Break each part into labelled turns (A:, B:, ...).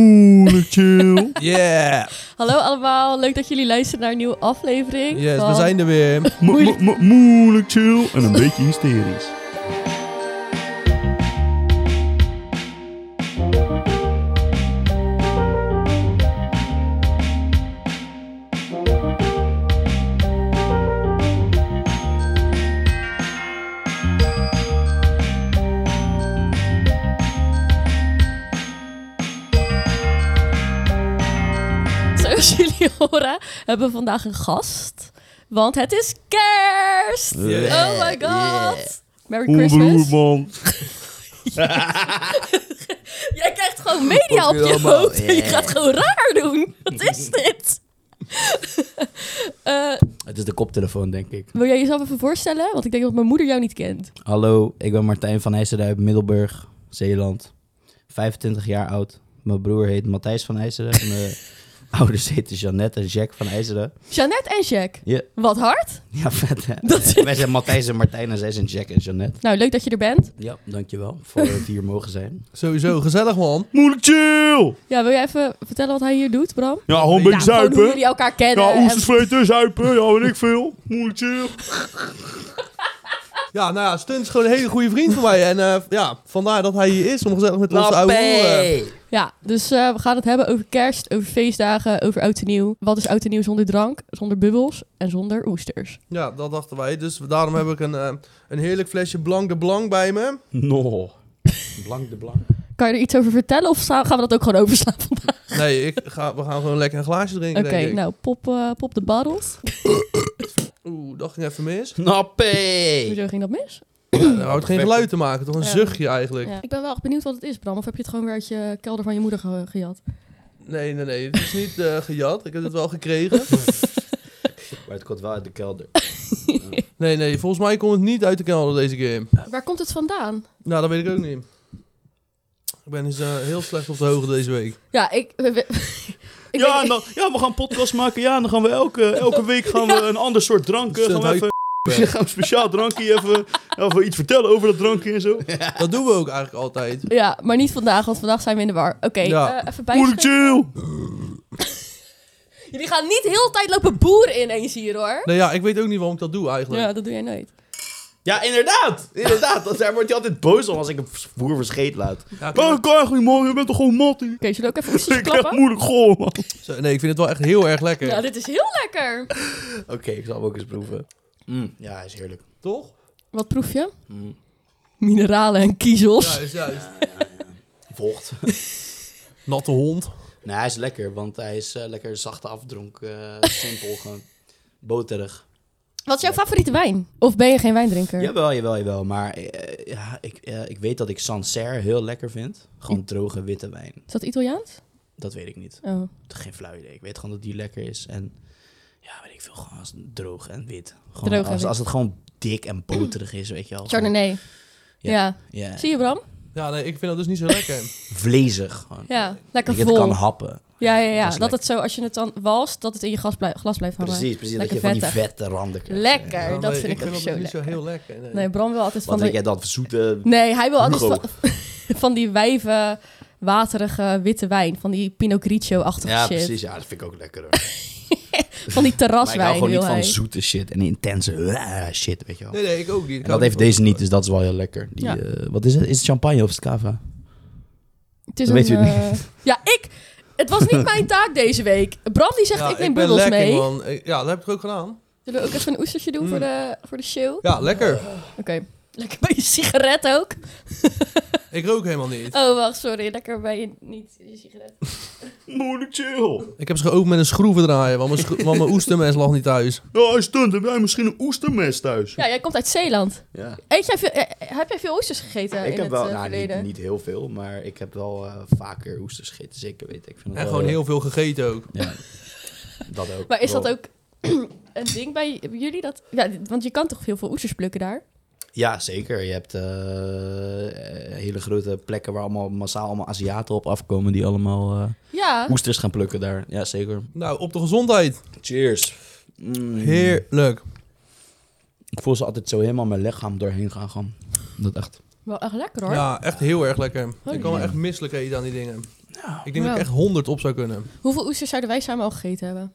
A: Moeilijk chill.
B: Yeah.
C: Hallo allemaal, leuk dat jullie luisteren naar een nieuwe aflevering.
B: Yes, we
C: van-
B: zijn er weer.
A: Mo- mo- mo- Moeilijk chill. En een beetje hysterisch.
C: Zoals jullie horen, hebben we vandaag een gast. Want het is kerst!
B: Yeah,
C: Oh my god!
B: yeah.
C: Merry
A: Oerbroer,
C: Christmas.
A: man.
C: Jij krijgt gewoon media
B: Fuck
C: op je
B: you allemaal,
C: hoofd en je
B: yeah.
C: gaat gewoon raar doen. Wat is dit? Eh,
D: Het is de koptelefoon, denk ik.
C: wil jij jezelf even voorstellen? Want ik denk dat mijn moeder jou niet kent.
D: Hallo, ik ben Martijn van IJsselen uit Middelburg, Zeeland. 25 jaar oud. Mijn broer heet Matthijs van IJsselen. Mijn ouders heten Jeannette en Jack van IJsselen.
C: Jeannette en Jack.
D: Ja.
C: Wat hard.
D: Ja, vet hè?
C: Dat is-
D: Wij zijn Matthijs en Martijn en zij zijn Jack en Jeannette.
C: Nou, leuk dat je er bent.
D: Ja, dankjewel voor het hier mogen zijn.
B: Sowieso, gezellig man.
A: Moeilijk chill.
C: Ja, wil jij even vertellen wat hij hier doet, Bram?
A: Ja, gewoon een beetje
C: Nou, gewoon eh, hoe
A: zuipen.
C: jullie elkaar kennen.
A: Ja,
C: en-
A: oesters vreten, zuipen. Ja, weet ik veel. Moeilijk chill.
B: Ja, nou ja, Stunt is gewoon een hele goede vriend van mij. En eh, ja, vandaar dat hij hier is om gezellig met onze oude hoeren.
C: Ja, dus eh, we gaan het hebben over kerst, over feestdagen, over oud en nieuw. Wat is oud en nieuw zonder drank, zonder bubbels en zonder oesters?
B: Ja, dat dachten wij. Dus daarom heb ik een, eh, een heerlijk flesje Blanc de Blanc bij me.
D: No. Blank de blank.
C: Kan je er iets over vertellen of zou- gaan we dat ook gewoon overslaan vandaag?
B: Nee, ik ga, we gaan gewoon lekker een glaasje drinken,
C: Oké,
B: denk ik.
C: nou, pop, eh, pop de bottles.
B: Oeh, dat ging even mis.
D: Nappé!
C: Hoezo ging dat mis?
B: Ja, houdt geen geluid te maken, toch? Een
C: Ja.
B: zuchtje eigenlijk.
C: Ja. Ik ben wel echt benieuwd wat het is, Bram. Of heb je het gewoon weer uit je kelder van je moeder ge- gejat?
B: Nee, nee, nee. Het is niet eh, gejat. Ik heb het wel gekregen.
D: Maar het komt wel uit de kelder.
B: Nee, nee. Volgens mij komt het niet uit de kelder deze game.
C: Waar komt het vandaan?
B: Nou, dat weet ik ook niet. Ik ben dus eh, heel slecht op de hoogte deze week.
C: Ja, ik... ik
A: Ja, en
C: denk-
A: dan, ja, we gaan podcast maken. Ja, en dan gaan we elke, elke week gaan we een ander soort drank. eh,
B: Stunt,
A: Gaan we
B: hou
A: even,
B: je
A: gaan we een speciaal drankje even, even iets vertellen over dat drankje en zo.
B: Dat doen we ook eigenlijk altijd.
C: Ja, maar niet vandaag, want vandaag zijn we in de war. Oké,
B: Ja.
C: eh, even
A: Moeilijk
C: bijschrijven.
A: chill.
C: Jullie gaan niet heel de tijd lopen boeren ineens hier, hoor.
B: Nee, ja, ik weet ook niet waarom ik dat doe eigenlijk.
C: Ja, dat doe jij nooit.
D: Ja, inderdaad! Inderdaad, want daar wordt hij altijd boos om als ik hem voer verscheet laat.
B: Ja, ik-
A: Oh, Kai, goeiemorgen. Je bent toch gewoon mattie?
C: Oké, zullen we ook even oesters
A: Ik krijg
C: klappen?
A: moeilijk goor, man.
B: Zo, nee, ik vind het wel echt heel erg lekker.
C: Ja, dit is heel lekker.
D: Oké, ik zal hem ook eens proeven. Mm. Ja, hij is heerlijk.
B: Toch?
C: Wat proef je?
D: Mm.
C: Mineralen en kiezels.
B: Juist, juist.
D: Vocht.
B: Natte hond.
D: nee, hij is lekker, want hij is eh, lekker zachte afdronk. eh, simpel, gewoon boterig.
C: Wat is jouw favoriete wijn? Of ben je geen wijndrinker?
D: Jawel, jawel, jawel. Maar eh, ja, ik, eh, ik weet dat ik Sancerre heel lekker vind. Gewoon droge witte wijn.
C: Is dat Italiaans?
D: Dat weet ik niet.
C: Oh.
D: Geen flauw idee. Ik weet gewoon dat die lekker is. En ja, weet ik veel, gewoon als droog en wit. Gewoon
C: Droog en
D: als,
C: wit.
D: als het gewoon dik en boterig is, weet je wel. Gewoon-
C: Chardonnay. Ja.
D: Ja. Ja,
C: Zie je Bram?
B: Ja, nee, ik vind dat dus niet zo lekker.
D: vlezig gewoon.
C: Ja,
D: Dat
C: lekker
D: je het kan
C: vol.
D: happen.
C: Ja, ja, ja.
D: Dat
C: Dat,
D: is lekker.
C: het zo, als je het dan walst, dat het in je glas, blij- glas blijft hangen.
D: Precies, precies.
C: Lekker
D: dat je van die
C: vettig.
D: vette randen krijgt.
C: Lekker,
B: Ja,
C: dat
B: nee,
C: vind ik, ook
B: dat
C: zo
B: dus niet
C: lekker.
B: zo heel lekker. Nee.
C: Nee, Bram wil altijd
D: Wat
C: van
D: denk
C: die...
D: jij dat zoete...
C: Nee, hij wil altijd
D: Hugo?
C: van, van die wijven, waterige witte wijn. Van die Pinot Grigio-achtige
D: Ja,
C: shit.
D: precies. Ja, dat vind ik ook lekker. hoor. maar
C: Van die
D: ik hou
C: terraswijn
D: gewoon
C: wil
D: niet van
C: hij.
D: zoete shit en intense eh, shit, weet je wel.
B: nee, nee, ik ook niet. Ik
D: En
B: hou
D: dat heeft
B: van-
D: deze niet, dus dat is wel heel lekker. Die,
C: Ja.
D: eh, wat is het? Is het champagne of scava?
C: Het is
D: Dat weet u niet.
C: eh, Ja, ik... Het was niet mijn taak deze week. Bram die
D: dus-
C: zegt,
B: Ja,
C: ik neem
B: ben
C: bubbels
B: lekker,
C: mee.
B: Man. Ik- Ja, dat heb ik ook gedaan.
C: Zullen we ook even een oestersje doen voor, de, voor de show?
B: Ja, lekker.
C: Oké. Lekker bij je sigaret ook.
B: Ik rook helemaal niet.
C: Oh, wacht, sorry. Lekker bij je, niet je sigaret.
A: Moeilijk chill.
B: Ik heb ze geopend met een schroevendraaier, want mijn, schro- want mijn oestermes lag niet thuis.
A: Ja, stunt, heb jij misschien een oestermes thuis?
C: Ja, jij komt uit Zeeland.
D: Ja.
C: Eet jij veel, eh, heb jij veel oesters gegeten in het eh, verleden?
D: nou, heel veel, maar ik heb wel eh, vaker oesters gegeten, zeker weet ik.
B: En gewoon heel veel gegeten ook.
D: Dat ook.
C: Maar is dat ook een ding bij jullie? Dat, ja, want je kan toch heel veel oesters plukken daar?
D: Ja, zeker. Je hebt eh, eh, hele grote plekken waar allemaal massaal allemaal Aziaten op afkomen die allemaal eh,
C: Ja.
D: oesters gaan plukken daar. Ja, zeker.
B: Nou, op de gezondheid.
D: Cheers. Mm.
B: Heerlijk.
D: Ik voel ze altijd zo helemaal mijn lichaam doorheen gaan. gaan. Dat echt.
C: Wel echt lekker hoor.
B: Ja, echt heel erg lekker. Ik kan me
C: jee.
B: echt misselijk eten aan die dingen. Ik denk dat
C: Ja.
B: ik echt 100 op zou kunnen.
C: Hoeveel oesters zouden wij samen al gegeten hebben?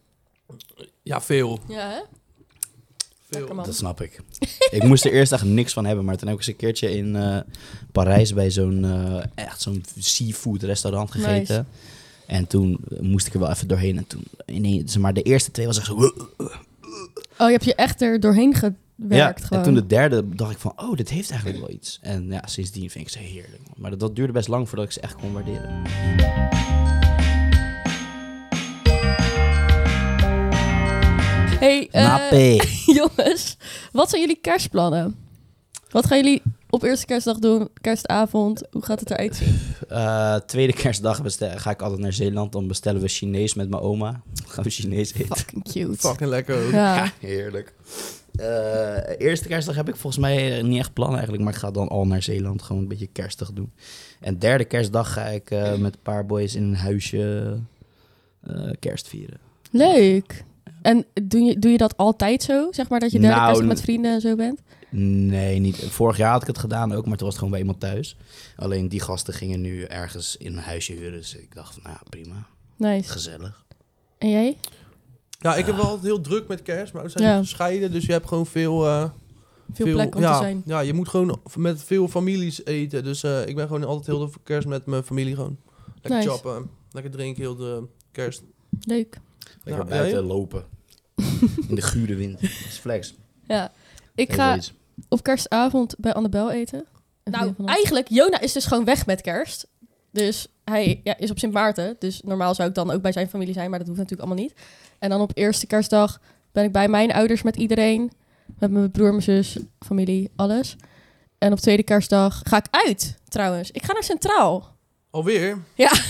B: Ja, veel.
C: Ja, hè? Lekker,
B: veel.
C: man.
D: Dat snap ik. ik moest er eerst echt niks van hebben, maar toen heb ik eens een keertje in eh, Parijs bij zo'n eh, echt zo'n seafood restaurant gegeten.
C: Nice.
D: En toen moest ik er wel even doorheen. En toen, ineens, maar de eerste twee was echt zo.
C: Oh, je hebt je echt er doorheen gewerkt
D: ja,
C: gewoon.
D: en toen de derde dacht ik van, oh, dit heeft eigenlijk wel iets. En ja, sindsdien vind ik ze heerlijk. man. Maar dat, dat duurde best lang voordat ik ze echt kon waarderen.
C: Hey, eh,
D: Napé.
C: jongens, wat zijn jullie kerstplannen? Wat gaan jullie op eerste kerstdag doen? Kerstavond, hoe gaat het eruit zien?
D: Eh, tweede kerstdag bestel- ga ik altijd naar Zeeland. Dan bestellen we Chinees met mijn oma. Dan gaan we Chinees eten.
C: Fucking cute.
B: Fucking lekker ook.
C: Ja.
D: Ja, heerlijk. Eh, eerste kerstdag heb ik volgens mij eh, niet echt plannen eigenlijk, maar ik ga dan al naar Zeeland gewoon een beetje kerstig doen. En derde kerstdag ga ik eh, met een paar boys in een huisje eh, kerst vieren.
C: Leuk. En doe je, doe je dat altijd zo? Zeg maar dat je derde
D: Nou,
C: kerstdag met vrienden en zo bent?
D: Nee, niet. Vorig jaar had ik het gedaan ook, maar toen was het gewoon bij iemand thuis. Alleen die gasten gingen nu ergens in een huisje huren, dus ik dacht van, nou ja, prima,
C: Nice.
D: gezellig.
C: En jij?
B: Ja, ik heb wel altijd heel druk met kerst, maar we zijn
C: Ja.
B: gescheiden, dus je hebt gewoon veel... eh,
C: Veel, plek om
B: ja,
C: te zijn.
B: Ja, je moet gewoon met veel families eten. Dus eh, ik ben gewoon altijd heel de kerst met mijn familie gewoon. Lekker
C: Nice.
B: chappen, lekker drinken heel de kerst.
C: Leuk.
D: Lekker
B: Ja,
D: buiten
B: jij?
D: lopen. In de gure wind. Dat is flex.
C: Ja. Ik
D: Heel
C: ga
D: zoiets.
C: op kerstavond bij Annabel eten. Een
E: Nou,
C: vriendin van ons.
E: eigenlijk, Jona is dus gewoon weg met kerst.
C: Dus hij ja, is op Sint Maarten. Dus normaal zou ik dan ook bij zijn familie zijn, maar dat hoeft natuurlijk allemaal niet. En dan op eerste kerstdag ben ik bij mijn ouders met iedereen. Met mijn broer, mijn zus, familie, alles. En op tweede kerstdag ga ik uit, trouwens. Ik ga naar Centraal.
B: Alweer?
C: Ja.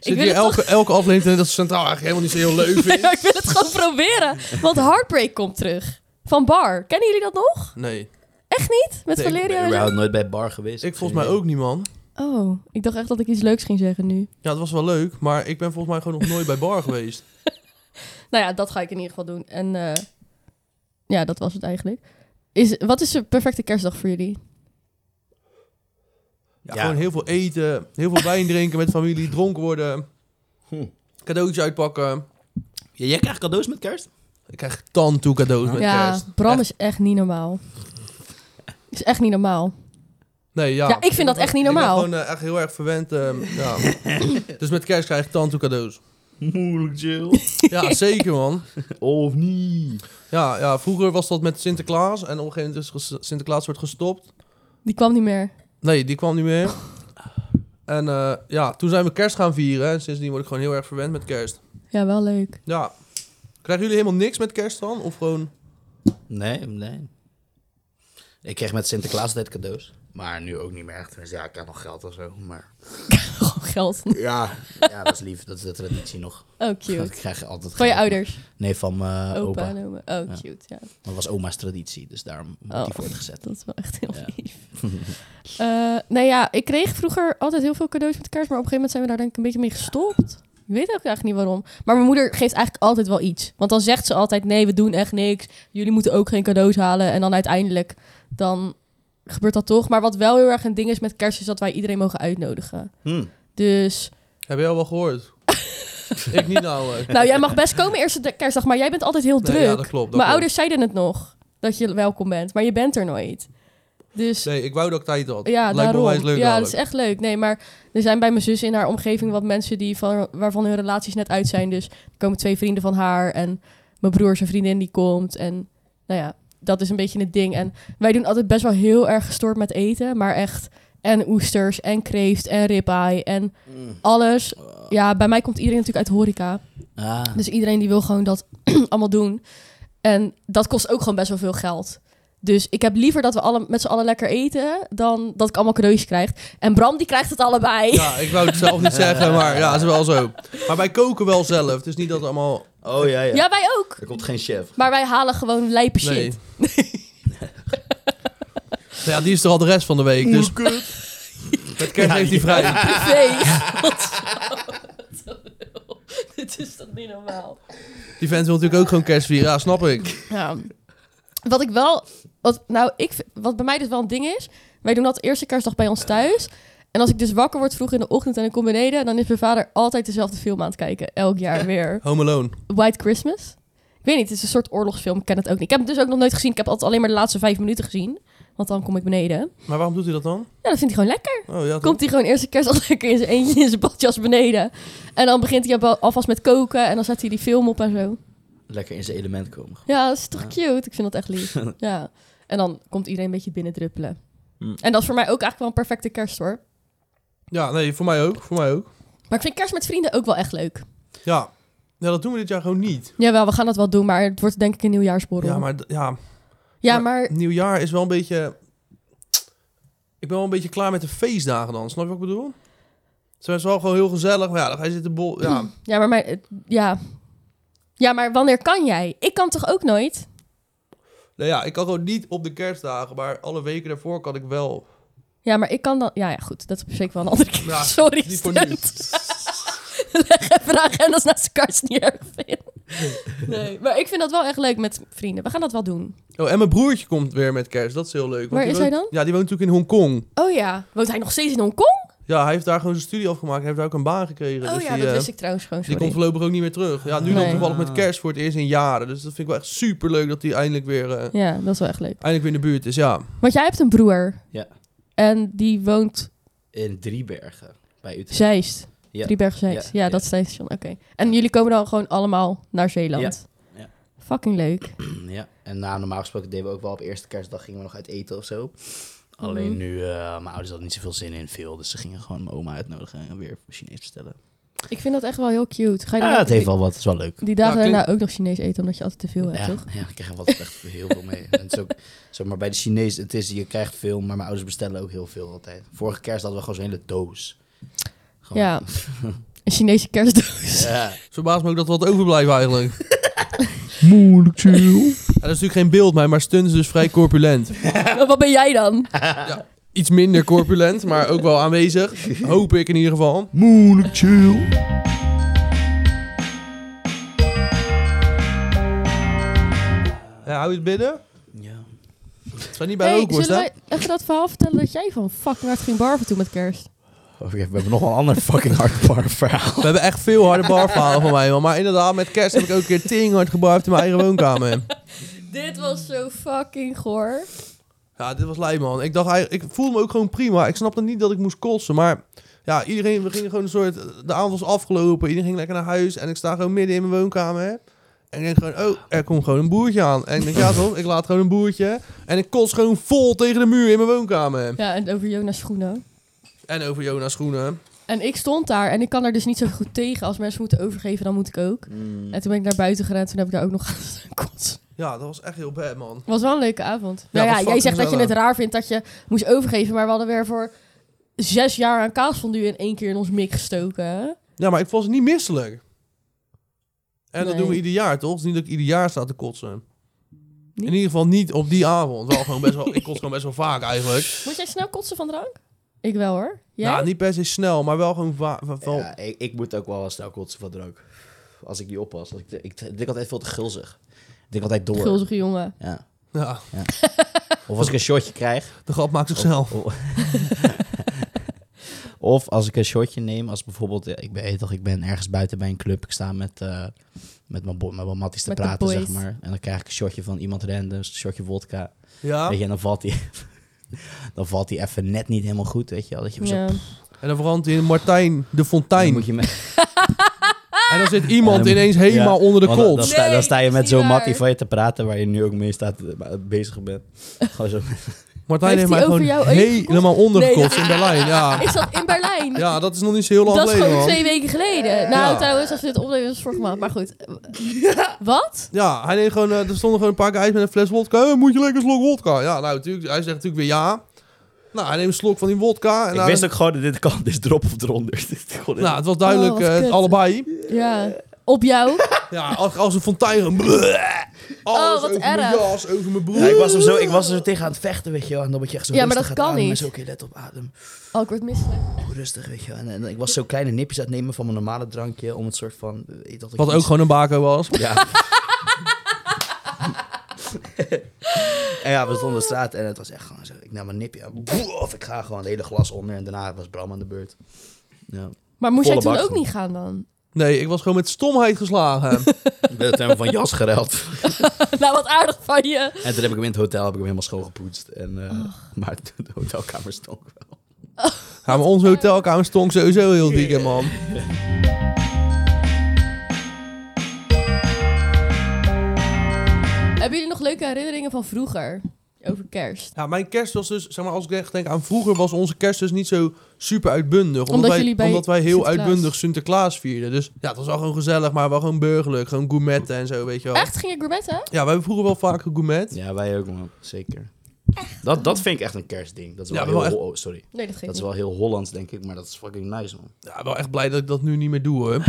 B: Zit
C: wil
B: hier
C: het
B: elke, elke aflevering dat ze centraal eigenlijk helemaal niet zo heel leuk
C: Ja,
B: vindt?
C: ik wil het gewoon proberen. Want Heartbreak komt terug. Van Bar. Kennen jullie dat nog?
B: Nee.
C: Met
B: Nee, ik
C: Valeria
D: ben
C: en zo?
D: überhaupt nooit bij bar geweest.
B: Ik volgens mij ook niet, man.
C: Oh, ik dacht echt dat ik iets leuks ging zeggen nu.
B: Ja, het was wel leuk, maar ik ben volgens mij gewoon nog nooit bij bar geweest.
C: Nou ja, dat ga ik in ieder geval doen. En eh, ja, dat was het eigenlijk. Is, wat is de perfecte kerstdag voor jullie?
B: Ja,
D: Ja.
B: Gewoon heel veel eten, heel veel wijn drinken met familie, dronken worden,
D: Hm.
B: cadeautjes uitpakken.
D: Ja, jij krijgt cadeaus met kerst?
B: Ik krijg tan toe cadeaus met
C: ja,
B: kerst.
C: Bram
B: Echt.
C: is echt niet normaal. Is echt niet normaal.
B: Nee, ja.
C: Ja, ik vind dat echt niet normaal.
B: Ik ben gewoon eh, echt heel erg verwend. eh, ja. dus met kerst krijg ik tante cadeaus.
D: Moeilijk, Jill.
B: Ja, zeker man.
D: of niet?
B: Ja, ja, vroeger was dat met Sinterklaas. En op een gegeven moment is ges- Sinterklaas wordt gestopt.
C: Die kwam niet meer.
B: Nee, die kwam niet meer. En eh, ja, toen zijn we kerst gaan vieren. En sindsdien word ik gewoon heel erg verwend met kerst.
C: Ja, wel leuk.
B: Ja. Krijgen jullie helemaal niks met kerst dan? Of gewoon...
D: Nee, nee. Ik kreeg met Sinterklaas altijd cadeaus. Maar nu ook niet meer echt. Dus ja, ik krijg nog geld of zo. Maar
C: Gewoon geld.
D: ja, ja dat is lief. Dat is de traditie nog.
C: Oh,
D: Ik
C: cute.
D: krijg altijd
C: Van je
D: geld.
C: ouders.
D: Nee, van mijn
C: opa.
D: opa.
C: en
D: Maar
C: oma. Oh,
D: Ja.
C: cute. Ja,
D: Dat was oma's traditie. Dus daarom wordt
C: Oh.
D: die voortgezet.
C: dat is wel echt heel
D: Ja.
C: lief. Eh, nee, ja, ik kreeg vroeger altijd heel veel cadeaus met kerst. Maar op een gegeven moment zijn we daar denk ik een beetje mee gestopt. Ik weet ook eigenlijk niet waarom. Maar mijn moeder geeft eigenlijk altijd wel iets. Want dan zegt ze altijd, nee, we doen echt niks. Jullie moeten ook geen cadeaus halen. En dan uiteindelijk, dan gebeurt dat toch. Maar wat wel heel erg een ding is met kerst, is dat wij iedereen mogen uitnodigen.
D: Hm.
C: Dus,
B: Heb je al wel gehoord? ik niet eh. namelijk.
C: nou jij mag best komen eerste de- kerstdag, maar jij bent altijd heel
B: Nee,
C: druk.
B: ja, dat klopt. dat
C: Mijn
B: klopt.
C: ouders zeiden het nog, dat je welkom bent, maar je bent er nooit. Dus
B: Nee, ik wou dat ik tijd had.
C: ja,
B: Lijkt me
C: daarom.
B: onwijs leuk
C: ja, dat
B: namelijk.
C: is echt leuk. Nee, maar er zijn bij mijn zus in haar omgeving wat mensen die van, waarvan hun relaties net uit zijn. Dus er komen twee vrienden van haar en mijn broer zijn vriendin die komt. En nou ja, dat is een beetje het ding. En wij doen altijd best wel heel erg gestoord met eten, maar echt... En oesters, en kreeft, en ribeye, en
B: Mm.
C: alles.
B: Ah.
C: Ja, bij mij komt iedereen natuurlijk uit horeca.
D: Ah.
C: Dus iedereen die wil gewoon dat allemaal doen. En dat kost ook gewoon best wel veel geld. Dus ik heb liever dat we alle, met z'n allen lekker eten... dan dat ik allemaal cadeautjes krijg. En Bram, die krijgt het allebei.
B: Ja, ik wou het zelf niet zeggen, maar ja, het is wel zo. Maar wij koken wel zelf. Het is niet dat het allemaal...
D: Oh ja, ja,
C: Ja, wij ook.
D: Er komt geen chef.
C: Maar wij halen gewoon lijpe shit.
B: Nee. Nou ja, die is er al de rest van de week, dus... Met kerst heeft hij vrij.
C: Privé. Dit is toch niet normaal.
B: Die vent wil natuurlijk ook gewoon kerst vieren. Ja, snap ik.
C: Ja. Wat ik wel... Wat, nou, ik, vind- wat bij mij dus wel een ding is... Wij doen dat eerste kerstdag bij ons thuis. En als ik dus wakker word vroeg in de ochtend en ik kom beneden, dan is mijn vader altijd dezelfde film aan het kijken. Elk jaar weer.
B: Home Alone.
C: White Christmas. Ik weet niet, het is een soort oorlogsfilm. Ik ken het ook niet. Ik heb het dus ook nog nooit gezien. Ik heb altijd alleen maar de laatste vijf minuten gezien. Want dan kom ik beneden.
B: Maar waarom doet hij dat dan?
C: Ja, dat vindt hij gewoon lekker.
B: Oh, ja, toch?
C: Komt hij gewoon eerste kerst al lekker in zijn eentje in zijn badjas beneden. En dan begint hij al- alvast met koken. En dan zet hij die film op en zo.
D: Lekker in zijn element komen.
C: Ja, dat is toch
D: Ja.
C: cute. Ik vind dat echt lief. ja. En dan komt iedereen een beetje binnendruppelen.
D: Hm.
C: En dat is voor mij ook eigenlijk wel een perfecte kerst hoor.
B: Ja, nee, voor mij ook. Voor mij ook.
C: Maar ik vind kerst met vrienden ook wel echt leuk.
B: Ja. ja, dat doen we dit jaar gewoon niet.
C: Jawel, we gaan dat wel doen, maar het wordt denk ik een nieuwjaarsborrel.
B: Ja, maar d- ja,
C: Ja, maar
B: nieuwjaar is wel een beetje... Ik ben wel een beetje klaar met de feestdagen dan. Snap je wat ik bedoel? Ze is wel gewoon heel gezellig. Maar ja, dan ga je zitten bol... Ja,
C: Ja, maar, mijn- het- ja. ja, maar wanneer kan jij? Ik kan toch ook nooit?
B: nou ja, ik kan gewoon niet op de kerstdagen. Maar alle weken daarvoor kan ik wel.
C: Ja, maar ik kan dan... Ja, ja goed, dat is zeker wel een andere keer.
B: Ja,
C: Sorry,
B: niet voor
C: Stunt.
B: nu.
C: Leg even de agendas naast elkaar, als je het niet erg vindt. Nee, maar ik vind dat wel echt leuk met vrienden. We gaan dat wel doen.
B: Oh, en mijn broertje komt weer met kerst. Dat is heel leuk. want
C: Waar
B: die
C: is
B: woont-
C: hij dan?
B: Ja, die woont natuurlijk in Hongkong.
C: Oh ja, woont hij nog steeds in Hongkong?
B: Ja, hij heeft daar gewoon zijn studie afgemaakt. Hij heeft daar ook een baan gekregen.
C: Oh
B: dus
C: ja,
B: die,
C: dat
B: eh,
C: wist ik trouwens gewoon,
B: Die
C: sorry.
B: komt voorlopig ook niet meer terug. Ja, nu dan
C: Nee.
B: toevallig met kerst voor het eerst in jaren. Dus dat vind ik wel echt super leuk dat hij eindelijk weer, eh,
C: Ja, dat is wel echt leuk.
B: eindelijk weer in de buurt is. Ja,
C: Want jij hebt een broer.
D: Ja.
C: En die woont
D: In Driebergen, bij Utrecht.
C: Zeist.
D: Ja.
C: Driebergen Zeist.
D: Ja,
C: Ja,
D: ja.
C: dat station. Oké. En jullie komen dan gewoon allemaal naar Zeeland.
D: Ja, ja.
C: Fucking leuk.
D: Ja, en nou, normaal gesproken deden we ook wel op eerste kerstdag gingen we nog uit eten of zo. Alleen
C: Mhm.
D: nu, eh, mijn ouders hadden niet zoveel zin in veel, dus ze gingen gewoon mijn oma uitnodigen en weer Chinees bestellen.
C: Ik vind dat echt wel heel cute. Ga je dan
D: Ja,
C: ook
D: Ah, het heeft wel wat, het is wel leuk.
C: die dagen
B: Ja, klinkt-
C: daarna ook nog Chinees eten, omdat je altijd te veel hebt,
D: Ja,
C: toch?
D: ja, ik krijg er wel echt heel veel mee. En het is ook, zeg maar, bij de Chinees, het is, je krijgt veel, maar mijn ouders bestellen ook heel veel altijd. Vorige kerst hadden we gewoon zo'n hele doos. Gewoon-
C: Ja. Een Chinese kerstdoos.
D: Ja.
B: het verbaast me ook dat we wat overblijven eigenlijk. Moeilijk chill. dat is natuurlijk geen beeld mij, maar Stun is dus vrij corpulent.
C: Maar Wat ben jij dan?
B: Iets minder corpulent, maar ook wel aanwezig. Hoop ik in ieder geval.
A: Moeilijk chill.
B: Ja, hou je het binnen?
D: ja.
B: Het staat niet bij
C: Hey,
B: ook
C: zullen
B: hè?
C: wij even dat verhaal vertellen dat jij van fuck naar het ging barven toen met kerst?
D: Oké, we hebben nog wel een ander fucking hardcore verhaal.
B: We hebben echt veel harde barverhalen van mij, man. Maar inderdaad, met kerst heb ik ook een keer ting hard gebarfd in mijn eigen woonkamer.
C: Dit was zo fucking goor.
B: Ja, dit was lijp, man. Ik dacht eigenlijk, ik voelde me ook gewoon prima. Ik snapte niet dat ik moest kotsen, maar ja, iedereen, we gingen gewoon een soort, de avond was afgelopen, iedereen ging lekker naar huis en ik sta gewoon midden in mijn woonkamer. hè. En ik denk gewoon, oh, er komt gewoon een boertje aan. En ik denk, ja toch, ik laat gewoon een boertje. En ik kots gewoon vol tegen de muur in mijn woonkamer.
C: Ja, en over Jonas schoenen.
B: En over Jona's schoenen.
C: En ik stond daar en ik kan er dus niet zo goed tegen. Als mensen moeten overgeven, dan moet ik ook.
B: Mm.
C: En toen ben ik naar buiten gerend, toen heb ik daar ook nog aan staan kotsen.
B: Ja, dat was echt heel bad, man.
C: was wel een leuke avond.
B: Ja,
C: nou
B: was
C: ja, jij
B: fucking
C: zegt dat je
B: gezellig.
C: het raar vindt dat je moest overgeven, maar we hadden weer voor zes jaar aan kaasfondue in één keer in ons mik gestoken. hè?
B: Ja, maar ik was niet misselijk. En dat
C: Nee.
B: doen we ieder jaar, toch? Het is niet dat ik ieder jaar sta te kotsen.
C: Niet?
B: In ieder geval niet op die avond. Wel gewoon best wel, ik kots gewoon best wel vaak eigenlijk.
C: Moet jij snel kotsen van drank? Ik wel hoor. Jij?
B: Nou, niet per se snel, maar wel gewoon va- va- wel-
D: Ja, ik, ik moet ook wel eens snel kotsen van drank. Als ik niet oppas. Als Ik, ik, ik denk altijd veel te gulzig. Ik denk altijd door.
C: Gulzige jongen.
D: Ja.
B: Ja,
D: Of als ik een shotje krijg.
B: de grap maakt zichzelf.
D: Of, of als ik een shotje neem. Als bijvoorbeeld, eh, ik weet toch, ik ben ergens buiten bij een club. Ik sta met, eh, met mijn, bo- met mijn matties te
C: Met de
D: praten, zeg
C: boys.
D: maar. En dan krijg ik een shotje van iemand random. Een shotje vodka.
B: Ja.
D: Weet je, en dan valt die... Dan valt hij even net niet helemaal goed, weet je wel. Dat je hem zo-
C: Ja.
B: En dan verandert hij in Martijn de
D: Dan
B: Fontein.
D: moet je met,
B: En dan zit iemand
D: Ja,
B: ineens helemaal onder de
D: want dan,
B: kots.
D: dan, sta,
C: Nee,
D: dan sta
C: dat
D: je
C: is
D: met
C: niet
D: zo'n
C: waar.
D: mattie van je te praten... waar je nu ook mee staat, eh, bezig bent. Gewoon zo
B: Martijn
C: Heeft
B: heeft,
C: hij
B: mij
C: over
B: gewoon
C: jou even
B: helemaal onder de
C: Nee,
B: kots in Berlijn. Ja.
C: Ik zat in Berlijn.
B: Ah. ja, dat is nog niet zo heel lang
C: dat is
B: geleden,
C: gewoon
B: man.
C: twee weken geleden. Nou,
B: Ja.
C: trouwens, als we dit opnemen, was het vorige maand. Maar goed. Wat?
B: Ja, hij deed gewoon, eh, er stonden gewoon een paar guys met een fles wodka. Eh, moet je lekker een slok wodka? Ja, nou, natuurlijk, hij zegt natuurlijk weer ja. Nou, hij neemt een slok van die wodka. En
D: Ik
B: hij-
D: wist ook gewoon dat dit kan, dus drop of eronder. Dit kon
B: Nou,
D: niet.
B: het was duidelijk
C: Oh, wat
B: eh,
C: kut.
B: allebei.
C: Ja. Op jou?
B: Ja, als, als een fontein. Alles
C: Oh, wat
B: over mijn
C: erg.
B: jas, over mijn broek.
D: Ja, ik, was er zo, ik was er zo tegen aan het vechten, weet je wel. En dan word je echt zo
C: Ja, maar
D: rustig
C: dat
D: aan
C: kan
D: het ademen.
C: niet.
D: Zo, oké, let op adem.
C: Oh, ik word misselijk.
D: Oeh, rustig, weet je wel. En, en ik was zo kleine nipjes aan het nemen van mijn normale drankje. Om het soort van... eh, ik dacht dat ik
B: Wat ook
D: iets-
B: gewoon een bako was.
D: Ja. En ja, we stonden op straat en het was echt gewoon zo. Ik nam een nipje en boef, ik ga gewoon het hele glas onder. En daarna was Bram aan de beurt. Ja.
C: Maar moest jij
D: Volle
C: toen
D: bak
C: ook
D: van.
C: niet gaan dan?
B: Nee, ik was gewoon met stomheid geslagen.
D: We hebben van jas gereld.
C: nou, wat aardig van je.
D: En toen heb ik hem in het hotel heb ik hem helemaal schoongepoetst. En, eh, Maar de hotelkamer stonk wel.
B: ja, maar onze hotelkamer stonk sowieso heel dikke, man.
C: Hebben jullie nog leuke herinneringen van vroeger? Over kerst?
B: Ja, mijn kerst was dus, zeg maar, als ik echt denk aan vroeger, was onze kerst dus niet zo super uitbundig. Omdat,
C: Omdat
B: wij,
C: jullie bij
B: omdat wij heel
C: Sinterklaas-
B: uitbundig Sinterklaas vierden. Dus ja, het was wel gewoon gezellig, maar wel gewoon burgerlijk. Gewoon gourmetten en zo, weet je wel.
C: Echt? Ging je gourmetten?
B: Ja, wij hebben vroeger wel vaak gegourmet.
D: Ja, wij ook man. Zeker. Dat, dat vind ik echt een kerstding. Dat is
B: Ja,
D: wel
B: wel
D: heel...
B: echt-
D: Ho- oh, sorry.
C: Nee, dat ging
D: Dat is
C: niet.
D: wel heel Hollands, denk ik. Maar dat is fucking nice, man.
B: Ja, wel echt blij dat ik dat nu niet meer doe, hoor.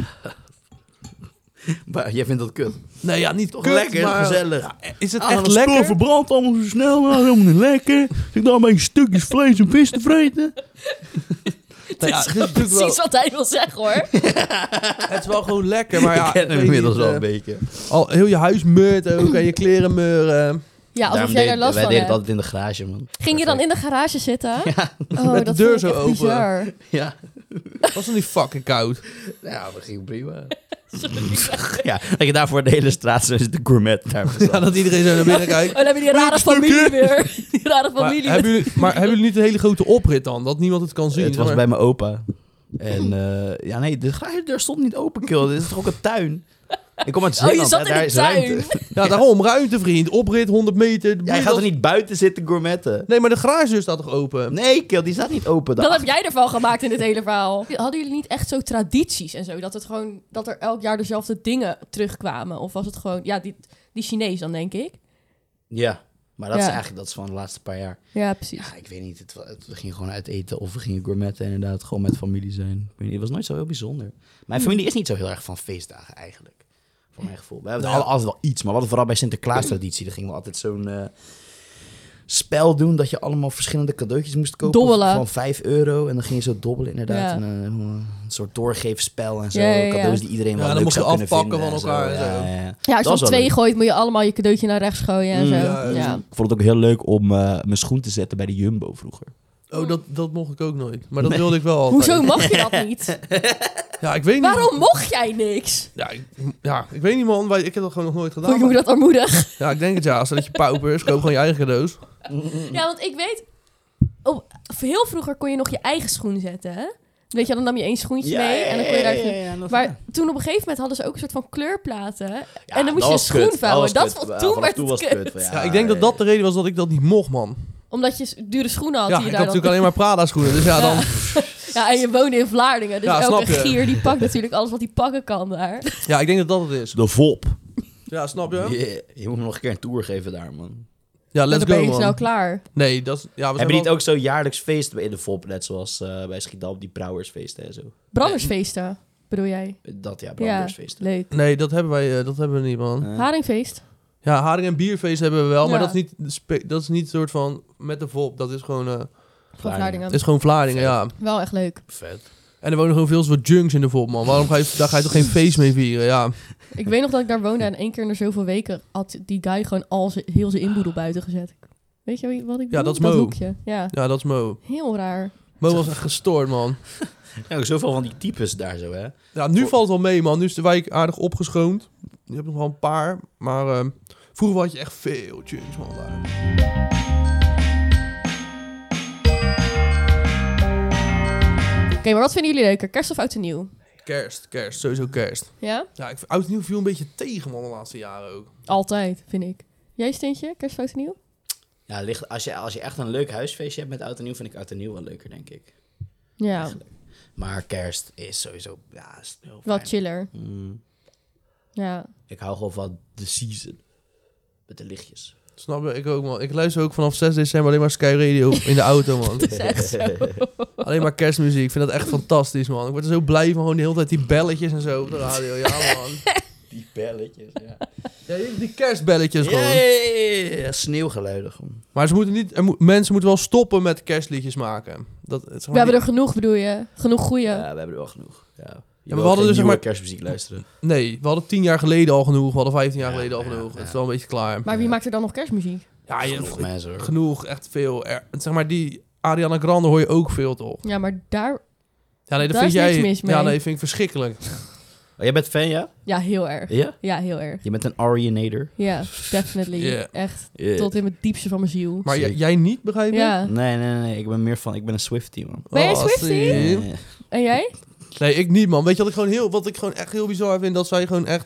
D: Maar jij vindt dat kut?
B: Nee, ja, niet
D: Toch
B: kut,
D: lekker,
B: maar-
D: gezellig.
B: Is het
D: Ah,
B: echt
D: dat is
A: Spul
B: lekker?
A: verbrandt allemaal zo snel, nou, helemaal niet lekker. Zit dan met stukjes vlees en vis te vreten.
B: Nou ja, het, is natuurlijk wel,
C: Precies wat hij wil zeggen hoor.
B: het is wel gewoon lekker, maar ja...
D: ik ken hem
B: weet
D: inmiddels
B: niet,
D: wel
B: eh,
D: een beetje.
B: Al heel je huis meurt ook en je kleren meuren.
C: Ja, alsof
D: Daarom
C: jij
D: deed-
C: daar last
D: wij
C: van
D: deden het
C: hebt.
D: altijd in de garage, man.
C: Ging je dan in de garage zitten?
D: Ja.
C: Oh,
B: Met de
C: dat
B: deur
C: vond ik
B: zo
C: echt
B: open.
C: bizar.
D: Ja.
B: Was het niet fucking koud?
D: Ja, dat ging prima. ja, dat je daarvoor de hele straat zo zit de gourmet daar
B: Ja, dat iedereen zo naar binnen kijkt.
C: Oh, dan heb je die rare familie weer. Die rare
B: Maar
C: familie
B: hebben, jullie, maar hebben jullie niet een hele grote oprit dan? Dat niemand het kan zien?
D: Het was
B: Maar-
D: bij mijn opa. En eh, ja, nee, de garagedeur stond niet open, kill. Dit is toch ook een tuin? Ik kom uit
C: Oh, je
D: Zeeland.
C: zat
D: hè,
C: in
D: daar
C: de
D: is
C: tuin.
D: ruimte.
B: Ja, daarom. Ruimte, vriend. Oprit, 100 meter. de
D: Jij
B: buurt
D: gaat er
B: als-
D: niet buiten zitten gourmetten.
B: Nee, maar de garagedeur staat toch open?
D: Nee, kill, die staat niet open.
C: Dat heb jij ervan gemaakt in dit hele verhaal. Hadden jullie niet echt zo tradities en zo? Dat, het gewoon, dat er elk jaar dezelfde dingen terugkwamen? Of was het gewoon, ja, die, die Chinees dan, denk ik?
D: Ja, maar dat is
C: Ja.
D: eigenlijk dat is van de laatste paar jaar.
C: Ja, precies.
D: Ja, ik weet niet. Het, wa- het ging gewoon uit eten of we gingen gourmetten en inderdaad gewoon met familie zijn. Ik weet niet, het was nooit zo heel bijzonder. Mijn familie is niet zo heel erg van feestdagen eigenlijk. Voor mijn gevoel. We hebben
B: Nou ja.
D: altijd wel iets, maar we hadden vooral bij Sinterklaas traditie. Daar gingen we altijd zo'n eh, spel doen dat je allemaal verschillende cadeautjes moest kopen.
C: Dobbelen.
D: Van 5 euro. En dan ging je zo dobbelen inderdaad.
C: Ja,
D: En, eh, een soort doorgeefspel en zo.
C: Ja, ja, ja.
D: Cadeaus die iedereen wel
B: Ja, dan
D: leuk
B: moest je
D: zou kunnen
B: afpakken
D: vinden
B: van
D: en zo.
B: elkaar en zo.
D: Ja, ja, ja.
C: Ja, als je
D: Dat
C: om
D: is wel
C: twee gooit, moet je allemaal je cadeautje naar rechts gooien en
D: Mm,
C: zo.
B: ja, dus-
C: Ja,
B: ja.
D: Ik vond het ook heel leuk om eh, mijn schoen te zetten bij de Jumbo vroeger.
B: Oh, dat, dat mocht ik ook nooit. Maar dat wilde ik wel altijd.
C: Hoezo mag je dat niet?
B: Ja, ik weet niet.
C: Waarom mocht jij niks?
B: Ja ik, ja, ik weet niet, man. Wij- Ik heb dat gewoon nog nooit
C: Vond
B: gedaan.
C: je moeder dat armoedig?
B: Ja, ik denk het ja. Als dat je pauper is, koop gewoon je eigen cadeaus.
C: Ja, want ik weet... Oh, heel vroeger kon je nog je eigen schoen zetten, hè? Weet je, dan nam je één schoentje mee en dan kon je daar... Maar toen op een gegeven moment hadden ze ook een soort van kleurplaten.
D: Ja,
C: en dan moest je
D: dat
C: je
D: was
C: schoen
D: kut.
C: vouwen.
D: was
C: Dat
D: kut.
C: vond-
D: Ja,
C: toen
D: vanaf
C: werd het
D: was
C: kut.
B: Ja, ik denk dat dat de reden was dat ik dat niet mocht, man.
C: Omdat je s- dure schoenen had
B: Ja, ik
C: die
B: had
C: je daar
B: natuurlijk
C: dan...
B: alleen maar Prada schoenen. Dus ja,
C: Ja.
B: dan...
C: Ja, en je woonde in Vlaardingen. Dus
B: Ja,
C: elke
B: snap je.
C: gier die pakt natuurlijk alles wat hij pakken kan daar.
B: Ja, ik denk dat dat het is.
D: De VOP.
B: Ja, snap
D: Je,
B: je?
D: je moet me nog een keer een tour geven daar, man.
B: Ja,
C: En
B: let's
C: dan
B: go,
C: ben je snel
B: man.
C: klaar.
B: Nee, dat is... Ja, we
D: Hebben
B: zijn
D: die niet
B: wel-
D: ook zo jaarlijks feest in de VOP? Net zoals eh, bij Schiedam, die Brouwersfeesten en zo.
C: Brandersfeesten, bedoel jij?
D: Dat ja,
C: Ja,
D: Brouwersfeesten.
C: leuk.
B: Nee, dat hebben wij eh, dat hebben we niet, man.
D: Eh,
C: Haringfeest.
B: Ja, haring en bierfeest hebben we wel, maar
C: Ja.
B: dat is niet, de spe- dat is niet een soort van met de volp. Dat is gewoon, eh,
C: Van
D: Vlaardingen.
B: het
C: Vlaardingen.
B: is gewoon Vlaardingen, ja.
C: Wel echt leuk.
D: Vet.
B: En er wonen gewoon veel soort junks in de volp, man. Waarom ga je, daar ga je toch geen feest mee vieren, ja.
C: Ik weet nog dat ik daar woonde en één keer in de zoveel weken had die guy gewoon al zijn, heel zijn inboedel buiten gezet. Weet je wie- wat ik bedoel?
B: dat is Mo.
C: hoekje. Ja,
B: Ja, dat is Mo.
C: heel raar.
B: Mo was echt gestoord, man.
D: En ook zoveel van die types daar zo, hè?
B: Ja, nu valt het wel mee, man. Nu is de wijk aardig opgeschoond. Je hebt nog wel een paar, maar eh, vroeger had je echt veel junks, man. Daar.
C: Oké, maar wat vinden jullie leuker? Kerst of oud en nieuw?
B: Kerst, kerst, sowieso kerst.
C: Ja?
B: Ja, ik, oud en nieuw viel een beetje tegen, man, de laatste jaren ook.
C: Altijd, vind ik. Jij steentje, kerst of oud en nieuw?
D: Ja, ligt, als, je, als je echt een leuk huisfeestje hebt met Oud en Nieuw, vind ik Oud en Nieuw wel leuker, denk ik.
C: Ja,
D: Maar kerst is sowieso... Ja, is heel
C: wel
D: fijn.
C: chiller.
D: Mm.
C: Ja.
D: Ik hou gewoon van de season. Met de lichtjes.
B: Snap je? Ik ook, man. Ik luister ook vanaf 6 december alleen maar Sky Radio in de auto, man.
C: is echt zo.
B: Alleen maar kerstmuziek. Ik vind dat echt fantastisch, man. Ik word er zo blij van. Gewoon de hele tijd die belletjes en zo op de radio. Ja, man.
D: Die belletjes, ja.
B: Ja, die- die kerstbelletjes gewoon.
D: Yay! Sneeuwgeluiden gewoon.
B: Maar ze moeten niet, er moet- mensen moeten wel stoppen met kerstliedjes maken. Dat, het, zeg maar,
C: We hebben
B: die-
C: er genoeg, bedoel je? Genoeg goeie.
D: Ja, we hebben er wel genoeg. Ja. Je wil
B: hadden
D: geen
B: dus, zeg
D: nieuwe
B: maar-
D: kerstmuziek luisteren.
B: Nee, we hadden tien jaar geleden al genoeg. We hadden vijftien jaar
D: Ja,
B: geleden al
D: ja,
B: genoeg.
D: ja.
B: Het is wel een beetje klaar.
C: Maar wie maakt er dan nog kerstmuziek?
B: Ja, je,
D: Genoeg mensen hoor.
B: genoeg, echt veel. Er, zeg maar, die Ariana Grande hoor je ook veel toch?
C: Ja, maar daar...
B: Ja, nee, dat
C: Daar
B: vind
C: is niks
B: jij.
C: mis
B: Ja,
C: mee.
B: nee, vind ik verschrikkelijk.
D: Oh, jij bent fan, ja?
C: Ja, heel erg.
D: Ja?
C: Ja, heel erg.
D: Je bent een Arienator.
C: Ja, definitely.
B: Ja.
C: Echt.
D: Ja.
C: Tot eh. in het diepste van mijn ziel.
B: Maar jij,
D: Zeker.
B: jij niet, begrijp je?
C: Ja.
D: Nee, nee, nee. Ik ben meer van... Ik ben een Swiftie, man.
C: Ben jij
B: Oh, als
C: Swiftie?
B: die-
D: Eh,
C: En jij?
B: Nee, ik niet, man. Weet je wat ik gewoon heel, wat ik gewoon echt heel bizar vind? Dat zij gewoon echt,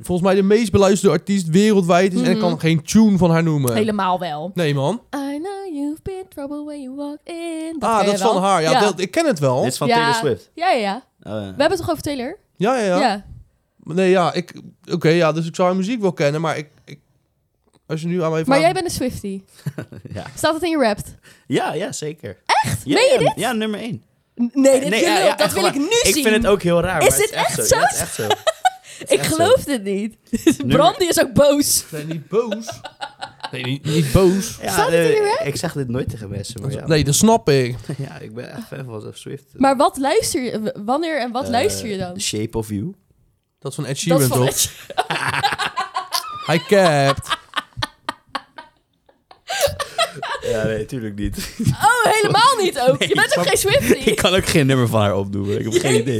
B: volgens mij, de meest beluisterde artiest wereldwijd is. En ik
C: Mhm.
B: kan geen tune van haar noemen.
C: Helemaal wel.
B: Nee, man.
C: I know you've been trouble when you walked in.
B: ah, dat
C: ken je
B: is
C: wel.
B: van haar. Ja,
C: ja.
B: Dat, ik ken het wel.
D: Dit is van
C: Ja.
D: Taylor Swift.
C: Ja, ja, ja.
D: Oh, ja.
C: We hebben het toch over Taylor?
B: Ja, ja, ja. Nee, ja, ik... Oké, ja, dus ik zou haar muziek wel kennen, maar ik... ik als je nu aan mij vraagt...
C: Maar jij bent een Swifty.
D: Ja.
C: Staat het in je rapt?
D: ja, ja, zeker. Echt? Ja, ja, Ja, nummer één.
C: Nee, dit
D: ja,
C: geloof,
D: ja,
C: dat
D: echt
C: wil
D: waar.
C: ik nu
D: Ik
C: zien.
D: vind het ook heel raar.
C: Is
D: maar
C: dit
D: het echt
C: echt
D: zo?
C: zo?
D: Ja, het is echt zo. Het is
C: ik
D: echt zo.
C: geloof dit niet. Brandy is ook boos.
B: Nee, niet boos. nee, niet, niet boos.
D: Ja,
C: Staat het
D: nee,
C: in je
D: Ik zeg dit nooit tegen mensen, maar ja.
B: Nee, dat snap ik.
D: Ja, ik ben echt fan van Swift.
C: Maar wat luister je? w- Wanneer en wat
D: Eh,
C: luister je dan?
D: Shape of You.
B: Dat is van Ed
C: Dat
B: Sheeran,
C: is van
B: toch?
C: het.
B: Hij capt.
D: Ja, nee, tuurlijk niet.
C: Oh, helemaal niet ook. je bent ook geen Swifty.
D: ik kan ook geen nummer van haar opdoen. Ik heb geen idee.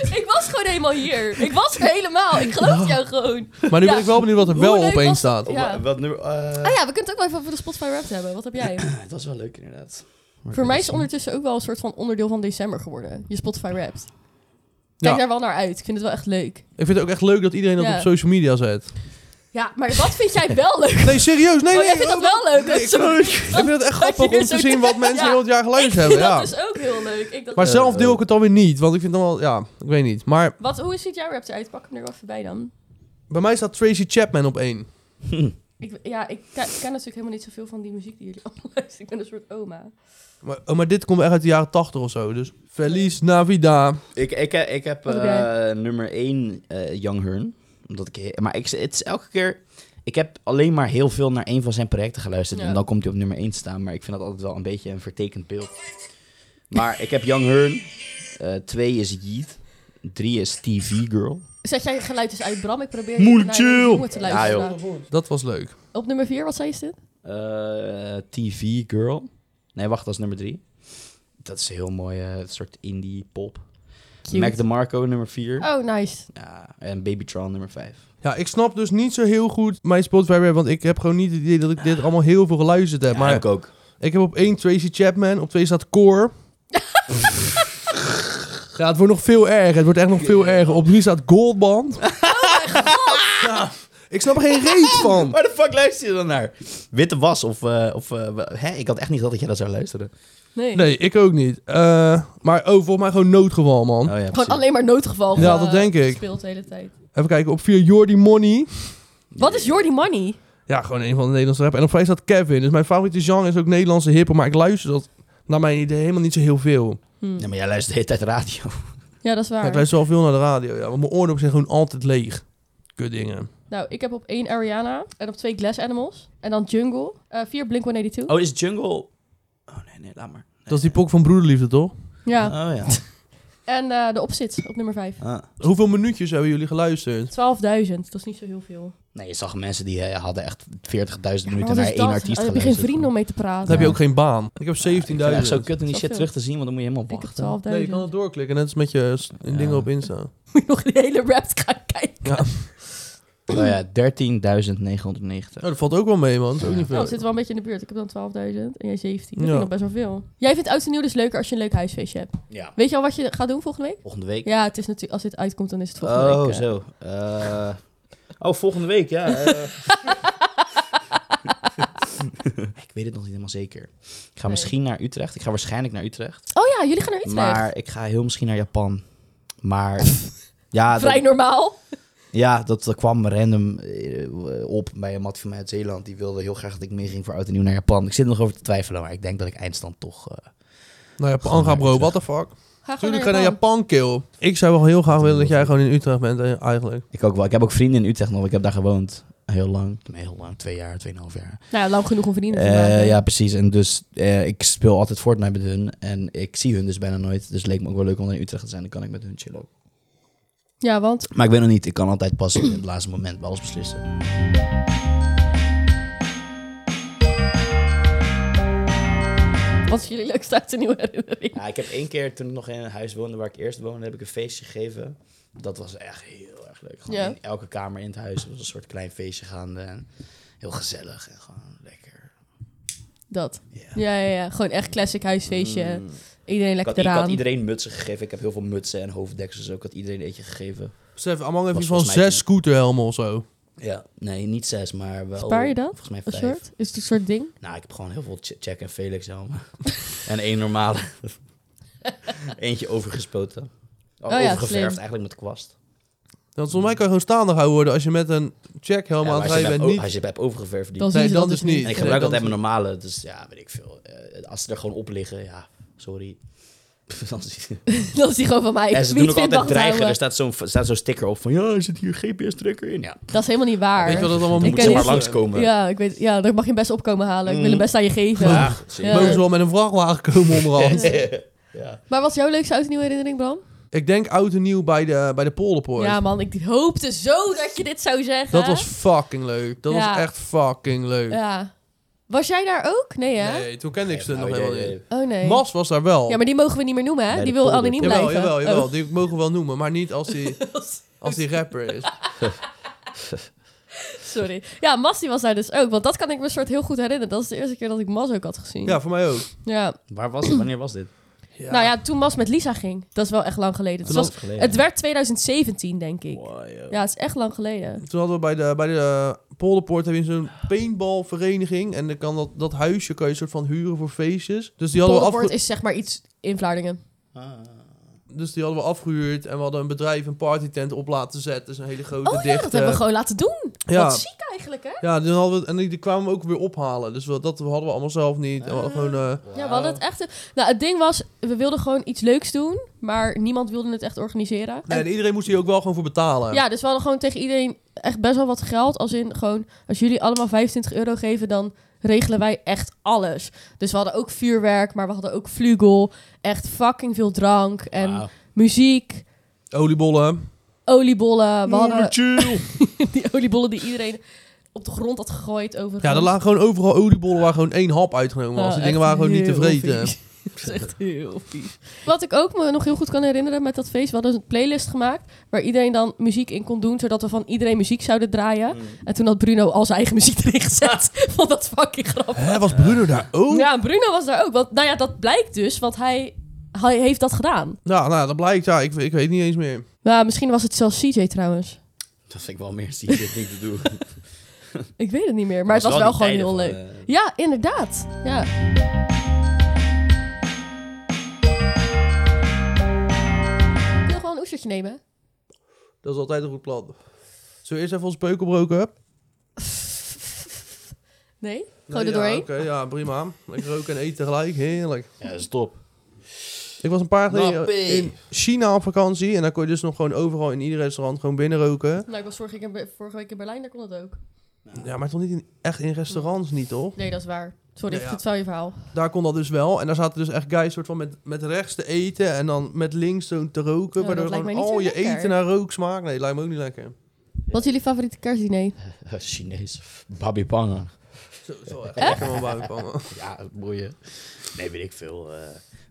C: ik was gewoon helemaal hier. Ik was er helemaal. Ik geloof jou gewoon.
B: Maar nu ben
C: Ja.
B: ik wel benieuwd wat er
C: Hoe
B: wel
C: leuk
B: opeens
C: was-
B: staat.
C: Ja.
D: Wat- Wat nummer... eh,
C: Ah ja, we kunnen het ook wel even over de Spotify Wrapped hebben. Wat heb jij?
D: Dat is wel leuk, inderdaad.
C: Voor mij is het ondertussen ook wel een soort van onderdeel van december geworden. Je Spotify Wrapped. Kijk
B: Ja.
C: daar wel naar uit. Ik vind het wel echt leuk.
B: Ik vind het ook echt leuk dat iedereen dat
C: Ja.
B: op social media zet.
C: Ja, maar wat vind jij wel leuk?
B: Nee, serieus. Nee,
C: Oh,
B: nee.
C: jij vindt dat wel leuk?
B: Nee, ik, vind het, ik vind het echt grappig om te zien wat mensen
C: Ja.
B: heel het jaar geluisterd
C: Ik
B: hebben.
C: vind
B: Ja.
C: dat dus ook heel leuk. Ik dacht,
B: Maar
D: Eh,
B: zelf deel
D: eh.
B: ik het dan weer niet. Want ik vind dan wel... Ja, ik weet niet. Maar
C: wat, hoe ziet jouw rap eruit? Pak hem er wel even bij dan.
B: bij mij staat Tracy Chapman op één.
C: Ik, ja, ik ken, ik ken natuurlijk helemaal niet zoveel van die muziek die jullie allemaal luisteren. Ik ben een soort oma.
B: Maar, oh, maar dit komt echt uit de jaren 80 of zo. Dus Feliz Navidad.
D: Ik, ik, heb- ik heb
C: Wat heb
D: eh,
C: jij?
D: nummer 1 Young Hearn. Omdat ik, he- maar ik, het is elke keer... Ik heb alleen maar heel veel naar een van zijn projecten geluisterd.
C: Ja.
D: En dan komt hij op nummer 1 staan. Maar ik vind dat altijd wel een beetje een vertekend beeld. Maar ik heb Young Hearn. 2 is Yeet. 3 is TV Girl.
C: Zet jij je geluid eens uit, Bram. Ik probeer
A: Moeilijk
C: naar
A: chill.
C: je jongen te
D: Ja, joh.
C: luisteren.
B: Dat was leuk.
C: Op nummer 4, wat zei je dit?
D: Eh, TV Girl. Nee, wacht, dat is nummer 3. Dat is een heel mooi eh, soort indie pop. Mac DeMarco nummer 4.
C: Oh, nice.
D: Ja, en Babytron nummer 5.
B: Ja, ik snap dus niet zo heel goed mijn Spotify rap. Want ik heb gewoon niet het idee dat ik dit allemaal heel veel geluisterd heb. maar
D: ik ook.
B: ik heb op één Tracy Chapman. Op twee staat Core. ja, het wordt nog veel erger. Het wordt echt nog veel erger. Op drie staat Goldband. ja, ik snap er geen reet van.
D: Waar de fuck luister je dan naar? Witte Was of... eh, of eh, wa- hè? Ik had echt niet gedacht dat jij dat zou luisteren.
C: Nee.
B: Nee, ik ook niet. Eh, maar oh, volgens mij gewoon noodgeval, man.
D: ja,
C: Gewoon alleen maar noodgeval.
B: Ja,
C: eh,
B: dat denk ik.
C: Speelt de hele tijd.
B: Even kijken. Op vier Jordi Money.
C: Wat is Jordi Money?
B: Ja, gewoon een van de Nederlandse rap. En op vijf staat Kevin. Dus mijn favoriete genre is ook Nederlandse hiphop. Maar ik luister dat naar mijn idee helemaal niet zo heel veel.
C: Hm.
D: Ja, maar jij luistert de hele tijd radio.
C: Ja, dat is waar.
B: Ja, ik luister wel veel naar de radio, ja. Want mijn oordopjes zijn gewoon altijd leeg. Kutdingen.
C: Nou, ik heb op 1 Ariana en op 2 Glass Animals. En dan Jungle. Eh, 4 Blink-182.
D: Oh, is Jungle... Oh, nee, nee, laat maar. Nee,
B: Dat is die pok van broederliefde, toch?
C: Ja.
D: Oh, ja.
C: En eh, de opzit op nummer 5.
D: Ah.
B: Hoeveel minuutjes hebben jullie geluisterd?
C: 12.000, dat is niet zo heel veel.
D: Nee, je zag mensen die eh, hadden echt 40.000
C: Maar
D: minuten
C: wat
D: naar
C: is dat?
D: één artiest
C: Dan
D: geluisterd.
C: heb je geen vrienden om mee te
B: Dan
C: praten.
B: heb je ook geen baan. Ik heb 17.000.
D: Ja, ik vind het echt zo kut om die
C: Dat
D: shit
C: veel.
D: terug te zien, want dan moet je helemaal
C: Ik heb 12.000.
D: wachten.
B: Nee, je kan het doorklikken. Net als met je s-
D: Ja.
B: dingen op Insta.
C: Moet je nog de hele rap gaan kijken.
D: Oh ja, 13.990.
B: Oh, dat valt ook wel mee, man. Dat is ook niet
C: Nou,
D: Oh,
B: veel.
C: het zit wel een beetje in de buurt. Ik heb dan 12.000 en jij
B: Ja.
C: 17. Dat vind ik nog best wel veel. Jij vindt oud en nieuw dus leuker als je een leuk huisfeestje hebt.
D: Ja.
C: Weet je al wat je gaat doen volgende week?
D: Volgende week.
C: Ja, het is natuurlijk, als dit uitkomt, dan is het volgende
D: oh,
C: week. eh.
D: zo. Eh, oh, volgende week, ja. eh. ik weet het nog niet helemaal zeker. Ik ga
C: Nee.
D: misschien naar Utrecht. Ik ga waarschijnlijk naar Utrecht.
C: Oh ja, jullie gaan naar Utrecht.
D: Maar ik ga heel misschien naar Japan. Maar... Ja,
C: Vrij
D: dat,
C: normaal.
D: ja dat, dat kwam random eh, op bij een mat van mij uit Zeeland. Die wilde heel graag dat ik meeging voor oud en nieuw naar Japan. Ik zit er nog over te twijfelen, maar ik denk dat ik eindstand toch... eh,
B: Nou ja,
D: Gewoon
B: Panga
D: naar
B: bro, what
D: Utrecht.
B: the fuck.
C: Ga gewoon
B: Tuurlijk
C: naar
B: ga je naar
C: Japan.
B: Japan, kill. Ik zou wel heel graag willen dat jij gewoon in Utrecht bent, eh, eigenlijk.
D: Ik ook wel. Ik heb ook vrienden in Utrecht nog. Ik heb daar gewoond. Heel lang. Nee, Heel lang. Twee jaar, tweeënhalf jaar.
C: Nou, ja, lang genoeg om vrienden te
D: Eh,
C: maken.
D: ja, precies. En dus eh, ik speel altijd Fortnite met hun. En ik zie hun dus bijna nooit. Dus het leek me ook wel leuk om in Utrecht te zijn. Dan kan ik met hun chillen ook.
C: ja, want
D: Maar ik weet nog niet. Ik kan altijd pas in het laatste moment bij alles beslissen.
C: Wat is jullie leukste uit de nieuwe herinnering?
D: Ja, ik heb één keer toen ik nog in een huis woonde waar ik eerst woonde, heb ik een feestje gegeven. Dat was echt heel erg leuk. Gewoon
C: Ja.
D: in elke kamer in het huis was een soort klein feestje gaande. En heel gezellig en gewoon lekker.
C: Dat.
D: Ja.
C: Ja, ja, ja. Gewoon echt classic huisfeestje.
D: Mm.
C: Iedereen
D: Ik had,
C: lekker
D: ik had
C: eraan.
D: iedereen mutsen gegeven. Ik heb heel veel mutsen en hoofddeksels ook. Ik had iedereen eentje gegeven.
B: Besef, Amang heeft
D: Was
B: iets van
D: volgens mij
B: zes
D: toen-
B: scooterhelmen of zo.
D: Ja. Nee, niet zes, maar wel...
C: Spaar je dat?
D: Volgens mij
C: Een
D: vijf.
C: soort? Is het een soort ding?
D: Nou, ik heb gewoon heel veel Ch- Jack en Felix helmen. en één normale. Eentje overgespoten. Oh,
C: ja,
D: overgeverfd
C: slim.
D: eigenlijk met
B: Oh,
D: kwast.
B: Want volgens mij kan je gewoon staande gehouden worden als je met een checkhelm
D: Ja, maar
B: aan het
D: als, je
B: rijden
D: hem
B: bent.
D: hebt, o-
B: Niet...
D: als je hem hebt overgeverfd, die
C: Dan
B: Nee,
C: zien ze
B: dan
C: dat
B: dus
C: dus
B: niet.
C: niet.
D: En ik
B: Nee,
D: gebruik
B: dan
D: altijd mijn
B: is-
D: normale, dus ja, weet ik veel. Eh, als ze er gewoon op liggen, ja, sorry. Pff, dan is-
C: Dat is die gewoon van mij.
D: en ze
C: Niet
D: doen ook
C: in
D: altijd dus
C: wacht
D: dreigen.
C: houden.
D: Er staat zo'n staat zo'n sticker op van, ja, er zit hier GPS-tracker in? Ja,
C: Dat is helemaal niet waar.
B: Weet je wat dat allemaal moet
D: dan
C: ken
D: moet ze
C: dit-
D: maar langskomen.
C: Ja, ik weet, ja, daar mag je best opkomen halen. Ik
D: Mm.
C: wil hem best aan je geven.
D: Ja, zie je.
C: Ja.
B: Mogen ze wel met een vrachtwagen komen onderhand.
D: Ja.
C: Maar wat is jouw leukste oud en nieuwe herinnering, Bram?
B: Ik denk oud en nieuw bij de, bij de Polderpoort.
C: Ja, man, ik hoopte zo dat je dit zou zeggen.
B: dat was fucking leuk. Dat was
C: Ja.
B: echt fucking leuk.
C: Ja. Was jij daar ook? Nee, hè?
B: Nee, toen kende ik ze
D: Nee,
B: nog
D: nou,
B: helemaal
D: jee,
B: niet.
D: jee.
C: Oh, nee.
B: Mas was daar wel.
C: Ja, maar die mogen we niet meer noemen, hè?
D: Nee,
C: die
D: de
C: wil
D: polder.
C: anoniem
B: jawel,
C: blijven. Oh,
B: jawel, jawel. Die mogen we wel noemen, maar niet als die, als die rapper is.
C: Oh, sorry. Ja, Mas die was daar dus ook. Want dat kan ik me soort heel goed herinneren. Dat is de eerste keer dat ik Mas ook had gezien.
B: Ja, voor mij ook.
C: Ja.
D: Waar was het? Wanneer was dit?
C: Nou ja, toen Mas met Lisa ging. Dat is wel echt lang geleden. Het,
D: Dat
C: was,
D: is geleden.
C: het werd 2017, denk ik.
D: Wow, joh.
C: Ja, het is echt lang geleden.
B: Toen hadden we bij de, bij de eh, Polderpoort heb je zo'n paintballvereniging. En dan kan dat, dat huisje kan je soort van huren voor feestjes. Dus die hadden, we
C: Polderpoort
B: afge-
C: is zeg maar iets in Vlaardingen.
D: Ah.
B: dus die hadden we afgehuurd. En we hadden een bedrijf een partytent op laten zetten. Dus een hele grote
C: Oh ja,
B: dichte.
C: dat hebben we gewoon laten doen.
B: eh, ja,
C: Wat ziek eigenlijk, hè?
B: ja, toen hadden we, en die, die kwamen we ook weer ophalen. Dus we, dat hadden we allemaal zelf niet. En we hadden
C: Ah.
B: gewoon, eh,
C: Ja, we hadden het echt... Nou, het ding was, we wilden gewoon iets leuks doen. Maar niemand wilde het echt organiseren.
B: nee, en iedereen moest hier ook wel gewoon voor betalen.
C: Ja, dus we hadden gewoon tegen iedereen echt best wel wat geld. Als in gewoon, als jullie allemaal 25 euro geven, dan regelen wij echt alles. Dus we hadden ook vuurwerk, maar we hadden ook vlugel. Echt fucking veel drank en
D: Wauw.
C: muziek,
B: Oliebollen.
C: oliebollen. We hadden
A: chill.
C: die oliebollen die iedereen op de grond had gegooid over.
B: Ja, er lagen gewoon overal oliebollen waar gewoon één hap uitgenomen
C: Nou, Ah,
B: was. die dingen waren gewoon niet te vreten.
C: Dat is echt heel vies. Wat ik ook me nog heel goed kan herinneren met dat feest, we hadden een playlist gemaakt waar iedereen dan muziek in kon doen, zodat we van iedereen muziek zouden draaien. En toen had Bruno al zijn eigen muziek erin gezet. Vond dat fucking grappig.
B: Hè, was Bruno daar ook?
C: Ja, en Bruno was daar ook. Want nou ja, dat blijkt dus, want hij, hij heeft dat gedaan.
B: Nou, nou, dat blijkt. Ja, ik, ik weet niet eens meer.
C: Nou, misschien was het zelfs CJ trouwens.
D: Dat vind ik wel meer ziek, dit ding te doen.
C: Ik weet het niet meer, maar het was wel gewoon
D: die
C: heel
D: tijden
C: leuk.
D: van, eh,
C: Ja, inderdaad. Ja. Ik wil gewoon een oestertje nemen.
B: Dat is altijd een goed plan. Zullen we eerst even ons peukelbroken hebben?
C: Nee? Gewoon er
B: Nee,
C: doorheen?
B: Ja, oké, ja, prima. Ik rook en eet tegelijk. Heerlijk.
D: eh, Ja, dat is top.
B: Ik was een paar jaar
D: Nappie.
B: geleden in China op vakantie. En daar kon je dus nog gewoon overal in ieder restaurant gewoon binnen roken.
C: Nou, ik was vorige, keer- vorige week in Berlijn, daar kon het ook.
B: Ja, maar toch niet in, echt in restaurants niet, toch?
C: Nee, dat is waar. Sorry,
B: Nee, ja.
C: ik vertel je verhaal.
B: Daar kon dat dus wel. En daar zaten dus echt guys soort van met, met rechts te eten en dan met links zo te roken.
C: Oh,
B: waardoor
C: dat lijkt
B: gewoon
C: mij niet
B: al
C: zo
B: je
C: lekker.
B: eten naar rook smaakt. Nee, lijkt me ook niet lekker.
C: Wat is jullie favoriete kerstdiner?
D: Eh, Chinees. Babi Pangan.
B: Zo, zo echt lekker man buikpannen.
D: Ja, boeien. Nee, weet ik veel. eh.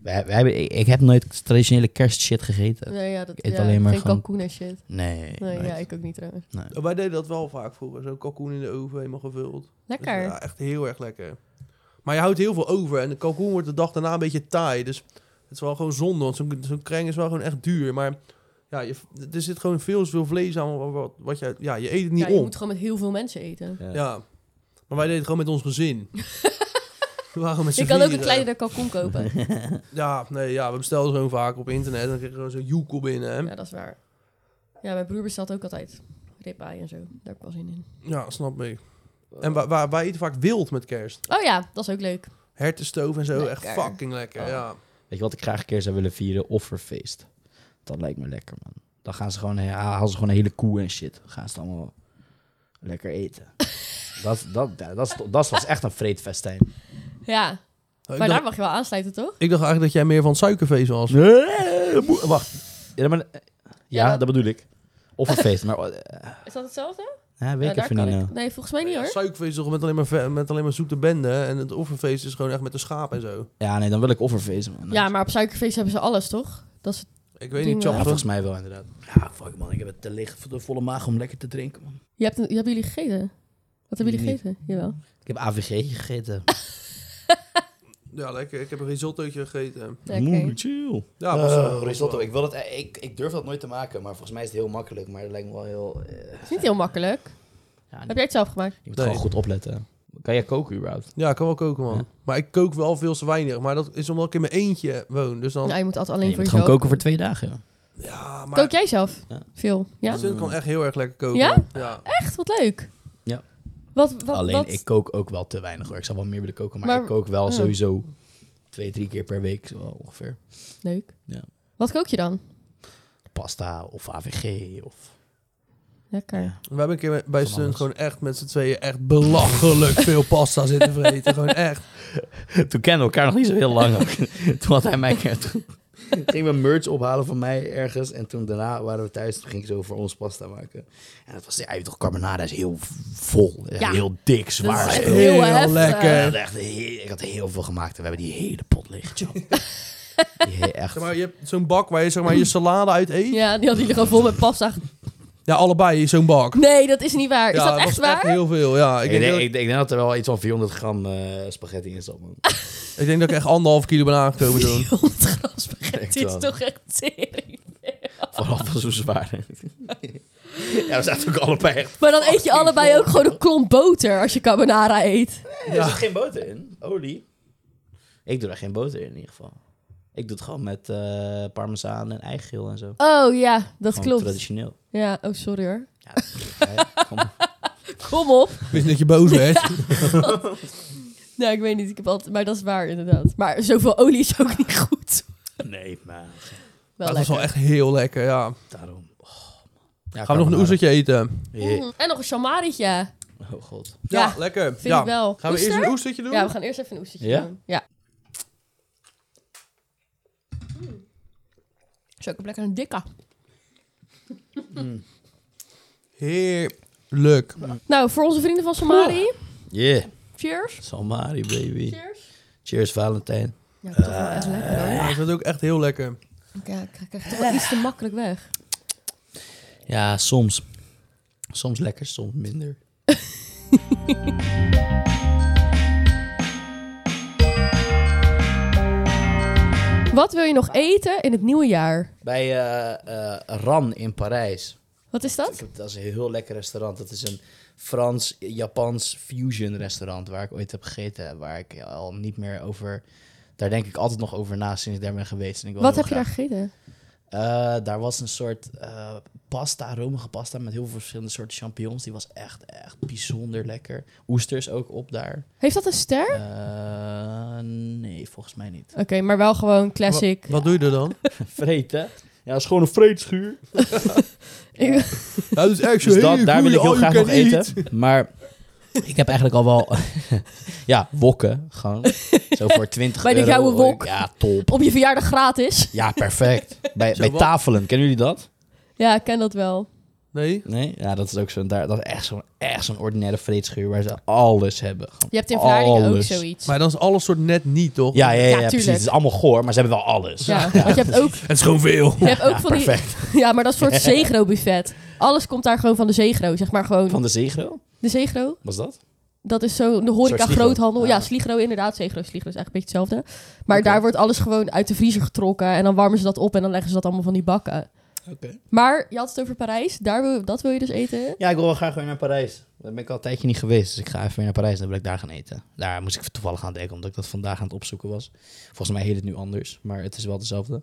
D: wij, wij hebben, ik, ik heb nooit traditionele kerstshit gegeten.
C: Nee, ja, dat
D: Ik eet
C: ja,
D: alleen maar
C: geen
D: gewoon-
C: kalkoen en shit.
D: Nee.
C: Nee,
D: nooit.
C: ja, ik ook niet trouwens.
D: Nee.
B: Wij deden dat wel vaak vroeger. Zo'n kalkoen in de oven helemaal gevuld. Dus,
C: Lekker.
B: ja, echt heel erg lekker. Maar je houdt heel veel over. En de kalkoen wordt de dag daarna een beetje taai. Dus het is wel gewoon zonde. Want zo'n zo'n kreng is wel gewoon echt duur. Maar ja, je, er zit gewoon veel, veel vlees aan. Wat, wat, wat je, ja, je eet het niet
C: Ja, je
B: op.
C: moet gewoon met heel veel mensen eten.
B: Ja. Maar wij deden het gewoon met ons gezin. We waren met z'n
C: Ik kan ook een
B: vieren.
C: kleinere kalkoen kopen.
B: Ja, nee, ja, we bestelden gewoon vaak op internet. En dan kregen we gewoon zo'n joekel binnen.
C: Ja, dat is waar. Ja, mijn broer bestelt ook altijd ribeye en zo. Daar heb ik wel zin in.
B: Ja, snap ik. En wa- wa- wij eten vaak wild met kerst.
C: Oh ja, dat is ook leuk.
B: Hertenstoof en zo. Echt
C: Lekker.
B: fucking lekker,
D: Oh.
B: ja.
D: Weet je wat ik graag een keer zou willen vieren? Offerfeest. Dat lijkt me lekker, man. Dan gaan ze gewoon, ja, halen ze gewoon een hele koe en shit. Dan gaan ze het allemaal lekker eten. dat, dat, dat, dat, is to- dat was echt een vreedfestijn.
C: Ja,
B: Ik
C: maar
B: dacht,
C: daar mag je wel aansluiten, toch?
B: ik dacht eigenlijk dat jij meer van het suikerfeest was.
D: Nee, moe- wacht. Eh, Ja, maar- ja,
C: Ja, dat-
D: dat bedoel ik. Offerfeest. Maar, eh,
C: Is dat hetzelfde?
D: Hè, weet
C: Ja,
D: ik
C: daar
D: even
C: kan
D: niet
C: ik.
D: nou.
C: Nee, volgens mij niet hoor.
B: Suikfeest is toch met alleen, maar ve- met alleen maar zoete bende. En het offerfeest is gewoon echt met de schaap en zo.
D: Ja, nee, dan wil ik offerfeest. man.
C: Ja, maar op suikerfeest hebben ze alles, toch? Dat is...
B: Ik weet niet,
C: Ja,
D: Ja,
B: Chapman.
D: volgens mij wel inderdaad. Ja, fuck man, ik heb het te licht voor de volle maag om lekker te drinken, man.
C: je hebt een- je hebben jullie gegeten? Wat hebben jullie
D: Niet.
C: gegeten? Jawel.
D: Ik heb AVG gegeten.
B: ja, lekker. Ik heb een risottootje gegeten.
C: Ja, oké.
A: Moe, chill.
B: Ja, was,
D: Eh,
B: was wel-
D: risotto. Ik, wil het, eh, ik, ik durf dat nooit te maken, maar volgens mij is het heel makkelijk. Maar het lijkt me wel heel... eh,
C: Het is niet heel makkelijk.
D: ja,
C: Heb jij het zelf gemaakt?
D: Je moet
B: Nee.
D: gewoon goed opletten. Kan jij koken überhaupt?
B: Ja, ik kan wel koken, man.
D: Ja.
B: Maar ik kook wel veel te weinig. Maar dat is omdat ik in mijn eentje woon. Dus dan...
C: Nou, je moet altijd alleen
D: Nee, je
C: voor
D: moet gewoon
C: jezelf.
D: koken voor twee dagen. joh.
B: Ja, maar...
C: Kook jij zelf?
D: Ja.
C: Veel. Ja?
B: Zin kan echt heel erg lekker koken.
C: Ja?
B: Ja.
C: Echt, wat leuk.
D: Ja.
C: Wat, wat,
D: Alleen
C: wat-
D: ik kook ook wel te weinig hoor. Ik zou wel meer willen koken, maar,
C: Maar-
D: ik kook wel
C: ja.
D: sowieso twee, drie keer per week zo ongeveer.
C: Leuk.
D: Ja.
C: Wat kook je dan?
D: Pasta of AVG of...
C: Lekker.
D: Ja.
B: We hebben een keer bij
D: Van
B: Stunt
D: alles.
B: gewoon echt met z'n tweeën echt belachelijk veel pasta zitten vreten. Gewoon echt.
D: Toen kenden we elkaar nog niet zo heel lang. ook. toen had hij mij... Toen gingen we merch ophalen van mij ergens. En toen daarna waren we thuis. Toen ging ik zo voor ons pasta maken. En dat was... Ja, je weet toch, carbonara is heel vol.
C: Ja.
D: Heel dik, zwaar.
C: Dat is echt
D: spul.
C: heel
B: Heel
C: heftig.
D: Ja,
B: lekker.
D: dat echt heel- ik had heel veel gemaakt. En we hebben die hele pot leeg. joh. Die he- echt.
B: Zeg maar, je hebt zo'n bak waar je zeg maar, je salade uit eet. Ja,
C: Ja, die had jullie gewoon vol met pasta. ge-
B: allebei zo'n bak.
C: Nee, dat is niet waar. Is
B: ja,
C: dat echt
B: was
C: waar?
B: heel veel. Ja, ik,
D: Ik,
B: denk
D: denk,
B: dat, ik,
D: ik, denk dat er wel iets van 400 gram eh, spaghetti in zat. man.
B: denk dat ik echt anderhalf kilo ben aangekomen toen.
C: 400 gram spaghetti
D: Echt
C: is
D: wel.
C: toch echt tering.
D: Vooral van zo zwaar. ja, we zaten ook allebei echt...
C: Maar dan eet je allebei ook gewoon een klomp boter als je carbonara eet.
D: Nee, Er zit geen boter in. Olie. Ik doe daar geen boter in in ieder geval. Ik doe het gewoon met eh parmezaan en eigeel en zo. Dat
C: Oh ja, dat klopt.
D: traditioneel.
C: Ja, oh sorry hoor.
D: Ja, hè, kom.
C: Kom op.
B: Ik wist niet dat je boos werd.
C: Nee, ik weet niet. Ik heb altijd, maar dat is waar inderdaad. Maar zoveel olie is ook niet goed.
D: nee, maar
C: Wel
B: dat was
C: lekker.
B: wel echt heel lekker, ja.
D: daarom... Oh, man.
B: Gaan
D: Ja,
B: we nog een
D: carbonara.
B: oestertje eten?
D: Jee.
C: Mm, En nog een shamarietje.
D: Oh god.
C: Ja,
B: lekker.
C: Vind
B: ja.
C: ik wel.
B: Gaan we
C: Oester?
B: eerst een oestertje doen?
C: Ja, we gaan eerst even een oestertje
D: Ja?
C: doen. Ja. Mm. Zo, ik heb lekker een dikke.
B: Heerlijk.
C: Nou, voor onze vrienden van Somali.
D: Yeah.
C: Cheers.
D: Salmari, baby.
C: Cheers.
D: Cheers, Valentijn.
C: Ja, toch wel echt lekker hoor.
B: Ja, dat is ook echt heel lekker.
C: Ik, eh, ik krijg het toch wel iets te makkelijk weg.
D: Ja, soms. Soms lekker, soms minder.
C: Wat wil je nog eten in het nieuwe jaar?
D: Bij eh, eh, Ran in Parijs.
C: Wat is
D: Ik
C: dat?
D: heb, dat is een heel lekker restaurant. Dat is een Frans-Japans fusion restaurant waar ik ooit heb gegeten. Waar ik al niet meer over... Daar denk ik altijd nog over na sinds ik daar ben geweest. En ik wil
C: Wat
D: heel
C: heb je daar gegeten?
D: Eh, daar was een soort eh, pasta, romige pasta met heel veel verschillende soorten champignons. Die was echt, echt bijzonder lekker. Oesters ook op daar.
C: Heeft dat een ster?
D: Eh, nee, volgens mij niet.
C: Oké, maar wel gewoon classic.
B: Wat doe je er dan?
D: Vreten? Ja, dat is gewoon een vreetschuur.
C: Ik-
B: Ja, dus echt
D: Dus dat, daar wil ik heel graag nog eten. Maar ik heb eigenlijk al wel... ja, wokken. Gewoon. Zo voor 20
C: Bij de
D: euro.
C: gouden wok.
D: Ja, top.
C: op je verjaardag gratis.
D: Ja, perfect. Bij,
B: Zo
D: bij
B: wat.
D: tafelen. Kennen jullie dat?
C: Ja, ik ken dat wel.
B: Nee?
D: Nee? Ja, dat is ook zo'n... daar- Dat is echt zo'n echt zo'n ordinaire vreetschuur waar ze alles hebben. Gewoon
C: Je hebt in Vlaardingen ook
D: alles.
C: zoiets.
B: Maar dan is alles soort net niet, toch?
D: Ja, ja, ja,
C: Ja,
D: ja,
C: tuurlijk.
D: precies. Het is allemaal goor, maar ze hebben wel alles.
C: Ja, want je hebt ook,
B: Het is gewoon veel.
C: je hebt ook van die...
D: perfect.
C: Ja, maar dat is voor het Zegro-buffet. Alles komt daar gewoon van de Zegro, zeg maar gewoon.
D: Van de Zegro,
C: De Zegro,
D: was dat?
C: dat is zo de horeca
D: Een soort
C: groothandel.
D: Sligro.
C: Ja,
D: Ja.
C: Sligro inderdaad. Zegro, Sligro is eigenlijk een beetje hetzelfde. Maar
D: Oké.
C: daar wordt alles gewoon uit de vriezer getrokken. En dan warmen ze dat op en dan leggen ze dat allemaal van die bakken.
D: Oké.
C: Maar je had het over Parijs. Daar wil, dat wil je dus eten?
D: Ja, ik wil wel graag weer naar Parijs. Daar ben ik al een tijdje niet geweest, dus ik ga even weer naar Parijs en dan wil ik daar gaan eten. Daar moest ik toevallig aan denken, omdat ik dat vandaag aan het opzoeken was. Volgens mij heet het nu anders, maar het is wel dezelfde.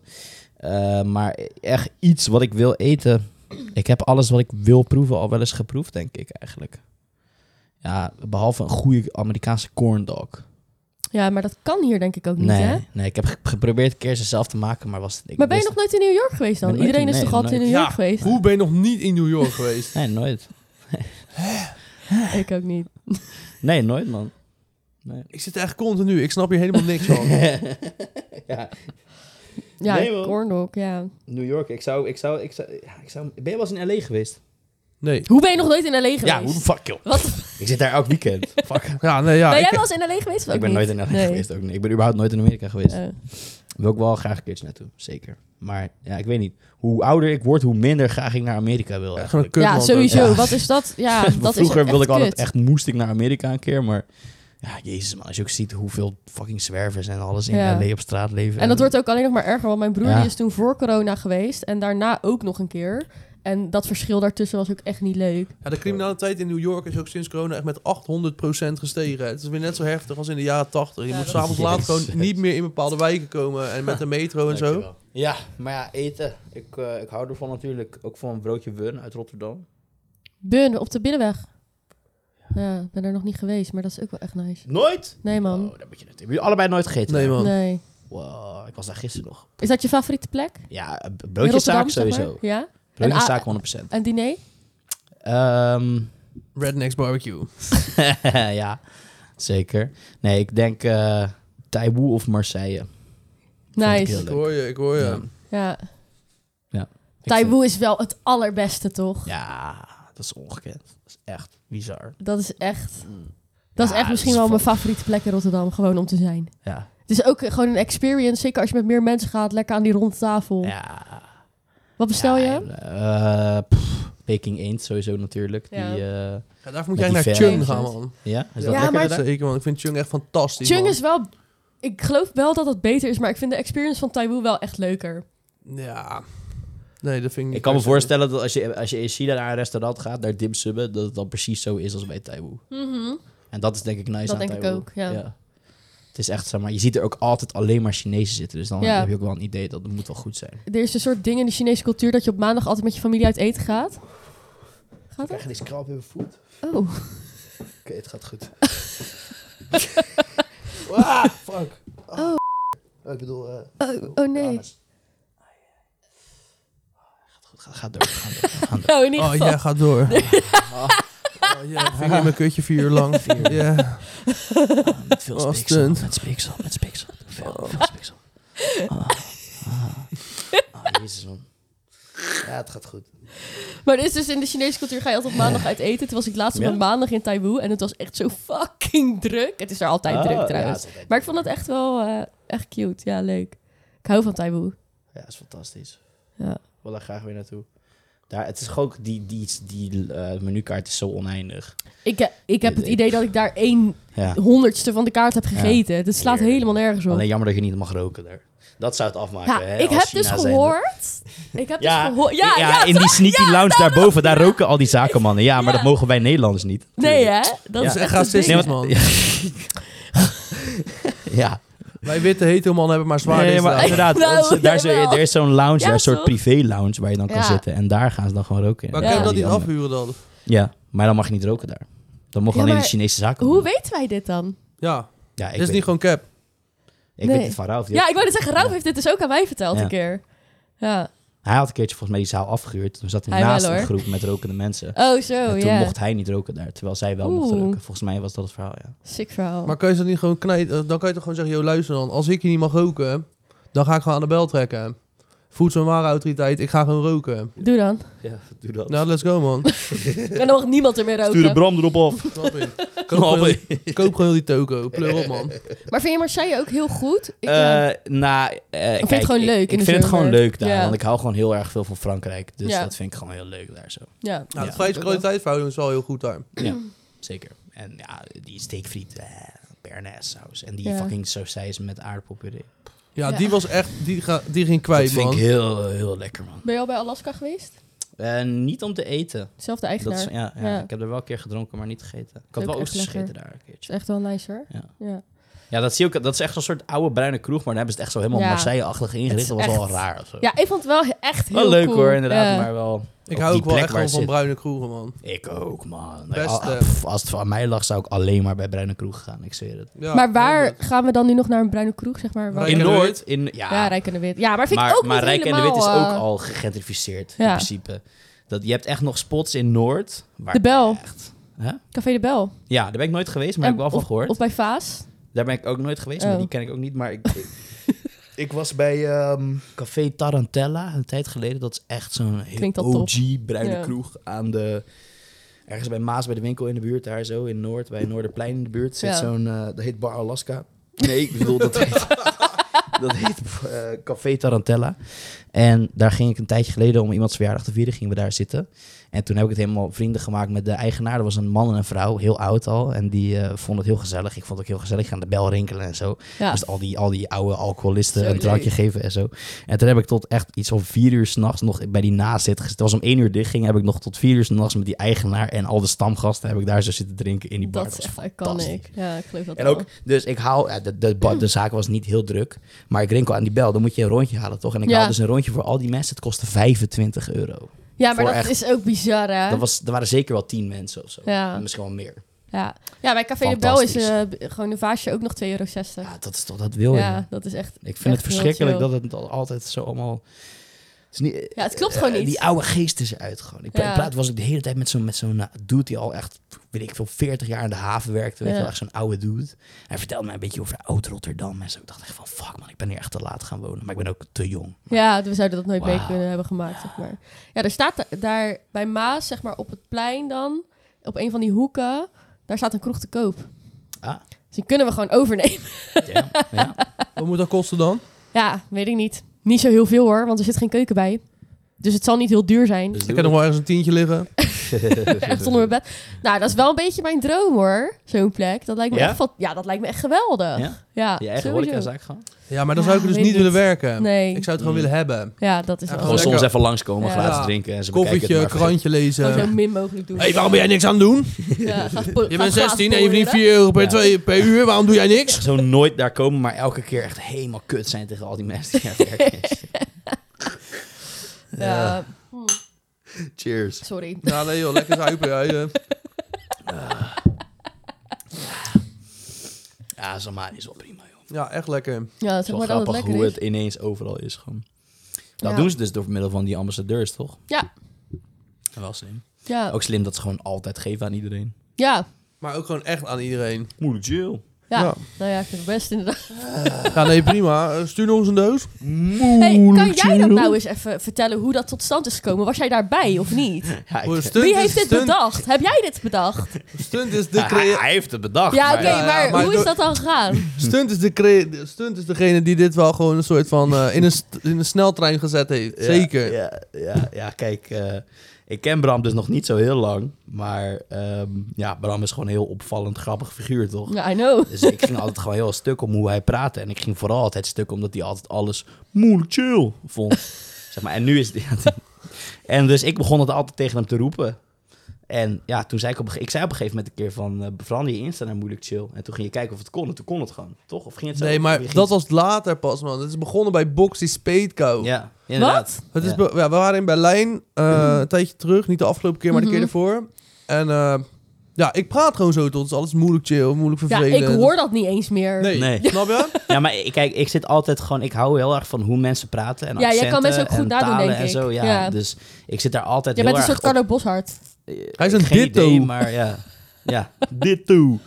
D: Eh, maar echt iets wat ik wil eten. Ik heb alles wat ik wil proeven al wel eens geproefd, denk ik eigenlijk. Ja, behalve een goede Amerikaanse corn dog.
C: Ja, maar dat kan hier denk ik ook niet, hè?
D: Nee, nee, ik heb ge- geprobeerd een keer ze zelf te maken, maar was het... ik
C: Maar ben je
D: wist-
C: nog nooit in New York geweest dan?
D: Ben nooit
C: Iedereen
D: in-
C: is
D: nee,
C: toch altijd in New York
B: Ja.
C: geweest?
B: Hoe ben je nog niet in New York geweest?
D: Nee, nooit.
C: Ik ook niet.
D: Nee, nooit, man. Nee.
B: Ik zit echt continu. Ik snap hier helemaal niks van.
D: ja,
C: Ja,
D: Nee, man.
C: corndog, ja.
D: New York. Ik zou, ik zou, ik zou, ja, ik zou... Ben je wel eens in L.A. geweest?
B: Nee.
C: Hoe ben je nog nooit in L.A. geweest?
B: Ja, hoe de fuck, joh.
C: Wat?
D: Ik zit daar elk weekend. Fuck.
B: Ja, nee, ja.
C: ben jij
B: ik-
C: wel eens in L.A. geweest? Of
D: ik
C: ook
D: ben
C: niet?
D: nooit in LA
C: Nee.
D: geweest ook niet. Ik ben überhaupt nooit in Amerika geweest.
C: Eh,
D: Wil ik wel graag een keertje naartoe, zeker. Maar ja, ik weet niet. Hoe ouder ik word, hoe minder graag ik naar Amerika wil.
B: Echt een
D: Eigenlijk.
B: kut
C: ja,
B: land
C: sowieso.
D: Ja.
C: Wat is dat? Ja,
D: Want
C: dat
D: Vroeger
C: is echt
D: wilde ik altijd
C: kut.
D: echt moest ik naar Amerika een keer, maar ja, jezus man, als je ook ziet hoeveel fucking zwervers en alles in
C: Ja.
D: LA op straat leven.
C: En dat wordt ook alleen nog maar erger, want mijn broer
D: eh, Ja.
C: die is toen voor corona geweest en daarna ook nog een keer. En dat verschil daartussen was ook echt niet leuk.
B: ook. Ja, de criminaliteit in New York is ook sinds corona echt met 800% gestegen. Het is weer net zo heftig als in de jaren 80. Je
C: Ja,
B: moet
C: dat
B: s'avonds
D: is-
B: laat gewoon niet meer in bepaalde wijken komen. En met de metro en zo.
D: Ja, maar ja, eten. Ik, eh, ik hou ervan natuurlijk ook van een broodje Wun uit Rotterdam.
C: Bun, op de binnenweg. Ja, ik ben er nog niet geweest, maar dat is ook wel echt nice.
D: Nooit?
C: Nee man,
D: Oh, dat moet je net. Hebben jullie allebei nooit gegeten?
B: Nee, man.
C: nee.
D: Wow, ik was daar gisteren nog.
C: Is dat je favoriete plek? In
D: Ja, eh, broodjeszaak
C: Rotterdam, zeg
D: sowieso.
C: maar? Ja?
D: Broodjeszaak
C: a-
D: 100%.
C: En diner?
D: Ehm
B: Rednecks barbecue.
D: ja, zeker. Nee, ik denk eh Taiwoe of Marseille.
B: Oh,
D: Vond ik heel
C: Nice.
B: Ik hoor je, ik hoor je.
D: Ja.
C: Ja.
D: Ik vind-
C: Taiwoe is wel het allerbeste, toch?
D: Ja, dat is ongekend. Dat is echt bizar.
C: Dat is echt...
D: Mm.
C: Dat
D: Ja,
C: is echt misschien wel
D: vo-
C: mijn favoriete plek in Rotterdam, gewoon om te zijn.
D: Ja,
C: Het is ook gewoon een experience, zeker als je met meer mensen gaat, lekker aan die ronde tafel.
D: ja.
C: Wat bestel je?
D: Ja, en, eh, pff, Peking eend sowieso natuurlijk.
C: Ja.
D: Die, eh,
B: Ja, daarvoor moet
D: Met
B: jij naar
D: die
B: Chung
D: fans.
B: gaan, man.
D: ja, is
B: Ja,
D: dat
B: lekker
C: maar-
B: daar? zeker, man. Ik vind Chung echt fantastisch,
C: Chung
B: man.
C: is wel... Ik geloof wel dat het beter is, maar ik vind de experience van Taiwoe wel echt leuker.
B: Ja. Nee, dat vind ik niet
D: Ik kan me
B: per se.
D: voorstellen dat als je, als je in China naar een restaurant gaat, naar dimsummen, dat het dan precies zo is als bij Taiwoe. En dat is denk ik nice
C: Dat
D: aan
C: denk ik
D: Taiwan.
C: ook, ja.
D: Het is echt, zeg maar, je ziet er ook altijd alleen maar Chinezen zitten. Dus dan
C: Ja.
D: heb je ook wel een idee dat het moet wel goed zijn.
C: Er is een soort ding in de Chinese cultuur dat je op maandag altijd met je familie uit eten gaat. Gaat dat?
D: deze krap in mijn voet. Oké,
C: Oh.
D: het gaat goed. Ah,
C: Oh.
D: ik bedoel... eh,
C: Oh, oh nee.
D: Ga, ga door, ga door, ga door.
C: Nou, in ieder
B: Oh,
C: geval.
B: ja, ga door. Oh, ja, vinger in mijn kutje vier uur lang.
D: Vier uur.
B: Ja.
D: Ah, met veel
B: Oh,
D: speeksel,
B: stunt.
D: met speeksel, met speeksel. Veel, veel speeksel. Ah, ah. Ah, jezus man. Ja, het gaat goed.
C: Maar het is dus in de Chinese cultuur ga je altijd op maandag uit eten. Toen was ik laatst op
D: Ja.
C: een maandag in Taiwoe en het was echt zo fucking druk. Het is daar altijd
D: Ah, ja,
C: druk trouwens.
D: het is altijd
C: maar ik vond het echt wel eh, echt cute. Ja, leuk. Ik hou van Taiwoe.
D: Ja, is fantastisch.
C: Ja.
D: Ik wil daar graag weer naartoe. Daar, het is gewoon ook die, die, die eh, menukaart is zo oneindig.
C: Ik, eh, ik heb het idee dat ik daar één
D: Ja.
C: honderdste van de kaart heb gegeten. Het slaat
D: Heerlijk.
C: helemaal nergens op.
D: Alleen jammer dat je niet mag roken daar. Dat zou het afmaken.
C: Ja,
D: hè,
C: ik
D: als
C: heb
D: China
C: dus
D: zijnde.
C: gehoord. Ik heb
D: Ja,
C: dus gehoord. Ja,
D: ja,
C: ja,
D: in die sneaky lounge daarboven, daar roken al die zakenmannen. Ja, maar
C: Ja.
D: dat mogen wij Nederlanders niet.
C: Nee, hè? Dat
D: Ja.
C: is
B: Dat is echt
C: echt het ding.
B: racistisch,
D: Nee, want-
B: man.
D: Ja,
B: Wij witte hete mannen hebben maar zwaar
D: nee,
B: deze
D: maar
B: dagen.
D: inderdaad.
C: Nou,
D: dat is- daar is,
C: jawel.
D: er is zo'n lounge,
C: Ja,
D: daar, een soort
C: toch?
D: privé-lounge waar je dan kan
C: Ja.
D: zitten. En daar gaan ze dan gewoon roken.
B: Maar
C: Ja.
B: kun je dat niet
D: Ja.
B: afhuren dan?
D: Ja, maar dan mag je niet roken daar. Dan mogen
C: Ja,
D: alleen de
C: maar
D: Chinese zaken.
C: Hoe weten wij dit dan?
B: Ja,
D: ja, ik
B: dit is
D: weet-
B: niet gewoon cap.
D: Ik
C: Nee.
D: weet het van Ralf. die
C: Ja, ik wou net zeggen, Rauw
D: Ja.
C: heeft dit dus ook aan mij verteld
D: Ja.
C: een keer. Ja.
D: Hij had een keertje volgens mij die zaal afgehuurd. Toen zat hij,
C: Hij
D: naast
C: wel,
D: een
C: hoor.
D: groep met rokende mensen.
C: Oh, zo,
D: en
C: ja.
D: toen mocht hij niet roken daar, terwijl zij wel mocht
C: Oeh.
D: roken. Volgens mij was dat het verhaal, ja.
C: Sick verhaal.
B: Maar kan je dat niet gewoon knijten? Dan kan je toch gewoon zeggen, joh luister dan. Als ik je niet mag roken, dan ga ik gewoon aan de bel trekken. Voedsel- en warenautoriteit, ik ga gewoon roken.
C: Doe dan.
D: Ja, doe dat.
B: Nou, let's go man.
C: En dan mag niemand er meer
A: Stuur de
C: roken.
A: Bram erop af.
B: Snap je? Koop gewoon, koop gewoon die toko. Pleur op man.
C: Maar vind je Marseille ook heel goed? Ik, eh,
D: Eh nou, eh,
C: het
D: kijk,
C: gewoon
D: ik-
C: leuk
D: Ik,
C: in de
D: vind het gewoon
C: zomer.
D: leuk daar,
C: Ja.
D: want ik hou gewoon heel erg veel van Frankrijk. Dus
C: Ja.
D: dat vind ik gewoon heel leuk daar zo.
C: ja.
B: Nou, de
D: Ja.
B: prijs-kwaliteitsverhouding is wel heel goed daar.
D: Ja, zeker. En ja, die steekfriet, eh, bearnaise saus en die
C: Ja.
D: fucking sausijs met aardappelpuree. Dus
B: Ja,
C: Ja.
B: die was echt, die, ga, die ging
D: Dat
B: kwijt
D: vind
B: man.
D: ik heel, heel lekker, man.
C: Ben je al bij Alaska geweest?
D: Eh, niet om te eten.
C: Zelfde
D: Dat
C: eigenaar.
D: is,
C: Dat
D: ja, ja,
C: Ja.
D: ik heb er wel een keer gedronken, maar niet gegeten. Ik
C: Ook
D: had wel
C: echt
D: oesters
C: lekker.
D: gegeten daar een keertje.
C: is echt wel nice hoor.
D: Ja.
C: Ja.
D: Ja, dat zie je ook. Dat is echt zo'n soort oude bruine kroeg, maar dan hebben ze het echt zo helemaal
C: Ja.
D: Marseille-achtig ingericht.
C: Het
D: Dat
C: is
D: was wel
C: echt-
D: raar. of zo.
C: ja, ik vond het wel echt heel
D: wel leuk
C: cool.
D: hoor, inderdaad,
C: Ja.
D: maar wel.
B: Ik
D: op
B: hou
D: die
B: ook wel
D: plek
B: echt gewoon
D: waar
B: van
D: het
B: bruine kroegen man.
D: Ik ook, man. Nee,
B: Beste.
D: al- pff, als het van mij lag, zou ik alleen maar bij Bruine Kroeg gaan. Ik zweer het.
B: Ja,
C: maar waar
B: honderd.
C: gaan we dan nu nog naar een bruine kroeg, zeg maar? Waar-
B: Rijk
D: In
B: en de
D: Noord,
B: Wit?
D: in. Ja,
C: ja, Rijk en de Wit. Ja, maar vind
D: maar,
C: ik ook
D: maar
C: niet
D: Rijk en de Wit is
C: helemaal,
D: ook
C: eh,
D: al gegentrificeerd,
C: ja.
D: in principe. Dat, je hebt echt nog spots in Noord. Waar
C: De Bel.
D: Echt, hè?
C: Café de Bel.
D: Ja, daar ben ik nooit geweest, maar
C: En-
D: heb ik wel van
C: of-
D: gehoord.
C: Of bij Vaas.
D: Daar ben ik ook nooit geweest,
C: Oh.
D: maar die ken ik ook niet. Maar ik, ik, Ik was bij ehm, Café Tarantella een tijd geleden. Dat is echt zo'n heel
C: Klinkt dat
D: OG
C: top.
D: bruine
C: Ja.
D: kroeg aan de... Ergens bij Maas, bij de winkel in de buurt, daar zo in Noord, bij Noorderplein in de buurt, zit
C: Ja.
D: zo'n, eh, dat heet Bar Alaska. Nee, ik bedoel, dat heet, dat heet eh, Café Tarantella. En daar ging ik een tijdje geleden om iemands verjaardag te vieren, gingen we daar zitten. En toen heb ik het helemaal vrienden gemaakt met de eigenaar. Dat was een man en een vrouw, heel oud al. En die eh vonden het heel gezellig. Ik vond het ook heel gezellig. Ik aan de bel rinkelen en zo.
C: Ja.
D: Dus al die, al die oude alcoholisten
C: Zo
D: een drankje
C: leuk.
D: geven en zo. En toen heb ik tot echt iets om vier uur s'nachts nog bij die nazit gezeten. Het was om één uur dichtging. Heb ik nog tot vier uur s'nachts met die eigenaar en al de stamgasten... heb ik daar zo zitten drinken in die bar.
C: Dat is
D: was
C: echt
D: fantastisch.
C: iconic. Ja, ik geloof dat
D: En
C: wel.
D: ook, dus ik haal, ja, de, de, ba- de zaak was niet heel druk, maar ik rinkel aan die bel, dan moet je een rondje halen toch? En ik
C: Ja.
D: haal dus een rondje voor al die mensen, het kostte 25 euro.
C: Ja, maar
D: voor
C: dat
D: echt-
C: is ook bizar, hè?
D: Dat was, er waren zeker wel 10 mensen of zo,
C: Ja.
D: misschien wel meer.
C: Ja. ja, bij Café de Bel is eh,
D: Fantastisch. Ah,
C: b- gewoon een vaasje ook nog 2,60 euro.
D: Ja, dat is toch, dat wil je.
C: Ja, dat is echt...
D: Ik vind het
C: Echt heel
D: verschrikkelijk dat
C: chill.
D: het al- altijd zo allemaal... Het is niet,
C: Ja, het klopt
D: eh,
C: gewoon niet.
D: Die oude geest is eruit gewoon. Ik pra-
C: Ja.
D: praat, was ik de hele tijd met zo'n met zo'n eh, dude die al echt, weet ik veel, 40 jaar in de haven werkte. Weet je
C: Ja.
D: wel, echt zo'n oude dude. Hij vertelde mij een beetje over Oud-Rotterdam en zo. Ik dacht echt van, fuck man, ik ben hier echt te laat gaan wonen. Maar ik ben ook te jong.
C: Ja, we zouden dat nooit mee
D: Wauw.
C: kunnen hebben gemaakt, zeg maar. Ja, er staat da- daar bij Maas, zeg maar, op het plein dan, op een van die hoeken, daar staat een kroeg te koop.
D: Ah.
C: Dus die kunnen we gewoon overnemen.
D: Ja, ja.
B: Wat moet dat kosten dan?
C: Ja, weet ik niet. Niet zo heel veel hoor, want er zit geen keuken bij. Dus het zal niet heel duur zijn.
D: Dus
B: Ik heb nog wel ergens een tientje liggen.
C: echt onder mijn bed. Nou, dat is wel een beetje mijn droom hoor, zo'n plek. Dat lijkt me
D: Ja?
C: echt van, ja, dat lijkt me echt geweldig. Ja,
D: Ja? Je eigen
C: sowieso.
D: horecazaak gaan?
B: Ja, maar dan zou ik
C: Ja,
B: er dus
C: weet
B: niet
C: niet.
B: willen werken.
C: Nee.
B: Ik zou
D: Mm.
B: het gewoon willen hebben.
C: Ja, dat is
B: Ja,
C: wel.
B: gewoon
D: Gewoon soms
B: lekker.
D: even langskomen,
C: Ja.
D: glazen
B: Ja.
D: drinken en ze bekijken
B: Koffietje,
D: het maar verder.
B: krantje lezen.
C: Gewoon zo min mogelijk doen.
B: Hé, hey, waarom ben jij niks aan het doen?
C: Ja, ga- ga-
B: Je
C: ga-
B: bent 16 en je verdient
C: ga-
B: 4 euro per,
D: Ja.
B: twee, per uur. Waarom doe jij niks?
D: Zo nooit daar komen, maar elke keer echt helemaal kut zijn tegen al die mensen die daar werken.
C: Ja,
D: Cheers.
C: sorry.
B: Ja, nee joh, lekker zuipen. Ja, je-
D: Ja, Zamari is wel prima, joh.
B: ja, echt lekker.
C: Ja, zeg
D: Het is
C: maar dat
D: wel
C: het
D: grappig
C: lekker
D: hoe
C: is.
D: het ineens overal is gewoon. Dat
C: Ja.
D: doen ze dus door middel van die ambassadeurs, toch?
C: Ja.
D: Wel slim.
C: Ja,
D: Ook slim dat ze gewoon altijd geven aan iedereen.
C: ja,
B: Maar ook gewoon echt aan iedereen.
D: Moeilijk chill.
C: Ja.
B: Ja,
C: nou ja, ik vind het best inderdaad.
B: Ja, nee, prima. Eh, Stuur nog eens een doos.
C: Hey, kan jij dat nou eens even vertellen hoe dat tot stand is gekomen? Was jij daarbij of niet?
D: Ja, ik-
B: Voor een stunt
C: Wie
B: is-
C: heeft dit
B: stunt-
C: bedacht? Heb jij dit bedacht?
B: Stunt is de
D: Ja, hij,
B: crea-
D: hij heeft het bedacht.
C: ja, oké,
D: maar-
B: ja,
C: maar,
B: maar
C: hoe
B: door-
C: is dat dan gegaan?
B: Stunt is, de crea- stunt is degene die dit wel gewoon een soort van eh, in, een st- in een sneltrein gezet heeft.
D: Ja,
B: Zeker.
D: Ja, ja, ja kijk, eh, ik ken Bram dus nog niet zo heel lang. Maar ehm, ja, Bram is gewoon een heel opvallend grappig figuur, toch?
C: Ja, I know.
D: Dus ik ging altijd gewoon heel stuk om hoe hij praatte. En ik ging vooral altijd stuk omdat hij altijd alles moeilijk chill vond. zeg maar, en nu is het... en dus ik begon het altijd tegen hem te roepen. En ja, toen zei ik op, een ge- ik zei op een gegeven moment een keer van... eh, verander je Insta naar moeilijk chill. En toen ging je kijken of het kon. En toen kon het gewoon, toch? Of ging het zo?
B: Nee,
D: Of
B: maar
D: ging
B: dat
D: het-
B: was later pas, man. Het is begonnen bij Boxy Speedco.
D: Ja, inderdaad.
B: Het is
D: Ja. Mhm.
B: be- ja, we waren in Berlijn eh, een tijdje terug. Niet de afgelopen keer, maar de
C: Mhm.
B: keer ervoor. En eh, ja, ik praat gewoon zo tot. Het is alles moeilijk chill, moeilijk
C: Ja,
B: vervelend.
C: ik hoor dat niet eens meer.
B: Nee.
D: Nee.
B: Snap je?
D: Ja, maar ik- kijk, ik zit altijd gewoon... Ik hou heel erg van hoe mensen praten en
C: Ja, jij kan
D: accenten
C: mensen ook goed
D: en
C: nadoen,
D: talen
C: denk
D: en
C: ik.
D: zo. Ja,
C: Ja.
D: Dus ik zit daar altijd
C: Jij
D: heel
C: bent een
D: erg
C: soort
D: op-
C: Carlo Boshart.
B: Hij is een
D: Geen
B: ditto.
D: idee, maar ja. Ja, ditto.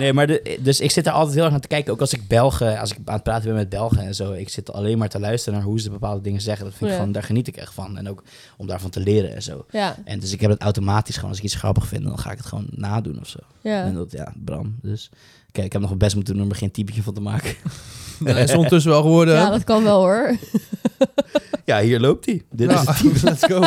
D: Nee, maar de, dus ik zit daar altijd heel erg naar te kijken. Ook als ik Belgen, als ik aan het praten ben met Belgen en zo. Ik zit alleen maar te luisteren naar hoe ze bepaalde dingen zeggen. Dat vind ik
C: Ja.
D: gewoon, daar geniet ik echt van. En ook om daarvan te leren en zo.
C: Ja,
D: En dus ik heb het automatisch gewoon, als ik iets grappig vind, dan ga ik het gewoon nadoen of zo. En
C: ja.
D: dat, ja, Bram. Dus kijk, ik heb nog mijn best moeten doen om er geen typetje van te maken.
B: Nee, is ondertussen wel geworden.
C: Ja, dat kan wel hoor.
D: Ja, hier loopt hij. Dit
B: Ja,
D: is het.
B: Let's go.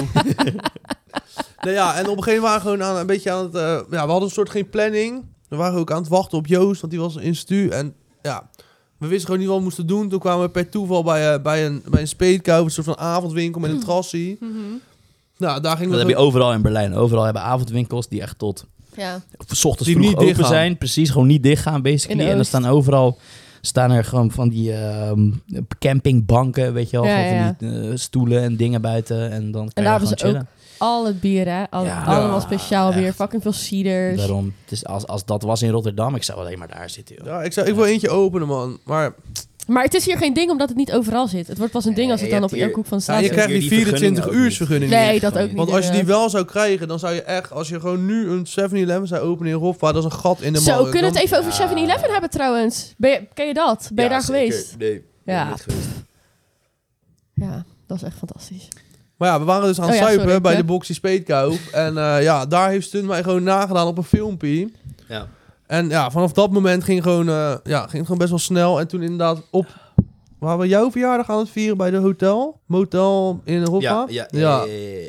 B: nou ja, en op een gegeven moment waren we gewoon aan, een beetje aan het... eh, ja, we hadden een soort geen planning. We waren ook aan het wachten op Joost, want die was in stu. En ja, we wisten gewoon niet wat we moesten doen. Toen kwamen we per toeval bij, eh, bij een, bij een speetkou, een soort van avondwinkel
C: Mm.
B: met een trassie.
C: Mhm.
B: Nou, daar gingen
D: Dat
B: we...
D: heb je
B: gewoon-
D: overal in Berlijn. Overal hebben avondwinkels die echt tot
C: Ja.
D: s ochtends
B: Die
D: vroeg
B: niet
D: open
B: dichtgaan.
D: zijn. Precies, gewoon niet dichtgaan
C: In de
D: basically. En dan
C: oost.
D: staan overal staan er gewoon van die ehm, campingbanken, weet je wel.
C: Ja,
D: gewoon van
C: ja.
D: die eh, stoelen en dingen buiten. En dan
C: daar
D: kan je
C: hebben
D: gewoon
C: ze ook
D: chillen.
C: Al het bier, hè? Al-
D: Ja.
C: allemaal
B: Ja,
C: speciaal bier.
D: echt.
C: Fucking veel ciders.
D: Daarom, het is als, als dat was in Rotterdam, ik zou alleen maar daar zitten. Joh.
B: Ja, ik, zou, ik wil eentje openen, man. Maar
C: Maar het is hier geen ding omdat het niet overal zit. Het wordt pas een ding als het
D: Nee,
C: dan
D: je
C: op
D: hebt
C: iedere
D: hier-
C: hoek van
B: ja,
C: de straat
B: je
D: heb
C: zit.
B: krijgt die
D: hier die vergunning
B: 24
D: ook
B: uurs vergunning
C: niet. Nee,
D: echt
C: dat
D: gewoon
C: ook niet.
B: Want als je die
C: inderdaad.
B: wel zou krijgen, dan zou je echt... Als je gewoon nu een 7-Eleven zou openen in Roffa, dat is een gat in de
C: Zo,
B: markt.
C: kunnen we het even over
D: Ja.
C: 7-Eleven hebben trouwens? Ben je, ken je dat? Ben je
D: Ja,
C: daar
D: zeker.
C: geweest?
D: Nee. Ja.
C: Ja, ja, dat is echt fantastisch.
B: Maar ja, we waren dus aan het
C: Oh ja,
B: zuipen
C: sorry,
B: bij
C: ja.
B: de Boxy Speetkoop. en eh, ja, daar heeft Stunt mij gewoon nagedaan op een filmpje.
D: Ja.
B: En ja, vanaf dat moment ging, gewoon, eh, ja, ging het gewoon best wel snel. En toen inderdaad op... Waren we jouw verjaardag aan het vieren bij de hotel? Motel in Hoffa?
D: Ja, ja,
B: ja.
D: ja, ja, ja, ja.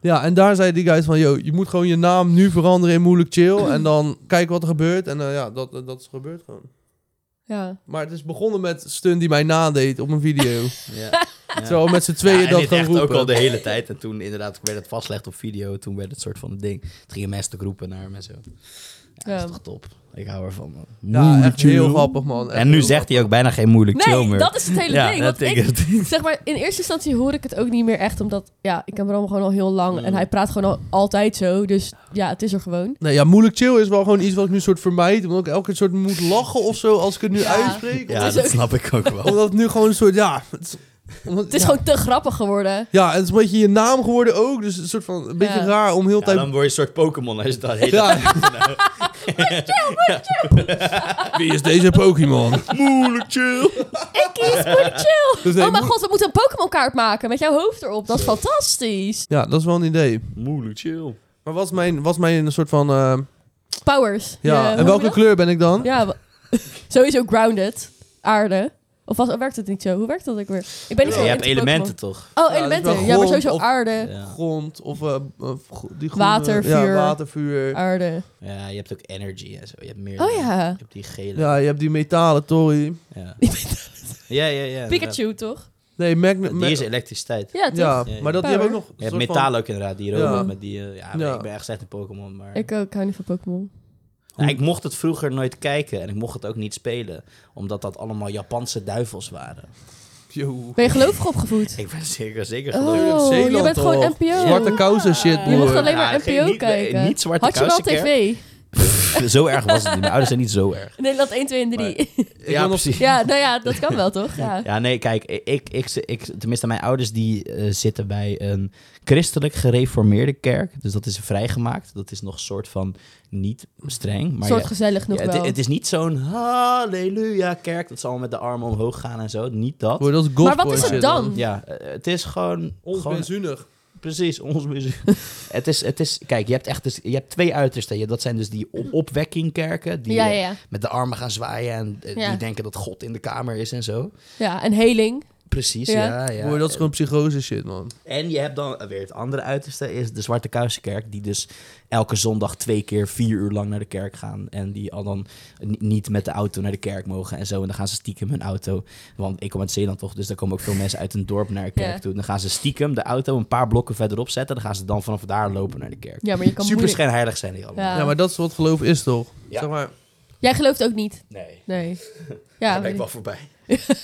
B: Ja, en daar zei die guys van... Yo, je moet gewoon je naam nu veranderen in moeilijk chill. en dan kijken wat er gebeurt. En eh, ja, dat, dat is gebeurd gewoon.
C: Ja.
B: Maar het is begonnen met Stunt die mij nadeed op een video.
D: Ja.
B: Terwijl we met z'n tweeën
D: Ja, en
B: dat
D: dit
B: gaan
D: echt
B: roepen.
D: ook al de hele tijd. En toen inderdaad werd het vastgelegd op video. Toen werd het soort van een ding. Toen gingen mensen te roepen naar hem en zo. Ja,
C: Ja.
D: dat is toch top. Ik hou ervan, man.
B: Ja, echt heel grappig, man. Echt
D: En nu
B: heel
D: zegt hij ook bijna geen moeilijk chill
C: Nee,
D: meer.
C: dat is het hele
D: ja,
C: ding.
D: dat
C: Want ik,
D: denk ik.
C: zeg maar, in eerste instantie hoor ik het ook niet meer echt, omdat ja, ik ken Bram gewoon al heel lang
D: Mm.
C: en hij praat gewoon al, altijd zo. Dus ja, het is er gewoon.
B: Nee, ja, moeilijk chill is wel gewoon iets wat ik nu soort vermijd. Omdat ik elke keer soort moet lachen of zo als ik het nu
C: Ja.
B: uitspreek.
D: Ja,
C: is
D: dat
C: ook-
D: snap ik ook wel.
B: Omdat het nu gewoon een soort, ja... Het is, omdat-
C: Het is
B: ja.
C: gewoon te grappig geworden.
B: Ja, en het is een beetje je naam geworden ook. Dus een soort van, een beetje
C: Ja.
B: raar om heel
D: Ja,
B: tijd...
D: dan word je een soort Pokémon als je dat Nou. heet.
B: Ja. Wie is deze Pokémon?
D: Moeilijk chill.
C: Ik kies voor de chill.
B: Dus nee,
C: oh mijn
B: moe-
C: god, we moeten een Pokémon kaart maken met jouw hoofd erop. Dat is fantastisch.
B: Ja, dat is wel een idee.
D: Moeilijk chill.
B: Maar wat is mijn, wat is mijn een soort van... eh,
C: Powers.
B: ja,
C: Je-
B: en
C: hoe
B: welke
C: noem je
B: kleur ben ik dan?
C: dat? Ja, wa- sowieso grounded. Aarde. Of was, oh, werkt het niet zo? Hoe werkt dat ook weer? Ik ben niet zo
D: je hebt
C: into Pokémon.
D: elementen toch?
C: Oh,
B: Ja, dus
C: elementen.
B: wel
C: Ja, maar
B: grond
C: sowieso
B: of-
C: aarde.
D: Ja.
B: Grond of eh, eh, gro- die groene-
C: Water,
B: Ja,
C: vuur. Oh.
B: watervuur.
C: Aarde.
D: ja, je hebt ook energy en zo. Je hebt meer.
C: Oh ja.
D: Je hebt die gele.
B: Ja, je hebt die metalen tory.
D: ja.
C: Die met-
D: Ja, ja, ja.
C: Pikachu, toch?
B: Nee, Magnum.
D: inderdaad. Die is elektriciteit.
C: Ja, toch?
B: Ja,
D: Ja, ja.
B: maar dat, die hebben ook nog...
D: Je hebt
B: een soort van-
D: metaal ook inderdaad, die robot
B: Ja.
D: met die... eh, ja, maar
B: Ja.
D: ik ben echt slecht in Pokémon, maar...
C: Ik ook, ik hou niet van Pokémon.
D: Nou, ik mocht het vroeger nooit kijken en ik mocht het ook niet spelen. Omdat dat allemaal Japanse duivels waren.
B: Yo.
C: Ben je gelovig opgevoed?
D: Ik ben zeker, zeker geloofd.
C: Oh,
B: Zeeland
C: je bent gewoon
B: toch?
C: NPO.
B: Zwarte kousen shit,
C: Je mocht
B: broer.
C: alleen maar
D: Ja,
C: NPO
D: geen- niet-
C: kijken.
D: nee, niet zwarte
C: Had je wel
D: kousen,
C: tv?
D: zo erg was het niet. Mijn ouders zijn niet zo erg.
C: Nederland 1, 2 en 3.
B: Ik wil nog-
C: Ja, nou ja, dat kan wel, toch? Ja.
D: Ja, nee, kijk, ik, ik, ik, ik- tenminste mijn ouders die eh, zitten bij een christelijk gereformeerde kerk. Dus dat is vrijgemaakt. Dat is nog soort van niet streng. Maar
C: soort
D: ja,
C: gezellig nog
D: ja, het,
C: wel.
D: het is niet zo'n halleluja kerk. Dat ze allemaal met de armen omhoog gaan en zo. Niet dat.
B: Broer, dat is
C: maar
B: gospel
C: wat is het
B: shit,
C: dan?
D: Ja, eh, het is gewoon... gewoon
B: Onbenzuinig.
D: precies, ons muziek. het, is, het is... Kijk, je hebt echt dus, je hebt twee uitersten. Je- Dat zijn dus die op opwekkingkerken. Die
C: Ja,
D: eh,
C: ja, ja.
D: met de armen gaan zwaaien. En eh,
C: Ja.
D: die denken dat God in de kamer is en zo.
C: Ja, en heling.
D: Precies,
C: Ja.
D: ja. ja,
B: Broer, dat is gewoon psychose shit, man.
D: En je hebt dan weer het andere uiterste. Is de Zwarte Kruiskerk. Die dus elke zondag twee keer vier uur lang naar de kerk gaan. En die al dan ni- niet met de auto naar de kerk mogen en zo. En dan gaan ze stiekem hun auto. Want ik kom uit Zeeland toch, dus daar komen ook veel mensen uit een dorp naar de kerk
C: Ja.
D: toe. Dan gaan ze stiekem de auto een paar blokken verderop zetten. Dan gaan ze dan vanaf daar lopen naar de kerk.
C: Ja, maar je kan
D: Super
C: moeilijk-
D: schijnheilig zijn die allemaal.
C: Ja.
B: Ja, maar dat is wat geloof is, toch?
D: Ja.
B: Zeg maar,
C: Jij gelooft ook niet.
D: Nee.
C: Nee. Ja,
D: ben
C: weet
D: ik wel
C: ik.
D: voorbij.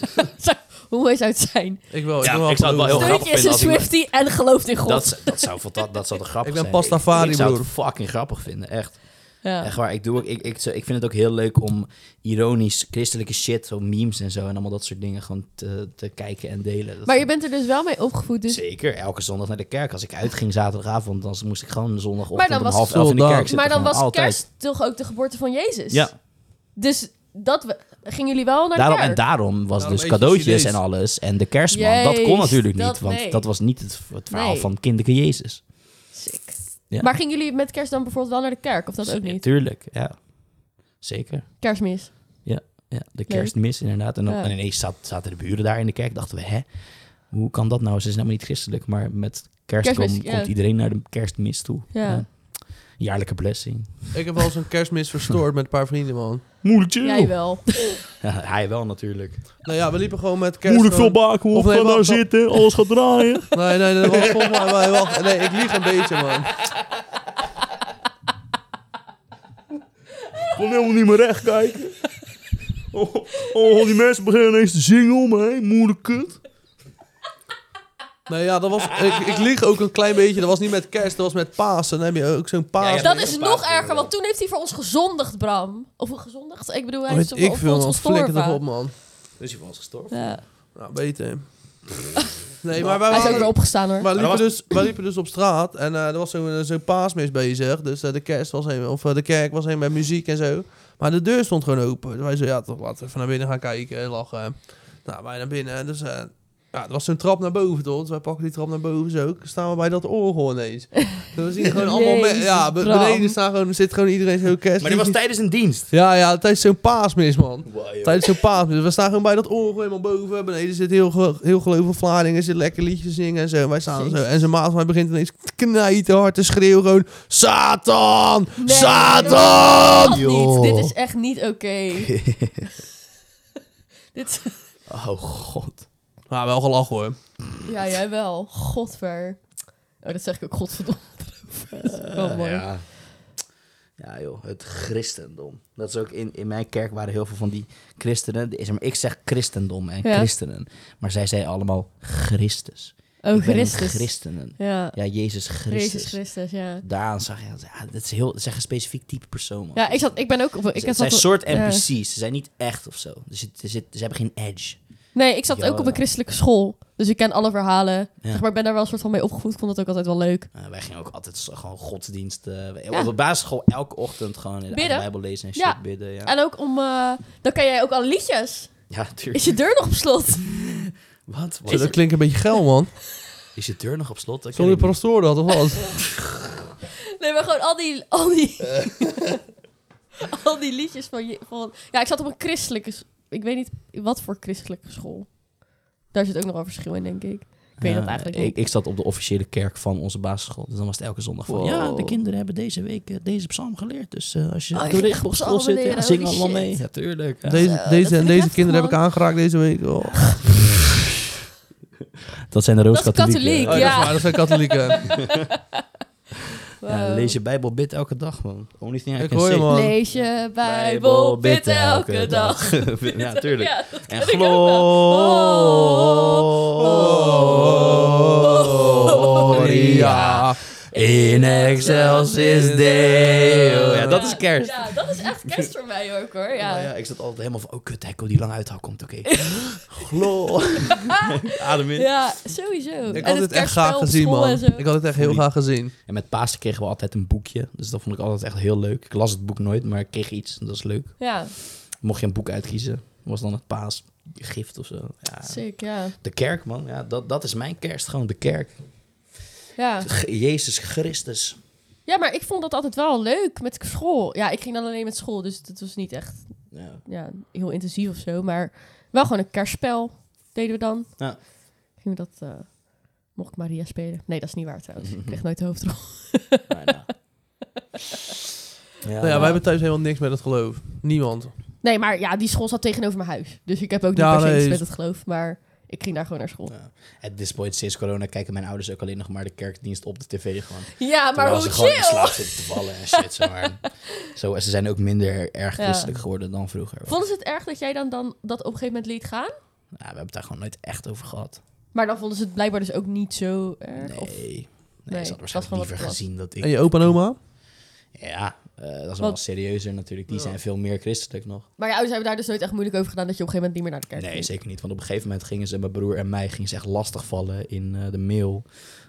C: hoe mooi zou het zijn?
B: ik wel.
D: Ja,
B: ik, wel
D: ik zou het wel heel
B: gelovig.
D: grappig
C: Deuntje is
D: vinden
C: een
D: als iemand-
C: Swifty en gelooft in God.
D: Dat, z- dat zou fantastisch. Dat zou toch grappig
B: Ik ben
D: zijn.
B: Pastafari,
D: Ik zou het
B: broer.
D: fucking grappig vinden, echt.
C: ja.
D: Echt waar, ik, doe ook, ik, ik, zo- ik vind het ook heel leuk om ironisch christelijke shit, zo memes en zo en allemaal dat soort dingen gewoon te, te kijken en delen. Dat
C: Maar je
D: vind
C: bent er dus wel mee opgevoed.
D: ik
C: Dus...
D: Zeker, elke zondag naar de kerk. Als ik uitging zaterdagavond, dan moest ik gewoon zondagochtend
C: Maar dan
D: om
C: was-
D: half elf in de
B: Soldaat.
D: kerk zitten.
C: Maar dan
D: gewoon
C: was
D: altijd.
C: kerst toch ook de geboorte van Jezus?
D: Ja,
C: Dus dat we... gingen jullie wel naar
D: daarom,
C: de
D: en
C: kerk?
D: daarom was
B: Daarom
D: dus
B: eet je
D: cadeautjes en
B: Nou, Chinees.
D: alles. En de kerstman, dat kon
C: Jezus,
D: natuurlijk niet,
C: dat-
D: want
C: nee.
D: dat was niet het, het verhaal
C: Nee.
D: van kinderke Jezus.
C: Sick.
D: Ja.
C: Maar gingen jullie met kerst dan bijvoorbeeld wel naar de kerk? Of dat ook
D: Ja,
C: niet?
D: Tuurlijk, ja. Zeker.
C: Kerstmis.
D: Ja, de kerstmis inderdaad. En, dan,
C: Ja.
D: en ineens zat- zaten de buren daar in de kerk. Dachten we, hè? Hoe kan dat nou? Ze is helemaal niet christelijk, maar met kerst
C: Kerstmis,
D: kom-
C: ja.
D: komt iedereen naar de kerstmis toe.
C: Ja.
D: Jaarlijke blessing.
B: Ik heb wel eens een kerstmis verstoord met een paar vrienden, man.
A: Moeilijk chill.
C: Jij wel.
D: Ja, hij wel natuurlijk.
B: Nou ja, we liepen gewoon met kerst...
A: Moeilijk veel
B: gewoon-
A: baken,
B: Of
A: hoor.
B: nee,
A: Ga daar
B: wacht, wacht.
A: zitten, alles gaat draaien.
B: Nee, nee, nee, wacht, volgens mij, wacht, wacht. Nee, ik lieg een beetje, man.
A: Ik kon helemaal niet meer recht kijken. Oh, oh, die mensen beginnen ineens te zingen om me heen. Moeilijk kut.
B: Nee, Nou ja, dat was... Ik, ik lieg ook een klein beetje. Dat was niet met kerst, dat was met Pasen. Dan heb je ook zo'n
D: Ja,
B: paas...
D: ja,
C: Dat
D: maar
C: is
D: een
C: nog
D: paar
C: erger,
D: uur.
C: want toen heeft hij voor ons gezondigd, Bram. Of gezondigd? Ik
D: Oh,
C: bedoel, hij is
B: Weet
C: toch
B: ik
C: wel voor
B: veel,
C: ons
B: man. Flikker toch op,
C: gestorven.
B: man.
D: Dus hij was gestorven.
C: Ja.
B: Nou, beter. Nee, maar wij
C: Hij is ook
B: waren...
C: weer opgestaan hoor.
B: Maar we
D: Maar
B: liepen,
D: dat
B: dus, wij liepen dus op straat en eh, er was zo'n eh, zo'n paasmis bezig. Dus eh, de, kerst was heen, of, eh, de kerk was heen met muziek en zo. Maar de deur stond gewoon open. Dus wij zo, ja, toch laten we even naar binnen gaan kijken en lachen. Nou, wij naar binnen. Dus eh, ja, er was zo'n trap naar boven, toch? Dus wij pakken die trap naar boven zo. ook. Staan we bij dat orgel ineens. Dan zien we gewoon allemaal... me-
C: Jezus,
B: ja, be-
C: Bram.
B: beneden staan gewoon, zit gewoon iedereen zo kerst.
D: Maar dit was tijdens een dienst.
B: Ja, ja, tijdens zo'n paasmis, man.
D: Wow, joh.
B: Tijdens zo'n paasmis. We staan gewoon bij dat orgel helemaal boven. Beneden zit heel, ge- heel gelovig Vlaardingen. Zit lekker liedjes zingen en zo. En wij staan zo. En zijn maat van mij begint ineens knijten hard te schreeuwen. Gewoon, Satan!
C: Nee,
B: Satan!
C: Dat
D: Joh.
C: niet. Dit is echt niet oké. Dit...
D: Oh god.
B: Maar wel gelachen, hoor.
C: Ja, jij wel. Godver. Oh, dat zeg ik ook godverdomme. Wel mooi.
D: Ja. ja joh, het christendom. Dat is ook in, in mijn kerk waren heel veel van die christenen. Die- zeg maar, Ik zeg christendom en
C: Ja.
D: christenen. Maar zij zeiden allemaal Christus.
C: Oh,
D: ik ben een
C: Christus.
D: christenen.
C: Ja.
D: Ja, Jezus Christus.
C: Jezus Christus, ja.
D: Daaraan zag je, ja, dat is, heel, dat is echt een specifiek type persoon. man.
C: Ja, ik, zat, ik ben ook... Op, ik
D: ze
C: zat
D: zijn
C: op-
D: soort
C: ja.
D: NPC's. Ze zijn niet echt of zo. Dus het, ze, ze hebben geen edge.
C: Nee, ik zat
D: Ja,
C: ook op
D: ja.
C: een christelijke school. Dus ik ken alle verhalen.
D: Ja.
C: Zeg maar, ik ben daar wel een soort van mee opgevoed. Ik vond dat ook altijd wel leuk.
D: Eh, wij gingen ook altijd zo- gewoon godsdienst. eh, we-
C: Ja.
D: Op de basisschool elke ochtend gewoon in de
C: Bidden.
D: Bijbel lezen en shit
C: Ja.
D: bidden. Ja,
C: En ook om... eh, dan kan jij ook alle liedjes.
D: ja tuurlijk.
C: Is je deur nog op slot?
D: Wat? Wat?
B: Zo, dat klinkt een beetje geil, man.
D: Is je deur nog op slot? Dat
B: Sorry,
D: ken ik niet.
B: pastoor dat, of wat?
C: Nee, maar gewoon al die... Al die, al die liedjes van, je- van... Ja, ik zat op een christelijke... s- Ik weet niet wat voor christelijke school. Daar zit ook nog wel verschil in, denk ik. Ik weet
D: Ja,
C: dat eigenlijk
D: Eh, ik,
C: niet.
D: ik zat op de officiële kerk van onze basisschool. Dus dan was het elke zondag van...
C: Wow.
D: Ja, de kinderen hebben deze week eh, deze psalm geleerd. Dus eh, als je
C: Oh, je
D: door
C: ging
D: de
C: echt
D: op school
C: psalmen
D: zit, ja,
C: leren,
D: zing
C: holy
D: allemaal mee.
C: shit.
D: Natuurlijk.
B: Deze,
C: dat
B: deze
C: vind
B: en
C: ik
B: deze
C: heftig,
B: kinderen heb
C: man.
B: ik aangeraakt deze week. Oh.
D: Dat zijn de
C: is
D: Rooms-Katholieken.
C: katholiek,
B: Oh, dat is
C: Ja.
D: ja.
B: waar, dat zijn katholieken.
C: Wow.
D: lees je Bijbel, bid elke dag, man. Only thing I
B: Ik
D: can
B: hoor je,
D: say.
B: man.
C: Lees je Bijbel, bid elke dag.
D: ja, tuurlijk.
C: Ja, dat
D: En
C: ken ik ook wel.
D: Oh,
B: Gloria
D: in excelsis Deo. Ja, dat is kerst.
C: Ja, dat is echt kerst voor mij ook hoor. Ja.
B: Oh,
D: Ja, ja, ik zat altijd helemaal van, oh kut, Hekko, die lange uithaal komt, oké. Glo. Adem in.
C: Ja, sowieso.
B: Ik
C: En
B: had
C: het
B: dit echt graag
C: kerstspel op
B: gezien,
C: school
B: man.
C: en zo.
B: Ik had dit echt heel
D: Goeie.
B: graag gezien.
D: En met Pasen kregen we altijd een boekje. Dus dat vond ik altijd echt heel leuk. Ik las het boek nooit, maar ik kreeg iets. Dat is leuk.
C: Ja,
D: Mocht je een boek uitkiezen, was dan het paasgift of zo. Ja.
C: sick, ja.
D: De kerk, man. Ja, dat, dat is mijn kerst. Gewoon de kerk.
C: ja.
D: G- Jezus Christus.
C: Ja, maar ik vond dat altijd wel leuk met school. Ja, ik ging dan alleen met school, dus dat was niet echt
D: Ja.
C: ja, heel intensief of zo. Maar wel gewoon een kerstspel deden we dan.
D: Ja.
C: Gingen we dat... eh, mocht ik Maria spelen? Nee, dat is niet waar trouwens. Ik kreeg nooit de hoofdrol.
D: Bijna. Ja,
B: Nou ja, wij hebben thuis helemaal niks met het geloof. Niemand.
C: Nee, maar ja, die school zat tegenover mijn huis. Dus ik heb ook niet
B: Ja,
C: per se
B: nee,
C: iets
B: is-
C: met het geloof. Maar ik ging daar gewoon naar school.
D: At this point, sinds corona kijken mijn ouders ook alleen nog maar de kerkdienst op de tv gewoon.
C: Ja, maar
D: Terwijl
C: hoe
D: ze gewoon in
C: chill!
D: slaap zitten te vallen en shit. Zo, maar. zo, ze zijn ook minder erg
C: Ja.
D: christelijk geworden dan vroeger.
C: Vonden ze het erg dat jij dan, dan dat op een gegeven moment liet gaan?
D: Ja, Nou, we hebben het daar gewoon nooit echt over gehad.
C: Maar dan vonden ze het blijkbaar dus ook niet zo erg.
D: Nee.
C: Of,
D: Nee,
C: Nee,
D: ze
C: dat
D: had
C: is
D: waarschijnlijk
C: gewoon wat
D: liever
C: het was.
D: gezien dat ik...
B: En je opa en oma?
D: Ja, eh, dat is wel
C: Want-
D: serieuzer natuurlijk. Die
B: Ja.
D: zijn veel meer christelijk nog.
C: maar je ouders hebben daar dus nooit echt moeilijk over gedaan dat je op een gegeven moment niet meer naar de kerk ging.
D: Nee, zeker niet. Want op een gegeven moment gingen ze, mijn broer en mij, gingen ze echt lastigvallen in eh, de mail.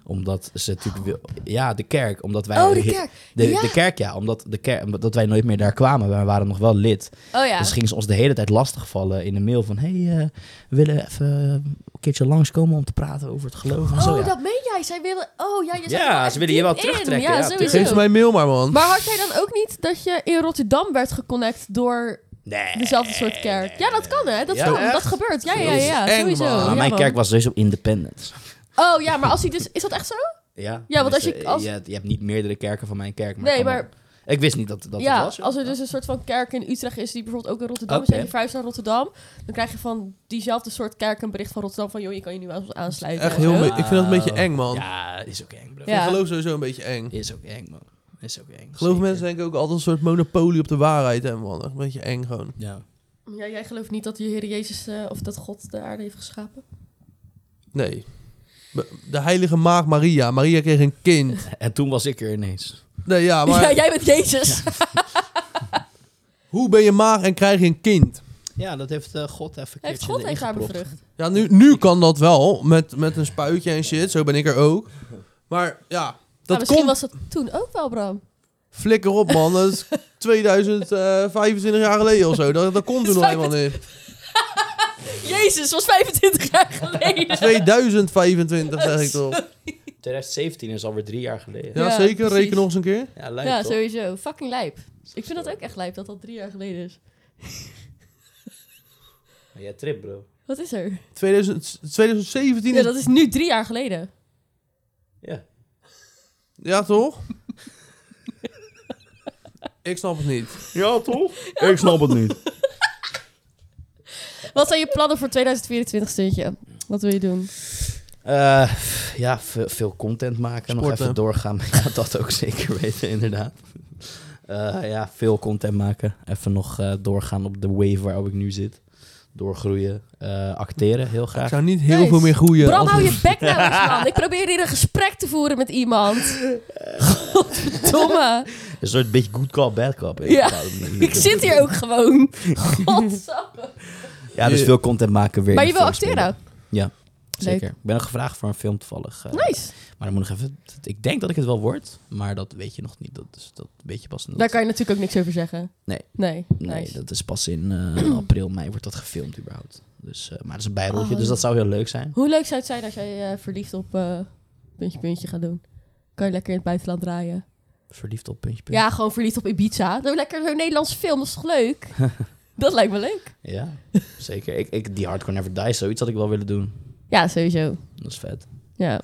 D: Omdat ze natuurlijk... wil- Ja, de kerk. Omdat wij...
C: Oh, de kerk.
D: De,
C: ja.
D: de kerk, ja. Omdat de kerk, omdat wij nooit meer daar kwamen. Wij waren nog wel lid.
C: oh ja.
D: Dus gingen ze ons de hele tijd lastigvallen in de mail van... hey, eh, we willen even een keertje langskomen om te praten over het geloof en zo.
C: oh,
D: Ja,
C: dat meen jij. Zij willen... Oh ja, je zat er
D: Ja,
C: wel echt
D: ze willen je wel
C: diep
D: terugtrekken,
C: In.
D: ja,
C: Ja,
D: tuurlijk.
C: sowieso.
B: Geef ze mij een mail maar, man.
C: Maar had jij dan ook niet dat je in Rotterdam werd geconnect door
D: nee.
C: dezelfde soort kerk? Ja, dat kan Oh, hè. Dat,
D: Ja,
C: kan.
D: echt?
C: dat gebeurt. Ja, ja,
B: Dat is
C: ja.
B: eng,
C: sowieso.
B: man.
C: Ja,
D: Maar mijn
C: man.
D: kerk was dus sowieso independent.
C: Oh ja, maar als hij dus... Is dat echt zo?
D: Ja,
C: Ja, want
D: Dus,
C: als je-
D: eh,
C: als-
D: Je, je hebt niet meerdere kerken van mijn kerk. Maar
C: Nee,
D: kan
C: maar-
D: wel. Ik wist niet dat dat
C: ja,
D: het was. joh.
C: als er dus een soort van kerk in Utrecht is die bijvoorbeeld ook in Rotterdam is en
D: Oké.
C: je verhuist naar Rotterdam, dan krijg je van diezelfde soort kerk een bericht van Rotterdam van joh, je kan je nu aan ons aansluiten.
B: Echt
C: en
B: heel
C: zo.
B: me- Ik vind dat een beetje eng, man.
D: Ja, is ook eng,
B: Ik
D: bro.
B: vind
C: Ja.
B: geloof sowieso een beetje eng.
D: Is ook eng, man. Is ook eng.
B: Geloof
D: Zeker.
B: mensen denken ook altijd een soort monopolie op de waarheid, hè, man. Echt een beetje eng, gewoon.
D: Ja.
C: Ja, jij gelooft niet dat je Heer Jezus eh, of dat God de aarde heeft geschapen?
B: Nee. De heilige maagd Maria. Maria kreeg een kind.
D: En toen was ik er ineens.
B: Nee, ja,
C: Ja,
B: Ah, maar
C: jij bent Jezus.
B: hoe ben je maag en krijg je een kind?
D: Ja, dat heeft eh, God even een
C: heeft
D: keertje
C: God
D: erin
C: heeft haar
D: gepropt.
C: bevrucht?
B: Ja, nu, nu kan dat wel. Met, met een spuitje en shit. Zo ben ik er ook. Maar ja,
C: Dat
B: dat
C: Nou, misschien
B: komt.
C: was dat toen ook wel, Bram.
B: Flikker op, man. Dat is eh, 2025 jaar geleden of zo. Dat, dat komt toen nog helemaal niet.
C: Jezus,
E: Jezus, was 25 jaar geleden.
B: 2025 zeg ik toch.
D: 2017 is alweer drie jaar geleden.
B: Ja,
D: Ja,
C: Ja,
B: zeker. Reken
C: precies.
B: nog eens een keer.
D: lijkt
C: ja,
D: toch?
C: sowieso. Fucking lijp. Ik vind dat ook echt lijp dat dat drie jaar geleden is.
D: Maar jij trip, bro.
C: Wat is er?
B: 2000, 2017.
C: Ja, dat is nu drie jaar geleden.
D: Ja.
B: ja toch? ik snap het niet.
A: Ja, toch? Ik snap het niet.
C: Wat zijn je plannen voor 2024, Stuntje? Wat wil je doen?
D: Eh, ja, ve- veel content maken. Nog
B: Sporten.
D: even doorgaan. Maar ja, dat ook zeker weten, inderdaad. Eh, ja, veel content maken. Even nog eh, doorgaan op de wave waar ik nu zit. Doorgroeien. Eh, acteren, heel
B: Ik
D: graag.
B: zou niet heel
C: Nice.
B: veel meer groeien.
C: Bram,
B: als-
C: hou je bek nou eens, man. Ik probeer hier een gesprek te voeren met iemand. Godverdomme.
D: Een soort beetje good cop, bad cop.
C: Ja, Ik zit hier ook gewoon. Godsamme.
D: Ja, dus
B: Je-
D: veel content maken weer.
C: Maar je
D: in
C: wil
D: films
C: acteren.
D: spelen. Zeker. Ik ben nog gevraagd voor een film toevallig. eh,
C: Nice.
D: Maar dan moet ik nog even... Ik denk dat ik het wel word, maar dat weet je nog niet. Dat, is, dat weet je pas in...
C: Daar kan je natuurlijk ook niks over zeggen.
D: Nee.
C: Nee,
D: Nee,
C: nice.
D: dat is pas in eh, april, mei wordt dat gefilmd überhaupt. Dus, eh, maar dat is een bijrolletje,
C: Oh.
D: dus dat zou heel leuk zijn.
C: Hoe leuk zou het zijn als jij eh, verliefd op eh, puntje puntje gaat doen? Kan je lekker in het buitenland draaien?
D: Verliefd op puntje puntje.
C: Ja, gewoon verliefd op Ibiza. Doe lekker zo'n Nederlandse film, dat is toch leuk? dat lijkt me leuk.
D: Ja, zeker. Ik, ik, die Hardcore Never Die, zoiets had ik wel willen doen.
C: Ja, sowieso.
D: Dat is vet.
C: Ja.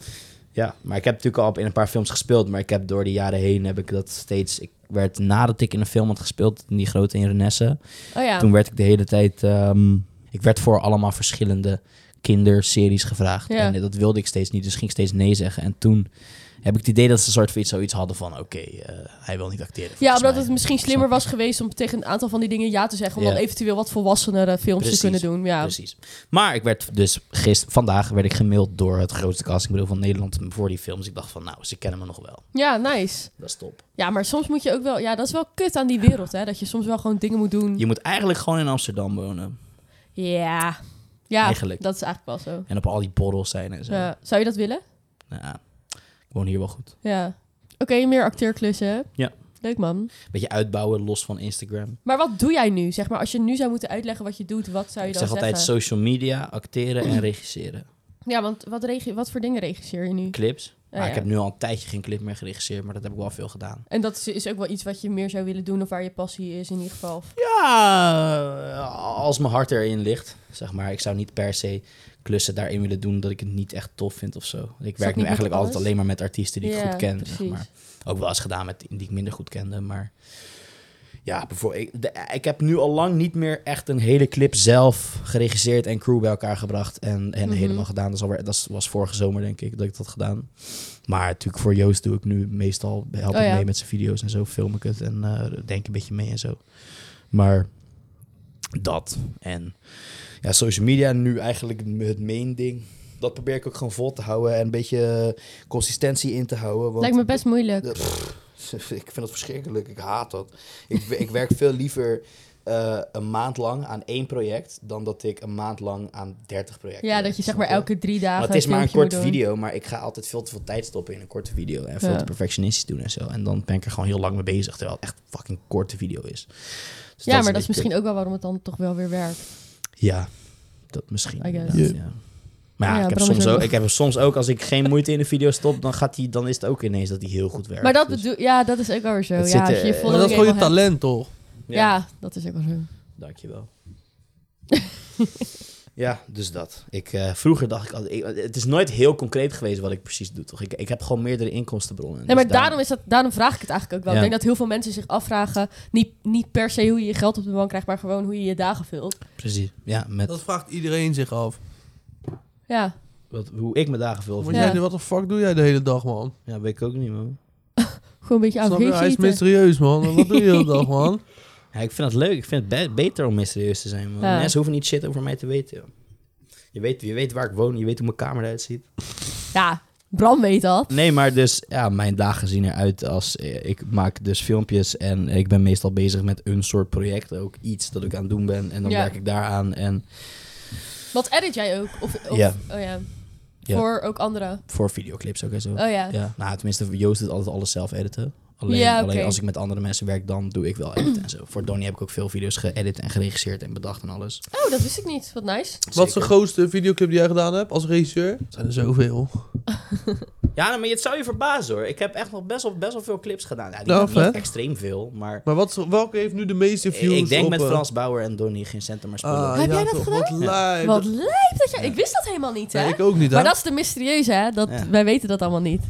D: Ja, maar ik heb natuurlijk al op- in een paar films gespeeld, maar ik heb door de jaren heen heb ik dat steeds... Ik werd nadat ik in een film had gespeeld, in die grote in Renesse,
C: Oh ja.
D: Toen werd ik de hele tijd. ehm, ik werd voor allemaal verschillende kinderseries gevraagd.
C: Ja.
D: En dat wilde ik steeds niet. Dus ging ik steeds nee zeggen. En toen heb ik het idee dat ze een soort van iets, zoiets hadden van oké, eh, hij wil niet acteren.
C: Ja,
D: volgens
C: omdat
D: mij.
C: het misschien slimmer was geweest om tegen een aantal van die dingen ja te zeggen. Om
D: Ja.
C: dan eventueel wat volwassenere films
D: Precies,
C: te kunnen doen. Ja.
D: Precies. Maar ik werd dus gisteren, vandaag werd ik gemaild door het grootste castingbureau van Nederland voor die films. Ik dacht van nou, ze kennen me nog wel.
C: ja, nice.
D: Dat is top.
C: Ja, maar soms moet je ook wel. Ja, dat is wel kut aan die wereld, hè? Dat je soms wel gewoon dingen moet doen.
D: Je moet eigenlijk gewoon in Amsterdam wonen.
C: Ja. Ja,
D: Eigenlijk.
C: dat is eigenlijk wel zo.
D: En op al die borrels zijn en zo.
C: Ja. Zou je dat willen?
D: Nou ja, ik woon hier wel goed.
C: Ja. Oké, meer acteerklussen. hè?
D: Ja.
C: Leuk man.
D: Beetje uitbouwen, los van Instagram.
C: Maar wat doe jij nu? Zeg maar, als je nu zou moeten uitleggen wat je doet, wat zou je
D: Ik
C: dan
D: zeg altijd
C: zeggen?
D: social media, acteren en regisseren.
C: Ja, want wat, regi- wat voor dingen regisseer je nu? Ah,
D: Clips. Maar
C: ja.
D: ik heb nu al een tijdje geen clip meer geregisseerd, maar dat heb ik wel veel gedaan.
C: En dat is, is ook wel iets wat je meer zou willen doen of waar je passie is in ieder geval.
D: Ja, eh, als mijn hart erin ligt, zeg maar. Ik zou niet per se klussen daarin willen doen dat ik het niet echt tof vind of zo. Ik
C: niet
D: werk nu
C: met
D: eigenlijk altijd
C: alles?
D: alleen maar met artiesten die ik
C: Ja,
D: goed ken, zeg
C: precies.
D: maar. Ook wel eens gedaan met die ik minder goed kende, maar... Ja, bijvoorbeeld, ik, de- ik heb nu al lang niet meer echt een hele clip zelf geregisseerd en crew bij elkaar gebracht en, en
C: Mhm.
D: helemaal gedaan. Dat, is alweer, dat was vorige zomer, denk ik, dat ik dat gedaan. Maar natuurlijk voor Joost doe ik nu meestal, help
C: Oh
D: ik
C: ja.
D: mee met zijn video's en zo, film ik het en eh, denk een beetje mee en zo. Maar dat en ja, social media nu eigenlijk het main ding. Dat probeer ik ook gewoon vol te houden en een beetje eh, consistentie in te houden. Want
C: Lijkt me best moeilijk.
D: ik vind dat verschrikkelijk. Ik haat dat. Ik, we- ik werk veel liever eh, een maand lang aan één project dan dat ik een maand lang aan 30 projecten.
C: Ja,
D: werk,
C: dat je zeg
D: snap
C: maar elke drie dagen.
D: Want het is maar een
C: filmpje moet
D: korte
C: doen.
D: video, maar ik ga altijd veel te veel tijd stoppen in een korte video. En veel
C: Ja.
D: te perfectionistisch doen en zo. En dan ben ik er gewoon heel lang mee bezig, terwijl het echt fucking korte video is. Dus
C: ja, maar dat
D: een
C: is
D: beetje-
C: misschien ook wel waarom het dan toch wel weer werkt.
D: Ja, dat misschien.
C: I guess.
D: inderdaad, ja. Maar ja,
C: Ja,
D: ik, heb
C: Bram is
D: soms
C: ook
D: ook,
C: nog-
D: ik heb soms ook, als ik geen moeite in de video stop, dan, gaat die, dan is het ook ineens dat die heel goed werkt.
C: Maar dat
D: Dus-
C: bedoel ja, dat is ook wel weer zo. Ja,
D: Het zit,
C: als je je
D: eh,
B: Maar
C: following
B: dat is gewoon je
C: eenmaal hebt-
B: talent, toch?
C: Ja, dat is ook wel zo.
D: Dankjewel. ja, dus dat. Ik, eh, vroeger dacht ik altijd... ik- het is nooit heel concreet geweest wat ik precies doe, toch? Ik, ik heb gewoon meerdere inkomstenbronnen.
C: Nee,
D: Dus
C: maar daarom, is dat, daarom vraag ik het eigenlijk ook wel.
D: Ja.
C: Ik denk dat heel veel mensen zich afvragen, niet, niet per se hoe je je geld op de bank krijgt, maar gewoon hoe je je dagen vult.
D: Precies, ja. Met
B: Dat vraagt iedereen zich af.
C: Ja,
D: wat, hoe ik mijn dagen vul.
B: Want
D: Ja.
B: jij, wat de fuck doe jij de hele dag, man?
D: ja, weet ik ook niet, man.
C: gewoon een beetje aan
B: Snap je?
C: het
B: Hij is
C: eten.
B: mysterieus, man. Wat doe je de hele dag, man?
D: Ja, ik vind het leuk. Ik vind het be- beter om mysterieus te zijn, man.
C: Ja.
D: Mensen hoeven niet shit over mij te weten, joh. Je weet, je weet waar ik woon, je weet hoe mijn kamer eruit ziet.
C: Ja, Bram weet dat.
D: Nee, maar dus, ja, mijn dagen zien eruit als... eh, Ik maak dus filmpjes en ik ben meestal bezig met een soort project. Ook iets dat ik aan het doen ben. En dan
C: Ja.
D: werk ik daaraan en...
C: Wat edit jij ook? Of, of,
D: Ja.
C: Oh ja.
D: Ja.
C: Voor ook anderen.
D: Voor videoclips ook en zo.
C: Oh ja.
D: Ja, nou tenminste, Joost doet altijd alles zelf editen. Alleen,
C: Ja,
D: alleen
C: oké.
D: als ik met andere mensen werk, dan doe ik wel edit en zo. Voor Donnie heb ik ook veel video's geëdit en geregisseerd en bedacht en alles.
C: Oh, dat wist ik niet. Wat nice.
B: Wat is de
D: Zeker.
B: grootste videoclip die jij gedaan hebt als regisseur? Dat zijn er zoveel.
D: Ja, nou, maar het zou je verbazen hoor. Ik heb echt nog best wel, best wel veel clips gedaan. Ja, niet-
B: Nou,
D: niet,
B: vet.
D: extreem veel, maar
B: Maar wat, welke heeft nu de meeste
D: ik,
B: views?
D: denk
B: op,
D: met
B: eh,
D: Frans Bauer en Donnie geen centen maar spullen.
B: ah,
C: Heb
B: ja,
C: jij dat
B: toch,
C: gedaan?
B: Wat lijp.
C: Wat
B: Dat-
C: lijp dat jij... Ik wist dat helemaal niet, hè?
B: Nee, ik ook niet, hè?
C: maar dat is de mysterieuze, hè? Dat,
D: Ja.
C: Wij weten dat allemaal niet.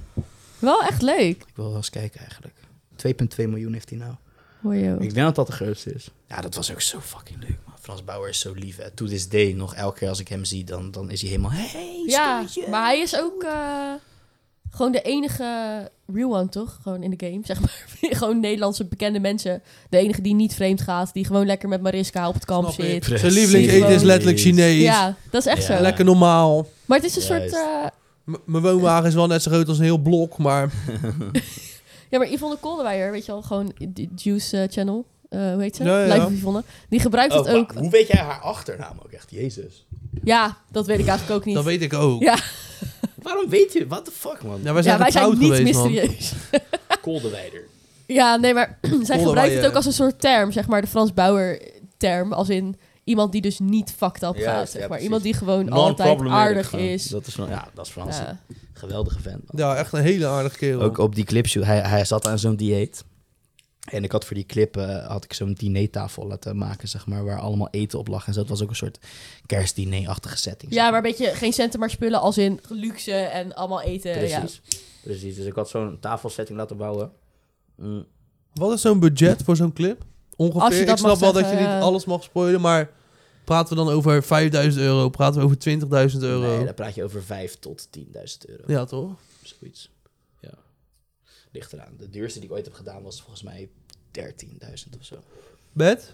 C: Wel echt leuk.
D: Ik wil wel eens kijken eigenlijk. 2,2 miljoen heeft hij nou.
C: Hoor je ook.
D: Ik denk dat dat de grootste is. Ja, dat was ook zo fucking leuk. Man. Frans Bauer is zo lief. Hè. To this day, nog elke keer als ik hem zie, dan, dan is hij helemaal... Hey,
C: Ja,
D: stoertje."
C: maar hij is ook eh, gewoon de enige real one, toch? Gewoon in de game, zeg maar. gewoon Nederlandse bekende mensen. De enige die niet vreemd gaat, die gewoon lekker met Mariska op het kamp
B: Snap ik.
C: zit.
B: Zijn
D: Precies.
B: lievelingseten is letterlijk Chinees.
C: Ja, dat is echt
D: Ja.
C: zo.
B: Lekker normaal.
C: Maar het is een
D: Juist.
C: soort... eh,
B: M- Mijn woonwagen is wel net zo groot als een heel blok, maar...
C: ja, maar Yvonne Kolderweijer, weet je wel, gewoon de Juice eh, Channel. eh, hoe heet ze?
B: Ja, ja, ja.
C: Live of Yvonne. Die gebruikt
D: Oh,
C: het ook.
D: maar Hoe weet jij haar achternaam ook echt? Jezus.
C: Ja, dat weet ik eigenlijk ook niet.
B: Dat weet ik ook.
C: Ja.
D: Waarom weet je? What the fuck, man?
B: Ja, wij zijn
C: ja, wij zijn
B: getrouwd
C: niet
B: geweest, man.
C: mysterieus.
D: Koldewijder.
C: Ja, nee, maar zij gebruikt
B: Kolderweijer.
C: het ook als een soort term, zeg maar, de Frans Bauer term, als in iemand die dus niet fucked up
D: Juist, ja,
C: gaat, zeg maar.
D: precies.
C: Iemand die gewoon altijd aardig
D: Gewoon.
C: is.
D: Dat is wel- ja, dat is Frans.
C: Ja.
D: Geweldige fan. man.
B: Ja, echt een hele aardige kerel.
D: Ook op die clip, hij, hij zat aan zo'n dieet. En ik had voor die clip eh, had ik zo'n dinertafel laten maken, zeg maar, waar allemaal eten op lag. En zo. Het was ook een soort kerstdiner-achtige setting.
C: Ja, maar een beetje geen centen maar spullen, als in luxe en allemaal eten. Eh, Ja.
D: Precies. Precies. Dus ik had zo'n tafelsetting laten bouwen. Mm.
B: Wat is zo'n budget voor zo'n clip? Ongeveer.
C: Als je dat
B: ik snap
C: mag
B: wel dat
C: zeggen,
B: je niet
C: ja.
B: alles mag spoilen, maar praten we dan over 5000 euro? Praten we over 20.000 euro?
D: Nee, dan praat je over 5 tot 10.000 euro.
B: Ja, toch?
D: Zoiets. Ja. Ligt eraan. De duurste die ik ooit heb gedaan was volgens mij 13.000 of zo.
B: Bed?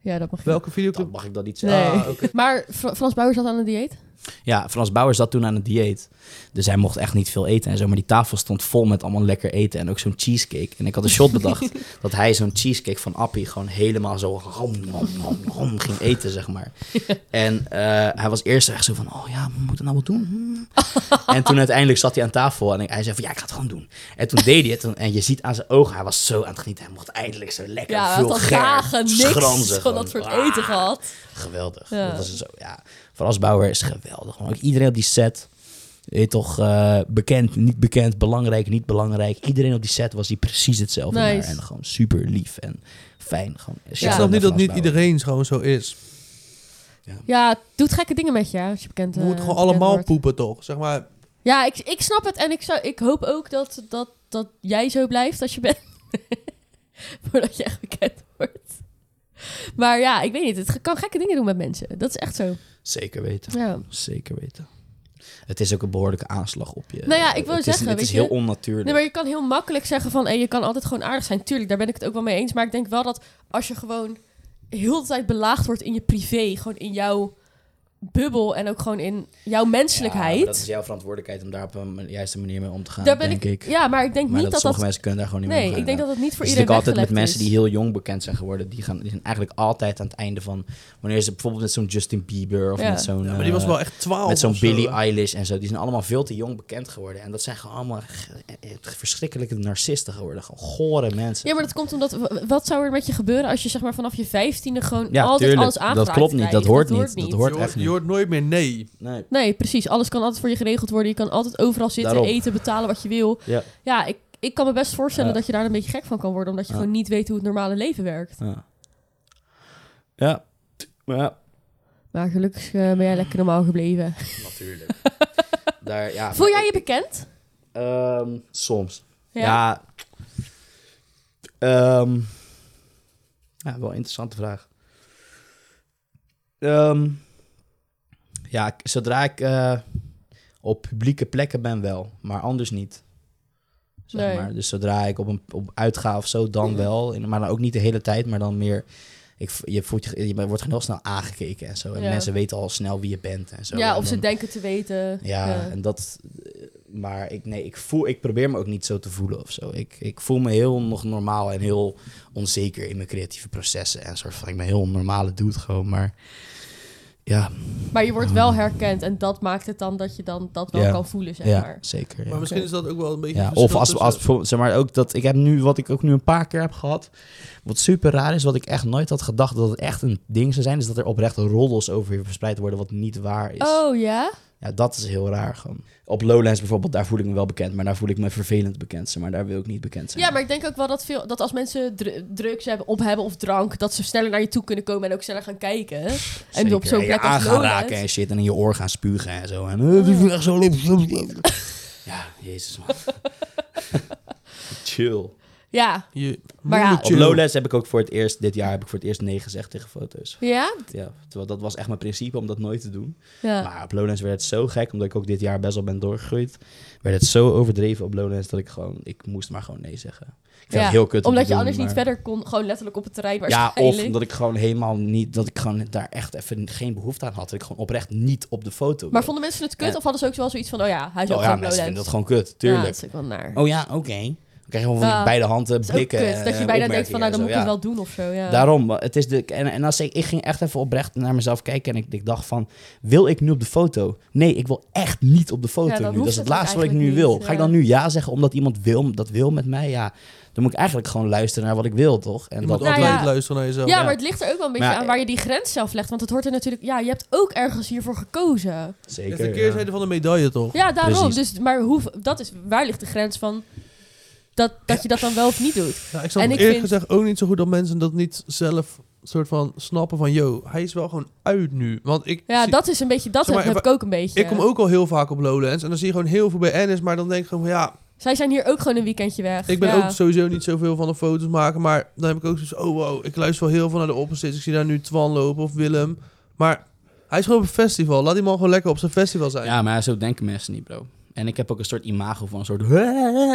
C: ja, dat mag je.
B: Welke videoclip?
D: Dat mag ik dan niet
C: Nee.
D: zeggen.
B: Ah, oké.
C: Maar Fra- Frans Bauer zat aan een dieet?
D: Ja, Frans Bauer zat toen aan het dieet. Dus hij mocht echt niet veel eten en zo. Maar die tafel stond vol met allemaal lekker eten en ook zo'n cheesecake. En ik had een shot bedacht dat hij zo'n cheesecake van Appie gewoon helemaal zo rom, rom, rom, rom ging eten, zeg maar. En eh, hij was eerst echt zo van, oh ja, we moeten nou wat doen. Hmm. en toen uiteindelijk zat hij aan tafel en ik- hij zei van, ja, ik ga het gewoon doen. En toen deed hij het en, en je ziet aan zijn ogen, hij was zo aan het genieten. Hij mocht eindelijk zo lekker
C: Ja, hij
D: veel
C: had al
D: vulgair,
C: dagen niks
D: schranzig,
C: van dat soort
D: Ah.
C: eten gehad.
D: Geweldig.
C: Ja.
D: Dat was zo, ja. Frans Bauer is geweldig. man. Ook iedereen op die set. Weet je toch eh, bekend, niet bekend, belangrijk, niet belangrijk. Iedereen op die set was die precies hetzelfde.
C: Nice.
D: naar En gewoon super lief en fijn. Gewoon,
C: Ja.
B: ik
D: Shout-out
B: snap niet
D: naar
B: dat niet
D: Frans Bauer.
B: iedereen gewoon zo is.
C: Ja, het doet gekke dingen met je, hè, als je bekend
B: We
C: eh,
B: moeten gewoon
C: bekend
B: allemaal
C: wordt.
B: poepen, toch? Zeg maar,
C: Ja, ik, ik snap het en ik, zou, ik hoop ook dat, dat, dat jij zo blijft als je bent. Voordat je echt bekend wordt. Maar ja, ik weet niet. Het kan gekke dingen doen met mensen. Dat is echt zo.
D: Zeker weten.
C: Ja.
D: Zeker weten. Het is ook een behoorlijke aanslag op je.
C: Nou ja, ik wou
D: het
C: zeggen,
D: Is, het
C: weet
D: is
C: je-
D: heel onnatuurlijk.
C: Nee, maar je kan heel makkelijk zeggen van... Hey, je kan altijd gewoon aardig zijn. Tuurlijk, daar ben ik het ook wel mee eens. Maar ik denk wel dat als je gewoon heel de tijd belaagd wordt in je privé... gewoon in jouw bubbel en ook gewoon in jouw
D: Ja, maar
C: menselijkheid...
D: dat is jouw verantwoordelijkheid om daar op een juiste manier mee om te gaan.
C: daar ben
D: denk
C: ik, Ja, maar ik denk
D: maar
C: niet
D: dat
C: dat dat...
D: sommige mensen kunnen daar gewoon niet mee
C: Nee,
D: omgaan,
C: ik denk dat het niet voor
D: Dus ik
C: iedereen
D: altijd met
C: weggelegd
D: mensen
C: is.
D: die heel jong bekend zijn geworden, die, gaan, die zijn eigenlijk altijd aan het einde van. Wanneer ze bijvoorbeeld met zo'n Justin Bieber of
C: Ja.
D: met zo'n.
B: ja, maar die was
D: eh,
B: wel echt 12
D: met zo'n
B: of zo,
D: Billie
B: hè?
D: Eilish en zo. Die zijn allemaal veel te jong bekend geworden. En dat zijn gewoon allemaal ge- eh, verschrikkelijke narcisten geworden. Gewoon gore mensen.
C: Ja, maar dat komt omdat... w- Wat zou er met je gebeuren als je zeg maar vanaf je vijftiende gewoon
D: Ja,
C: altijd
D: tuurlijk.
C: alles
D: Dat
C: aangeraakt
D: klopt niet, dat
C: krijgt?
D: hoort niet, dat hoort-
B: Je
D: echt niet.
B: je hoort nooit meer nee.
D: Nee.
C: Nee, precies. Alles kan altijd voor je geregeld worden. Je kan altijd overal zitten,
D: Daarom.
C: eten, betalen wat je wil.
D: Ja.
C: Ja, ik, ik kan me best voorstellen
D: Ja.
C: dat je daar een beetje gek van kan worden. Omdat je
D: Ja.
C: gewoon niet weet hoe het normale leven werkt.
D: Ja. Ja. ja.
C: Maar gelukkig eh, ben jij lekker normaal gebleven.
D: Natuurlijk. daar, ja,
C: Voel
D: maar
C: jij
D: ik-
C: je bekend?
D: ehm, soms. Ja. Ehm, ja, wel een interessante vraag. Ehm, ja, ik- zodra ik eh, op publieke plekken ben wel, maar anders niet. Zeg
C: Nee.
D: maar. Dus zodra ik op een op uitga of zo, dan wel. En- Maar dan ook niet de hele tijd, maar dan meer... Ik, v- je, voelt, je, je wordt gewoon heel snel aangekeken en zo. En
C: Ja.
D: mensen weten al snel wie je bent en zo.
C: ja,
D: En
C: of ze
D: dan-
C: denken te weten.
D: ja, en dat. Maar ik, nee, ik, voel, ik probeer me ook niet zo te voelen of zo. Ik, ik voel me heel nog normaal en heel onzeker in mijn creatieve processen. En soort van, ik ben een heel normale dude gewoon. Maar Ja,
C: Maar je wordt wel herkend en dat maakt het dan dat je dan dat wel
D: Ah. Ja.
C: kan voelen, zeg
D: ja
C: maar.
D: zeker. ja.
B: Maar misschien is dat ook wel een beetje...
D: Ja,
B: het
D: of
B: verschil
D: als,
B: tussen-
D: als bijvoorbeeld, zeg maar ook dat ik heb nu wat ik ook nu een paar keer heb gehad. Wat super raar is, wat ik echt nooit had gedacht dat het echt een ding zou zijn, is dat er oprecht roddels over je verspreid worden wat niet waar is.
C: Oh ja?
D: Ja, dat is heel raar gewoon. Op Lowlands bijvoorbeeld, daar voel ik me wel bekend, maar daar voel ik me vervelend bekend, zeg maar daar wil ik niet bekend zijn.
C: Ja, maar ik denk ook wel dat, veel, dat als mensen dru- drugs hebben, op hebben of drank, dat ze sneller naar je toe kunnen komen en ook sneller gaan kijken. En op zo'n
D: Zeker.
C: plek
D: je aan
C: als
D: gaan
C: Lowlands.
D: raken en shit en in je oor gaan spugen en zo. En eh, die is echt zo Ja, jezus man. Chill.
C: Ja.
B: Je
C: Maar ja.
B: moeder
D: Op
B: chill.
D: Lowlands heb ik ook voor het eerst, dit jaar heb ik voor het eerst nee gezegd tegen foto's.
C: Ja?
D: Ja, terwijl dat was echt mijn principe om dat nooit te doen.
C: Ja.
D: Maar op Lowlands werd het zo gek, omdat ik ook dit jaar best wel ben doorgegroeid. Werd het zo overdreven op Lowlands dat ik gewoon, ik moest maar gewoon nee zeggen. Ik vind
C: Ja,
D: het heel kut om
C: Omdat
D: te
C: je
D: doen,
C: anders niet
D: maar-
C: verder kon, gewoon letterlijk op het terrein
D: Ja, of
C: waarschijnlijk.
D: omdat ik gewoon helemaal niet, dat ik gewoon daar echt even geen behoefte aan had. Dat ik gewoon oprecht niet op de foto
C: Maar
D: wilde.
C: vonden mensen het kut
D: Ja.
C: of hadden ze ook wel zoiets van, oh ja, hij is ook
D: Oh ja,
C: gewoon
D: mensen
C: Lowlands.
D: vinden dat gewoon kut,
C: Ja, dat
D: tuurlijk.
C: is ook wel naar.
D: oh ja, oké. Dan krijg je gewoon van
C: Ja.
D: die beide handen
C: Dat is ook
D: blikken.
C: kut, dat
D: eh,
C: je bijna denkt van, nou, dan moet
D: opmerkingen en zo,
C: ik
D: ja.
C: het wel eh, doen of zo, ja.
D: Daarom, het is de, en, en als ik, ik ging echt even oprecht naar mezelf kijken en ik, ik dacht van, wil ik nu op de foto? Nee, ik wil echt niet op de foto
C: Ja, dan
D: nu. Dat
C: hoeft
D: is het
C: het ook
D: laatste wat ik nu
C: eigenlijk
D: wil.
C: niet,
D: Ga ik
C: ja.
D: dan nu ja zeggen omdat iemand wil, dat wil met mij? Ja, dan moet ik eigenlijk gewoon luisteren naar wat ik wil, toch? En
B: Je
D: dat,
B: moet
C: Nou
B: altijd
C: ja.
B: luisteren naar jezelf.
C: ja, maar het ligt er ook wel een beetje
D: Maar ja,
C: aan waar je die grens zelf legt. Want het hoort er natuurlijk... Ja, je hebt ook ergens hiervoor gekozen.
B: Het is
D: zeker.
B: de keerzijde van de medaille, toch?
C: Ja, daarom.
D: Precies.
C: Dus, maar hoe, dat is, waar ligt de grens van dat, dat je dat dan wel of niet doet?
B: Ja, ik snap
C: En ik
B: eerlijk
C: vind-
B: gezegd ook niet zo goed dat mensen dat niet zelf soort van snappen van... Yo, hij is wel gewoon uit nu. Want ik
C: Ja,
B: zie-
C: dat is een beetje... Dat
B: Zeg maar,
C: heb ik ook een beetje.
B: Ik kom ook al heel vaak op Lowlands en dan zie je gewoon heel veel bij Ennis, maar dan denk ik gewoon van ja,
C: Zij zijn hier ook gewoon een weekendje weg.
B: ik ben
C: Ja.
B: ook sowieso niet zoveel van de foto's maken, maar dan heb ik ook zoiets oh wow, ik luister wel heel veel naar de opposites, ik zie daar nu Twan lopen of Willem, maar hij is gewoon op een festival, laat die man gewoon lekker op zijn festival zijn.
D: Ja, maar zo denken mensen niet, bro. En ik heb ook een soort imago van een soort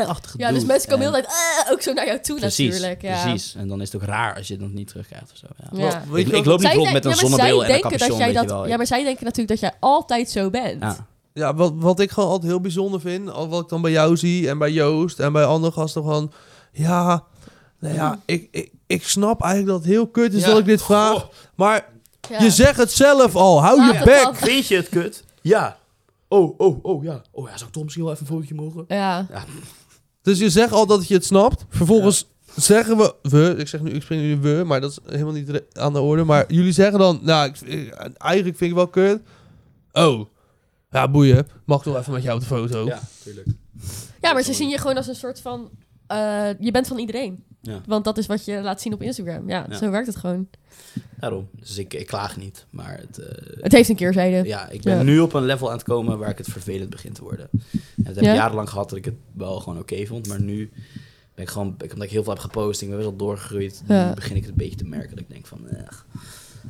D: achtige
C: Ja, dus mensen komen heel de tijd eh, ook zo naar jou toe
D: Precies,
C: natuurlijk. Ja.
D: precies. En dan is het ook raar als je dat niet terugkrijgt of zo. Ja.
C: Ja.
B: Want, weet
D: Ik,
B: je wel-
D: ik loop niet rond met een
C: ja, maar
D: zonnebril
C: zij
D: en een
C: denken
D: capuchon,
C: dat jij
D: weet
C: dat,
D: je wel.
C: Ja, maar zij denken natuurlijk dat jij altijd zo bent.
D: Ja.
B: Ja, wat, wat ik gewoon altijd heel bijzonder vind, al wat ik dan bij jou zie en bij Joost en bij andere gasten gewoon, ja, nou ja, ik, ik, ik snap eigenlijk dat het heel kut is
D: Ja.
B: dat ik dit vraag,
D: Goh.
B: maar
C: Ja.
B: je zegt het zelf al, hou
C: Laat
B: je
C: het
B: bek.
C: dan.
D: Vind je het kut? Ja. Oh, oh, oh, ja. Oh ja, zou ik toch misschien wel even een fotootje mogen?
C: Ja.
B: Dus je zegt al dat je het snapt. Vervolgens zeggen we, we, ik zeg nu, ik spring nu we, maar dat is helemaal niet re- aan de orde. Maar jullie zeggen dan, nou, ik, ik- eigenlijk vind ik wel kut. Oh, ja, boeien. Mag ik nog even met jou op de foto?
D: Ja, tuurlijk.
C: ja, maar ze zien je gewoon als een soort van... eh, je bent van iedereen.
D: Ja.
C: Want dat is wat je laat zien op Instagram. Ja,
D: Ja.
C: zo werkt het gewoon.
D: Daarom. Dus ik, ik klaag niet, maar het, eh,
C: Het heeft een keerzijde.
D: ja, ik ben
C: Ja.
D: nu op een level aan het komen waar ik het vervelend begin te worden. En dat heb
C: Ja?
D: ik jarenlang gehad dat ik het wel gewoon oké vond, maar nu ben ik gewoon, ik, omdat ik heel veel heb gepost, ik ben best wel doorgegroeid,
C: Ja.
D: nu begin ik het een beetje te merken dat ik denk van, eh,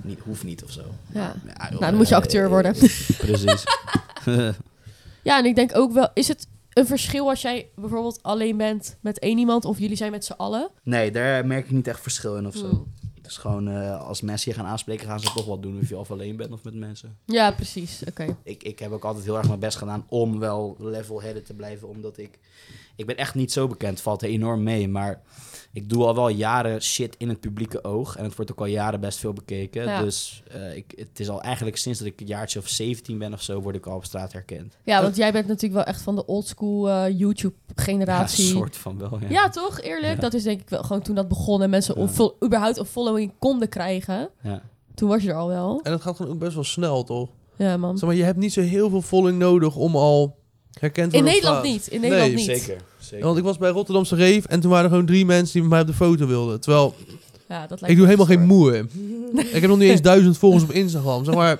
D: niet, hoeft niet of zo.
C: Ja.
D: Ja,
C: Nou, dan moet je acteur worden.
D: eh, Precies.
C: Ja, en ik denk ook wel... Is het een verschil als jij bijvoorbeeld alleen bent met één iemand... of jullie zijn met z'n allen?
D: nee, daar merk ik niet echt verschil in of zo.
C: Hmm.
D: Het is gewoon, eh, als mensen je gaan aanspreken, gaan ze toch wat doen. Of je of alleen bent of met mensen.
C: Ja, precies. Oké.
D: Ik, ik heb ook altijd heel erg mijn best gedaan om wel level-headed te blijven. Omdat ik... Ik ben echt niet zo bekend, valt er enorm mee. Maar ik doe al wel jaren shit in het publieke oog. En het wordt ook al jaren best veel bekeken.
C: Ja.
D: Dus eh, ik, het is al eigenlijk sinds dat ik een jaartje of 17 ben of zo... word ik al op straat herkend.
C: Ja, want jij bent natuurlijk wel echt van de oldschool eh YouTube-generatie.
D: Ja, soort van wel, ja.
C: Ja, toch? Eerlijk?
D: Ja.
C: Dat is denk ik wel gewoon toen dat begon en mensen
D: Ja.
C: een fol- überhaupt een following konden krijgen.
D: Ja.
C: Toen was je er al wel.
B: En dat gaat gewoon ook best wel snel, toch?
C: Ja, man.
B: Zeg maar, je hebt niet zo heel veel following nodig om al herkend te
C: In
B: worden. op
C: Nederland
B: straat.
C: niet. In Nederland
B: Nee,
C: niet.
D: zeker.
B: Ja, Want ik was bij Rotterdamse Reef en toen waren er gewoon drie mensen die met mij op de foto wilden. Terwijl
C: Ja, dat lijkt
B: Ik doe
C: me
B: helemaal geen
C: soort-
B: moe. ik heb nog niet eens duizend volgers op Instagram. Zeg maar,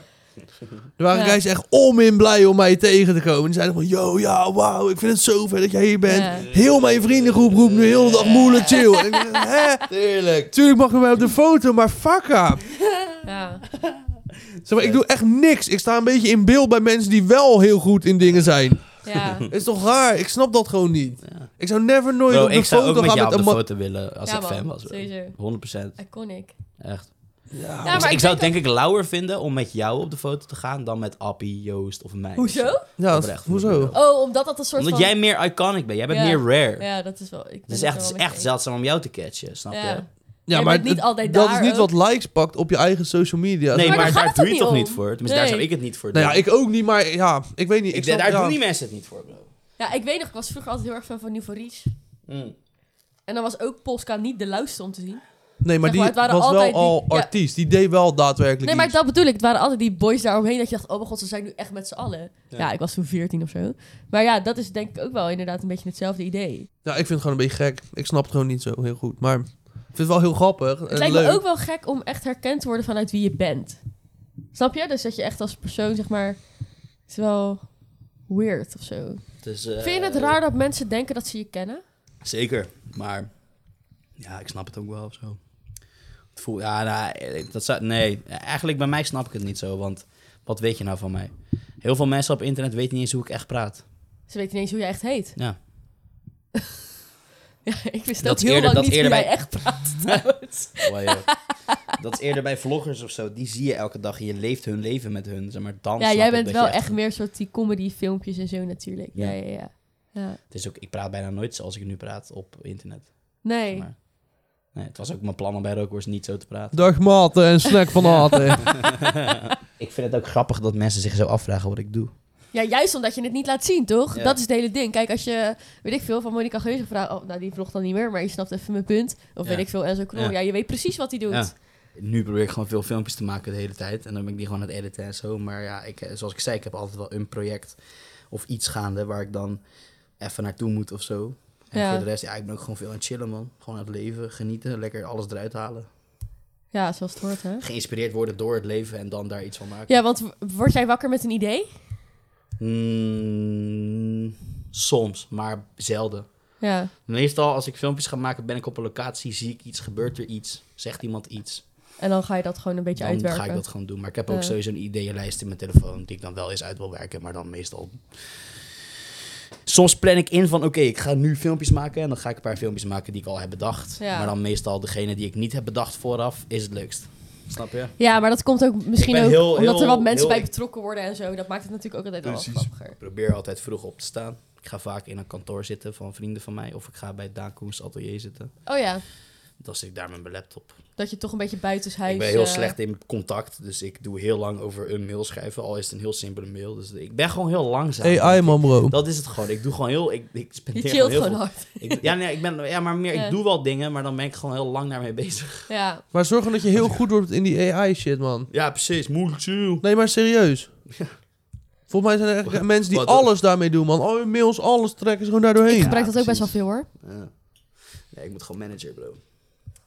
B: er waren
C: Ja.
B: guys echt om in blij om mij tegen te komen. Die zeiden van, yo, ja, wauw, ik vind het zo vet dat jij hier bent.
C: Ja.
B: Heel mijn vriendengroep roept nu heel de dag moeilijk chill. En ik denk, Hè?
D: Tuurlijk.
B: Tuurlijk mag je mij op de foto, maar fuck up.
C: Ja.
B: Zeg maar, ik doe echt niks. Ik sta een beetje in beeld bij mensen die wel heel goed in dingen zijn.
C: Ja.
B: Het is toch raar? Ik snap dat gewoon niet. Ik zou never nooit
D: Bro,
B: op de
D: ik zou
B: foto
D: ook met
B: gaan
D: jou op
B: met
D: de
B: een man.
D: foto willen als
C: Ja,
D: ik
C: man,
D: fan was. bro.
C: sowieso.
D: 100%.
C: Iconic.
D: Echt.
B: Ja.
C: Ja,
D: ik,
C: maar
D: dus ik
C: ik
D: zou het denk ik lauwer vinden om met jou op de foto te gaan dan met Appie, Joost of mij.
C: Hoezo?
B: Ja,
D: Oprecht,
B: hoezo?
C: Oh, omdat dat een soort
D: Omdat
C: van...
D: jij meer iconic bent. Jij bent
C: Ja.
D: meer rare. Dus
C: Ja, dat is wel... Ik ben
D: Het is
C: het
D: echt,
C: wel
D: het is
C: mee
D: echt
C: eens.
D: zeldzaam om jou te catchen, snap
C: Ja.
D: je?
B: Ja,
C: Jij
B: maar
C: bent niet
B: het-
C: altijd
B: dat
C: daar
B: is niet
C: ook.
B: wat likes pakt op je eigen social media.
D: Nee,
B: Zo-
D: maar,
C: Maar daar gaat
D: daar
C: het
D: doe je
C: niet
D: toch
C: om.
D: niet voor? Tenminste, daar
C: Nee.
D: zou ik het niet voor
B: Nou ja,
D: doen.
B: ik ook niet, maar ja, ik weet niet. Ik
D: Ik-
B: snap,
D: daar
B: ja.
D: doen die mensen het niet voor, bro.
C: Ja, ik weet nog, ik was vroeger altijd heel erg fan van Nieuwe Reach.
D: Mm.
C: En dan was ook Polska niet de luister om te zien.
B: Nee, maar
C: Zeg maar,
B: die
C: het waren
B: was wel
C: altijd die-
B: al
C: ja.
B: artiest. Die deed wel daadwerkelijk
C: Nee, maar
B: iets.
C: dat bedoel ik. Het waren altijd die boys daaromheen dat je dacht, oh mijn god, ze zijn nu echt met z'n allen.
D: Ja.
C: Ja, ik was toen 14 of zo. Maar ja, dat is denk ik ook wel inderdaad een beetje hetzelfde idee.
B: Ja, ik vind het gewoon een beetje gek. Ik snap het gewoon niet zo heel goed. Maar ik vind het wel heel grappig en
C: Het lijkt
B: leuk.
C: me ook wel gek om echt herkend te worden vanuit wie je bent. Snap je? Dus dat je echt als persoon, zeg maar, is wel weird of zo.
D: Dus, eh,
C: Vind je het raar dat mensen denken dat ze je kennen?
D: Zeker, maar ja, ik snap het ook wel of zo. Het voel, ja, nou, ik- dat zou, nee, eigenlijk bij mij snap ik het niet zo, want wat weet je nou van mij? Heel veel mensen op internet weten niet eens hoe ik echt praat.
C: Ze weten niet eens hoe jij echt heet.
D: Ja.
C: Ja, ik wist
D: Dat
C: ook
D: is
C: heel
D: eerder-
C: lang
D: dat is
C: niet hoe
D: eerder
C: jij echt praat trouwens.
D: uh, dat is eerder bij vloggers of zo, die zie je elke dag en je leeft hun leven met hun, zeg maar, dan
C: ja,
D: snap
C: jij
D: ik
C: bent
D: dat
C: wel
D: je
C: echt meer soort die comedy filmpjes en zo natuurlijk. Ja,
D: Ja.
C: ja, ja. ja.
D: Het is ook, ik praat bijna nooit zoals ik nu praat op internet.
C: Nee.
D: Maar, nee, het was ook mijn plan om bij Rookworst niet zo te praten.
B: Dag maten en snack van Aten.
D: ik vind het ook grappig dat mensen zich zo afvragen wat ik doe.
C: Ja, juist omdat je het niet laat zien, toch?
D: Ja.
C: Dat is het hele ding. Kijk, als je, weet ik veel, van Monica Geuze vraagt... Oh, nou, die vlogt dan niet meer, maar je snapt even mijn punt. Of
D: Ja.
C: weet ik veel, Enzo Knol.
D: Ja.
C: Ja. je weet precies wat hij doet.
D: Ja. Nu probeer ik gewoon veel filmpjes te maken de hele tijd. En dan ben ik die gewoon aan het editen en zo. Maar ja, ik, eh, zoals ik zei, ik heb altijd wel een project of iets gaande waar ik dan even naartoe moet of zo. En
C: Ja.
D: voor de rest, ja, ik ben ook gewoon veel aan het chillen, man. Gewoon aan het leven, genieten, lekker alles eruit halen.
C: Ja, zoals het hoort, hè?
D: Geïnspireerd worden door het leven en dan daar iets van maken.
C: Ja, want w- word jij wakker met een idee?
D: Mm, soms, maar zelden.
C: Ja.
D: Meestal als ik filmpjes ga maken, ben ik op een locatie, zie ik iets, gebeurt er iets, zegt iemand iets.
C: En dan ga je dat gewoon een beetje
D: dan
C: uitwerken.
D: ga ik dat gewoon doen. Maar ik heb ook
C: Ja.
D: sowieso een ideeënlijst in mijn telefoon die ik dan wel eens uit wil werken, maar dan meestal. Soms plan ik in van oké, ik ga nu filmpjes maken en dan ga ik een paar filmpjes maken die ik al heb bedacht.
C: Ja.
D: Maar dan meestal degene die ik niet heb bedacht vooraf is het leukst. Snap je?
C: Ja, maar dat komt ook misschien
D: ben
C: ook
D: heel-
C: omdat
D: heel-
C: er wat mensen
D: heel-
C: bij betrokken worden en zo. Dat maakt het natuurlijk ook altijd
A: Precies.
C: wel grappiger.
D: Ik probeer altijd vroeg op te staan. Ik ga vaak in een kantoor zitten van vrienden van mij of ik ga bij Daan Koens atelier zitten.
C: Oh ja,
D: Dan zit ik daar met mijn laptop.
C: dat je toch een beetje buitenshuis...
D: ik ben heel
C: eh,
D: slecht in contact, dus ik doe heel lang over een mail schrijven, al is het een heel simpele mail. Dus ik ben gewoon heel langzaam.
B: AI man bro.
D: Dat is het gewoon. Ik doe gewoon heel. Ik, ik
C: Je
D: spendeer gewoon
C: chillt
D: heel
C: gewoon
D: veel.
C: hard.
D: Ik, ja, nee, ik ben, ja, maar meer.
C: Ja.
D: Ik doe wel dingen, maar dan ben ik gewoon heel lang daarmee bezig.
C: Ja.
B: Maar zorgen dat je heel goed wordt in die AI shit man.
D: Ja, precies. Moeilijk chill.
B: Nee, maar serieus. Volgens mij zijn er echt mensen die
D: Wat-
B: alles daarmee doen man. Al je mails, alles trekken ze gewoon daar doorheen.
C: Ik gebruik dat ook
D: precies.
C: best wel veel hoor.
D: Ja. Nee, ik moet gewoon manager, bro.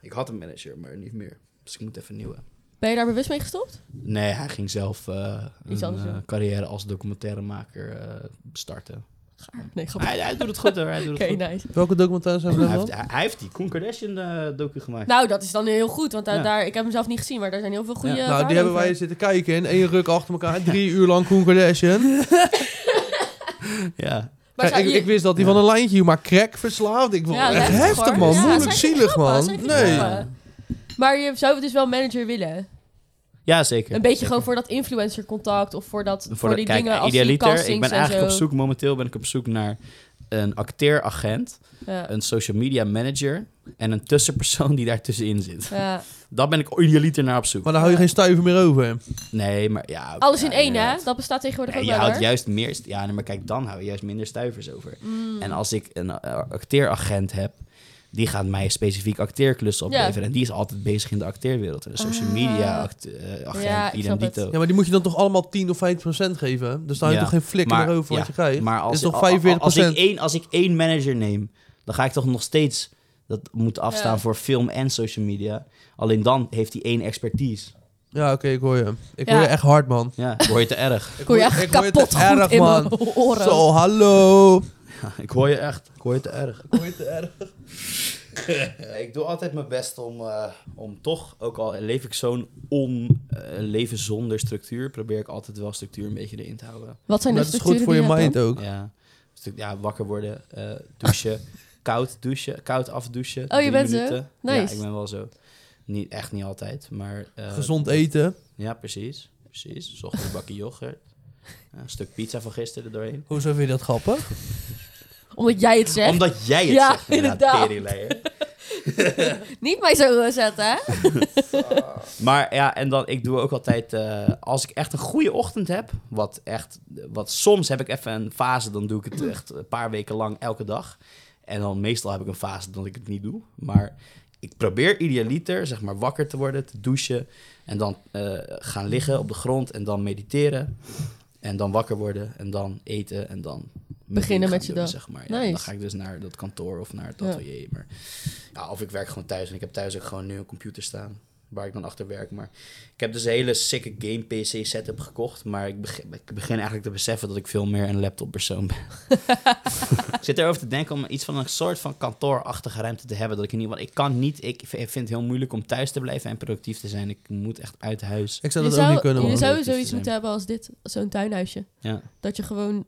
D: Ik had een manager, maar niet meer. Dus ik moet even een nieuwe.
C: Ben je daar bewust mee gestopt?
D: Nee, hij ging zelf eh,
C: Iets
D: een
C: anders doen.
D: eh, carrière als documentairemaker eh, starten.
C: Gaar. Nee, grappig.
D: Hij, hij doet het goed hoor. Hij doet het
C: Oké, nou,
D: goed.
C: nice.
B: Welke documentaires zijn
D: Hij
B: er
D: heeft,
B: dan?
D: hij, hij heeft die Koen Kardashian eh, docu gemaakt.
C: Nou, dat is dan heel goed, want daar,
D: Ja.
C: daar, ik heb hem zelf niet gezien, maar daar zijn heel veel goede.
D: Ja.
B: Nou, die hebben wij zitten kijken in één ruk achter elkaar. Drie uur lang Koen Kardashian.
C: Hm.
D: Ja.
C: Maar
B: Kijk,
C: zou
B: ik,
C: je-
B: ik wist dat die van een lijntje, maar crack verslaafd. Ik vond
C: Ja,
B: het echt
C: lijkt het
B: heftig
C: gewoon.
B: man.
C: Ja,
B: Moeilijk
C: zijn geen
B: zielig
C: grappen,
B: man.
C: zijn geen
B: Nee.
C: grappen. Maar je zou dus wel manager willen.
D: Ja, zeker.
C: Een beetje
D: Zeker.
C: gewoon voor dat influencer contact of voor, dat, voor,
D: de-
C: die
D: kijk, eh,
C: dingen als die
D: idealiter,
C: castings
D: ik ben
C: en
D: eigenlijk
C: zo.
D: op zoek, momenteel ben ik op zoek naar een acteeragent,
C: Ja.
D: een social media manager en een tussenpersoon die daartussenin zit.
C: Ja.
D: Daar ben ik idealiter naar op zoek.
B: Maar dan hou je geen stuiver meer over.
D: Nee, maar ja. oké,
C: Alles in
D: ja,
C: één,
D: inderdaad.
C: hè? Dat bestaat tegenwoordig
D: Nee,
C: ook
D: je
C: wel,
D: houdt
C: hoor.
D: juist meer... st- Ja, nee, maar kijk, dan hou je juist minder stuivers over.
C: Mm.
D: En als ik een eh, acteeragent heb, die gaat mij specifiek acteerklussen
C: Ja.
D: opleveren. En die is altijd bezig in de acteerwereld. En de social
C: Ah.
D: media act- eh, agent,
C: Ja, ik snap het.
D: identito.
B: Ja, maar die moet je dan toch allemaal 10 of 15 procent geven? hè? Dus dan heb je
D: Ja,
B: toch geen flikker meer over wat
D: ja,
B: je krijgt?
D: Maar als,
B: is toch
D: al- al-
B: 45
D: als, ik één, als ik één manager neem, dan ga ik toch nog steeds dat moeten afstaan
C: Ja.
D: voor film en social media. Alleen dan heeft hij één expertise.
B: Ja, oké, ik hoor je. Ik
C: Ja.
B: hoor je echt hard, man.
D: Ja, ik hoor je te erg.
C: Ik hoor je echt kapot goed in mijn oren.
B: Zo, hallo.
D: ik hoor je echt. Ik hoor je te erg. Ik hoor je te erg. ik doe altijd mijn best om, eh, om toch, ook al leef ik zo'n on, eh, leven zonder structuur, probeer ik altijd wel structuur een beetje erin te houden.
C: Wat zijn de
B: Dat is goed
C: structuren
B: voor je
C: die
B: mind
C: hebt
B: ook.
D: Ja, Stuk- ja wakker worden, eh, douchen, koud douchen, koud afdouchen.
C: Oh, je
D: drie
C: bent zo?
D: minuten. Ja,
C: Nice.
D: ik ben wel zo. Niet, echt niet altijd, maar... eh,
B: Gezond eten.
D: Ja, precies. Precies. 's Ochtends een bakje yoghurt. Ja, een stuk pizza van gisteren er doorheen.
B: Hoezo vind je dat grappig?
C: dan? Omdat jij het zegt.
D: Omdat jij het
C: Ja,
D: zegt,
C: inderdaad.
D: inderdaad, teringleier.
E: Niet mij zo zetten, hè?
D: Maar ja, en dan, ik doe ook altijd, eh, als ik echt een goede ochtend heb, wat echt, wat soms heb ik even een fase, dan doe ik het echt een paar weken lang elke dag. En dan meestal heb ik een fase dat ik het niet doe. Maar ik probeer idealiter, zeg maar, wakker te worden, te douchen en dan eh, gaan liggen op de grond en dan mediteren. En dan wakker worden en dan eten en dan... mijn
C: Beginnen met
D: ding gaan
C: je
D: doen,
C: dag.
D: Zeg maar. ja,
C: Nice.
D: Dan ga ik dus naar dat kantoor of naar het
C: Ja.
D: atelier. Maar, ja, of ik werk gewoon thuis en ik heb thuis ook gewoon nu een computer staan waar ik dan achter werk. Maar ik heb dus een hele sikke game PC setup gekocht. Maar ik begin, ik begin eigenlijk te beseffen dat ik veel meer een laptop persoon ben. ik zit erover te denken om iets van een soort van kantoorachtige ruimte te hebben. Dat ik in ieder geval. Ik kan niet. Ik v- vind het heel moeilijk om thuis te blijven en productief te zijn. Ik moet echt uit huis.
B: Ik zou
C: Je
B: dat ook
C: zou,
B: niet kunnen,
C: je
B: man.
C: zou
D: Productief te
C: zoiets
D: zijn.
C: moeten hebben als dit, zo'n tuinhuisje.
D: Ja.
C: Dat je gewoon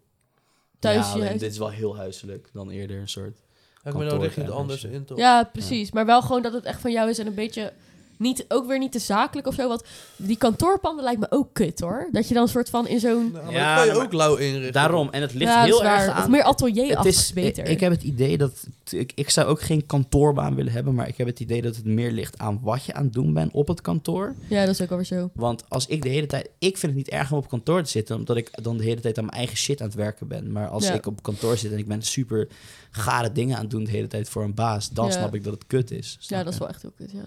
C: thuis
D: Ja,
C: je
D: alleen
C: huis-
D: dit is wel heel huiselijk dan eerder een soort.
B: Ik ben nou
D: kantoor
B: richting het
D: ergens,
B: anders
D: ja.
B: in, toch?
C: Ja, precies. Maar wel gewoon dat het echt van jou is en een beetje niet, ook weer niet te zakelijk of zo. Want die kantoorpanden lijkt me ook kut hoor. Dat je dan een soort van in zo'n.
B: Nou, maar
D: Ja,
B: dat kan je
D: maar-
B: ook lauw inrichten.
D: Daarom. En het ligt
C: Ja, dat
D: heel
C: is waar.
D: erg
C: Of
D: aan.
C: meer atelier
D: Het is, ik,
C: beter.
D: ik heb het idee dat... t- Ik, ik zou ook geen kantoorbaan willen hebben... maar ik heb het idee dat het meer ligt aan wat je aan het doen bent op het kantoor.
C: Ja, dat is ook alweer zo.
D: Want als ik de hele tijd... Ik vind het niet erg om op kantoor te zitten... omdat ik dan de hele tijd aan mijn eigen shit aan het werken ben. Maar als
C: Ja.
D: ik op kantoor zit en ik ben super gare dingen aan het doen... de hele tijd voor een baas... dan
C: Ja.
D: snap ik dat het kut is. Snap
C: Ja, dat is
D: je?
C: wel echt heel kut. Ja.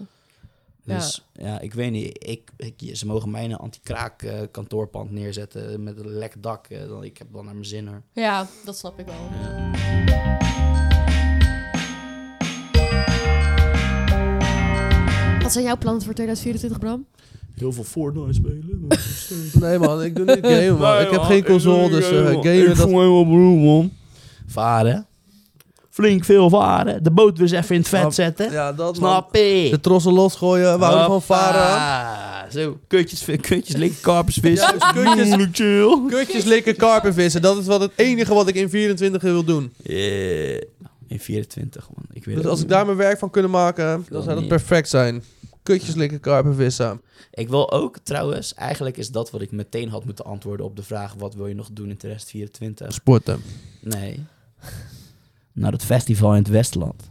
D: Dus ja. ik weet niet. Ik, ik- ze mogen mij in een anti-kraak eh, kantoorpand neerzetten... met een lek dak. eh, dan, ik heb dan naar mijn zin hoor.
C: ja, dat snap ik wel.
D: Ja.
C: Wat zijn jouw plannen voor 2024, Bram?
A: Heel veel Fortnite spelen.
B: Nee, man, ik doe niet gamen, man.
A: Nee,
B: ik heb
A: man,
B: geen
A: ik
B: console,
A: doe niet
B: dus eh,
A: gamen, man.
B: gamen...
A: Ik
B: Dat...
A: voel me helemaal beroerd, man.
D: Varen. Flink veel varen. De boot weer eens even in het vet
B: Snap-
D: zetten.
B: Ja, dat, man.
D: Snap je?
B: De trossen losgooien, we houden van varen.
D: Hoppa. Zo, kutjes, kutjes linkerkarpers vissen.
B: Juist, dus kutjes,
A: Moeilijk
D: Mm.
A: chill.
B: kutjes likken, karpen vissen. Dat is wel het enige wat ik in 24 wil doen.
D: Yeah. In 24, man. Ik weet
B: Dus
D: het
B: als
D: niet.
B: ik daar mijn werk van kunnen maken,
D: wil
B: dan zou dat
D: niet.
B: perfect zijn. Kutjes likken, karpen vissen.
D: Ik wil ook, trouwens, eigenlijk is dat wat ik meteen had moeten antwoorden op de vraag... wat wil je nog doen in de rest 24?
B: Sporten.
D: Nee. Naar het festival in het Westland.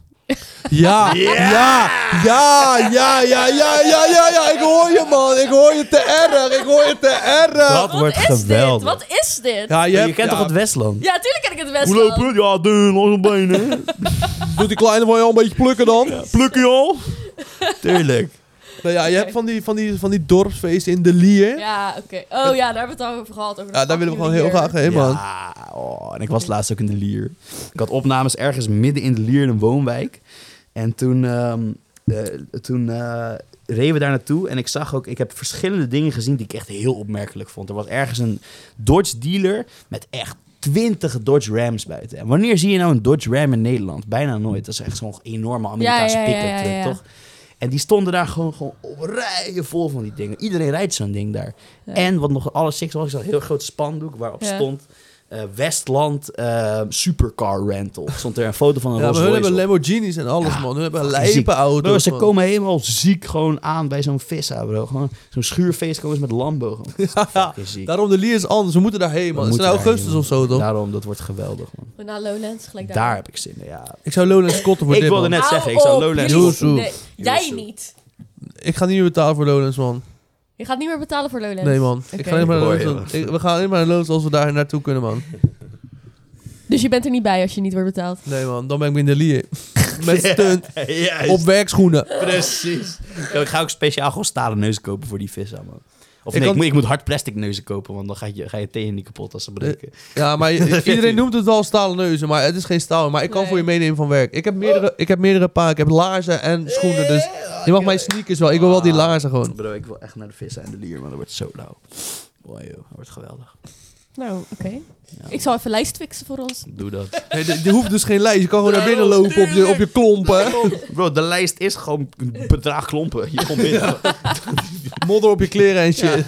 B: Ja, ja, ja, ja, ja, ja, ja, ja, ja. Ik hoor je, man. Ik hoor je te erg. Ik hoor je te erg.
D: dat wordt
E: Is
D: geweldig.
E: dit? Wat is dit? Ja,
B: Ja, je,
D: Je,
B: hebt-
D: kent
B: ja,
D: toch het Westland?
E: tuurlijk ken ik het
A: Hoe
E: best
A: lopen
E: wel.
A: het? Ja, dun, langs mijn benen.
B: Doet die kleine van je al een beetje plukken dan?
A: Pluk je al?
D: Tuurlijk.
B: Nou ja, je hebt van die, van die, van die dorpsfeesten in de Lier. Ja,
E: Ja, oké. Oh ja, daar hebben we het al over gehad. Over de
B: daar willen we gewoon heel
E: fucking
B: graag heen, man.
D: Ja, oh, en ik was laatst ook in de Lier. Ik had opnames ergens midden in de Lier in een woonwijk. En toen, ehm eh, toen eh, reden we daar naartoe. En ik zag ook, ik heb verschillende dingen gezien die ik echt heel opmerkelijk vond. Er was ergens een Dodge dealer met echt 20 Dodge Rams buiten. En wanneer zie je nou een Dodge Ram in Nederland? Bijna nooit. Dat is echt zo'n enorme Amerikaanse
E: Ja, ja, ja,
D: pick-up
E: ja,
D: truck,
E: ja.
D: toch? En die stonden daar gewoon, gewoon op rijen vol van die dingen. Iedereen rijdt zo'n ding daar.
C: Ja.
D: En wat nog alles six was, is een heel groot spandoek waarop
C: Ja.
D: stond... eh, Westland eh, Supercar Rental. Stond er een foto van een
B: maar
D: Rolls
B: hun hebben
D: Royce op.
B: Lamborghinis en alles,
D: Ja,
B: man. Hun hebben
D: fucking ziek.
B: lijpe
D: Bro,
B: auto's,
D: ze
B: man.
D: komen helemaal ziek gewoon aan bij zo'n vissa, bro. Gewoon zo'n schuurfeest komen ze met Lambo. Gewoon. Dat is fucking ziek.
B: Daarom, de Lier is anders. We moeten daarheen, man.
D: We
B: Het is in
D: moeten
B: augustus
D: daarheen,
B: of zo,
D: man.
B: toch?
D: Daarom, dat wordt geweldig, man.
C: Naar Lowlands, gelijk daar.
D: Daar heb ik zin in, ja.
B: Ik zou Lowlands scotten voor
D: Ik
B: dit,
D: wilde
B: man.
D: net
E: Hou
D: zeggen, ik zou
E: op,
D: Lowlands
E: jullie-
B: scotten.
E: Nee, jij
D: Joezoe.
E: niet.
B: Ik ga niet meer betalen voor Lowlands, man.
C: Je gaat niet meer betalen voor Lowlands.
B: Nee, man. Ik
C: Oké.
B: ga alleen maar naar
D: Mooi,
B: Lowlands. Ik- We gaan alleen maar naar Lowlands als we daar naartoe kunnen, man.
C: Dus je bent er niet bij als je niet wordt betaald.
B: Nee, man. Dan ben ik in de Lier. Met stunt.
D: Juist,
B: Op werkschoenen.
D: precies. Ik ga ook speciaal gewoon stalen neuzen kopen voor die vissa, man. Of
B: Ik
D: nee, ik,
B: kan-
D: moet, ik moet hard plastic neuzen kopen, want dan ga je, ga je tenen niet kapot als ze breken.
C: Eh,
B: Ja, maar je- iedereen noemt het wel stalen neuzen, maar het is geen staal. Maar ik kan
C: Nee.
B: voor je meenemen van werk. Ik heb meerdere, ik heb meerdere paar. Ik heb laarzen en schoenen, dus je mag mijn sneakers wel. Ik wil wel die laarzen gewoon.
D: Bro, ik wil echt naar de vissa en de lier, maar dat wordt zo lauw. Mooi, joh. Dat wordt geweldig.
C: Nou, oké.
D: Ja.
C: Ik zal even lijst fixen voor ons.
D: Doe dat.
B: Nee, je, hoeft dus geen lijst. Je kan gewoon naar binnen lopen op je, op je klompen.
D: Bro, de lijst is gewoon een bedraag klompen. Je komt binnen.
B: Modder op je kleren en shit.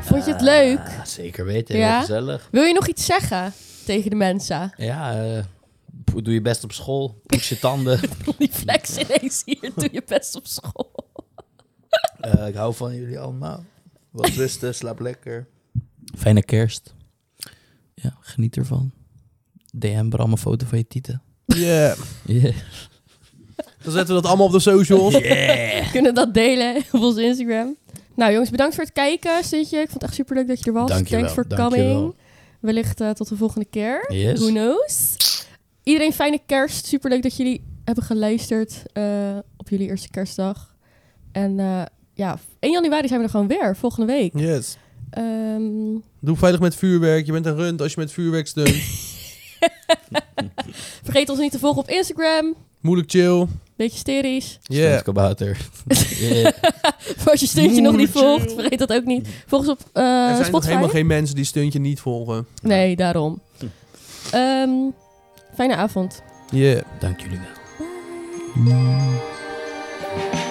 C: Vond je het leuk?
D: Ah, zeker weten,
C: Ja?
D: heel gezellig.
C: Wil je nog iets zeggen tegen de mensen?
D: Ja, eh, po- doe je best op school. Poets je tanden.
E: Die flex ineens hier doe je best op school.
D: Eh, ik hou van jullie allemaal. Wat rusten, slaap lekker. Fijne kerst. Ja, geniet ervan. DM Bram een foto van je tieten.
B: Yeah.
D: Yeah.
B: Dan zetten we dat allemaal op de socials.
C: Kunnen dat delen op onze Instagram. Nou jongens, bedankt voor het kijken, Sintje. Ik vond het echt superleuk dat je er was.
D: Dankjewel,
C: Thanks for
D: dankjewel.
C: coming. Wellicht eh, tot de volgende keer.
D: Yes.
C: Who knows? Iedereen fijne kerst. Superleuk dat jullie hebben geluisterd eh, op jullie eerste kerstdag. En eh, ja, 1 januari zijn we er gewoon weer, volgende week.
B: Yes.
C: Ehm,
B: Doe veilig met vuurwerk. Je bent een rund als je met vuurwerk stunt.
C: vergeet ons niet te volgen op Instagram.
B: Moeilijk chill.
C: Beetje hysterisch.
B: Yeah.
D: Stuntkabouter. Yeah.
C: Voor als je Stuntje nog niet
A: Moedertje.
C: volgt, vergeet dat ook niet. Volg ons op eh,
B: er zijn nog
C: Spotify.
B: helemaal geen mensen die stuntje niet volgen.
C: Nee, daarom. Ehm, fijne avond.
B: Yeah.
D: Dank jullie wel.
C: Bye.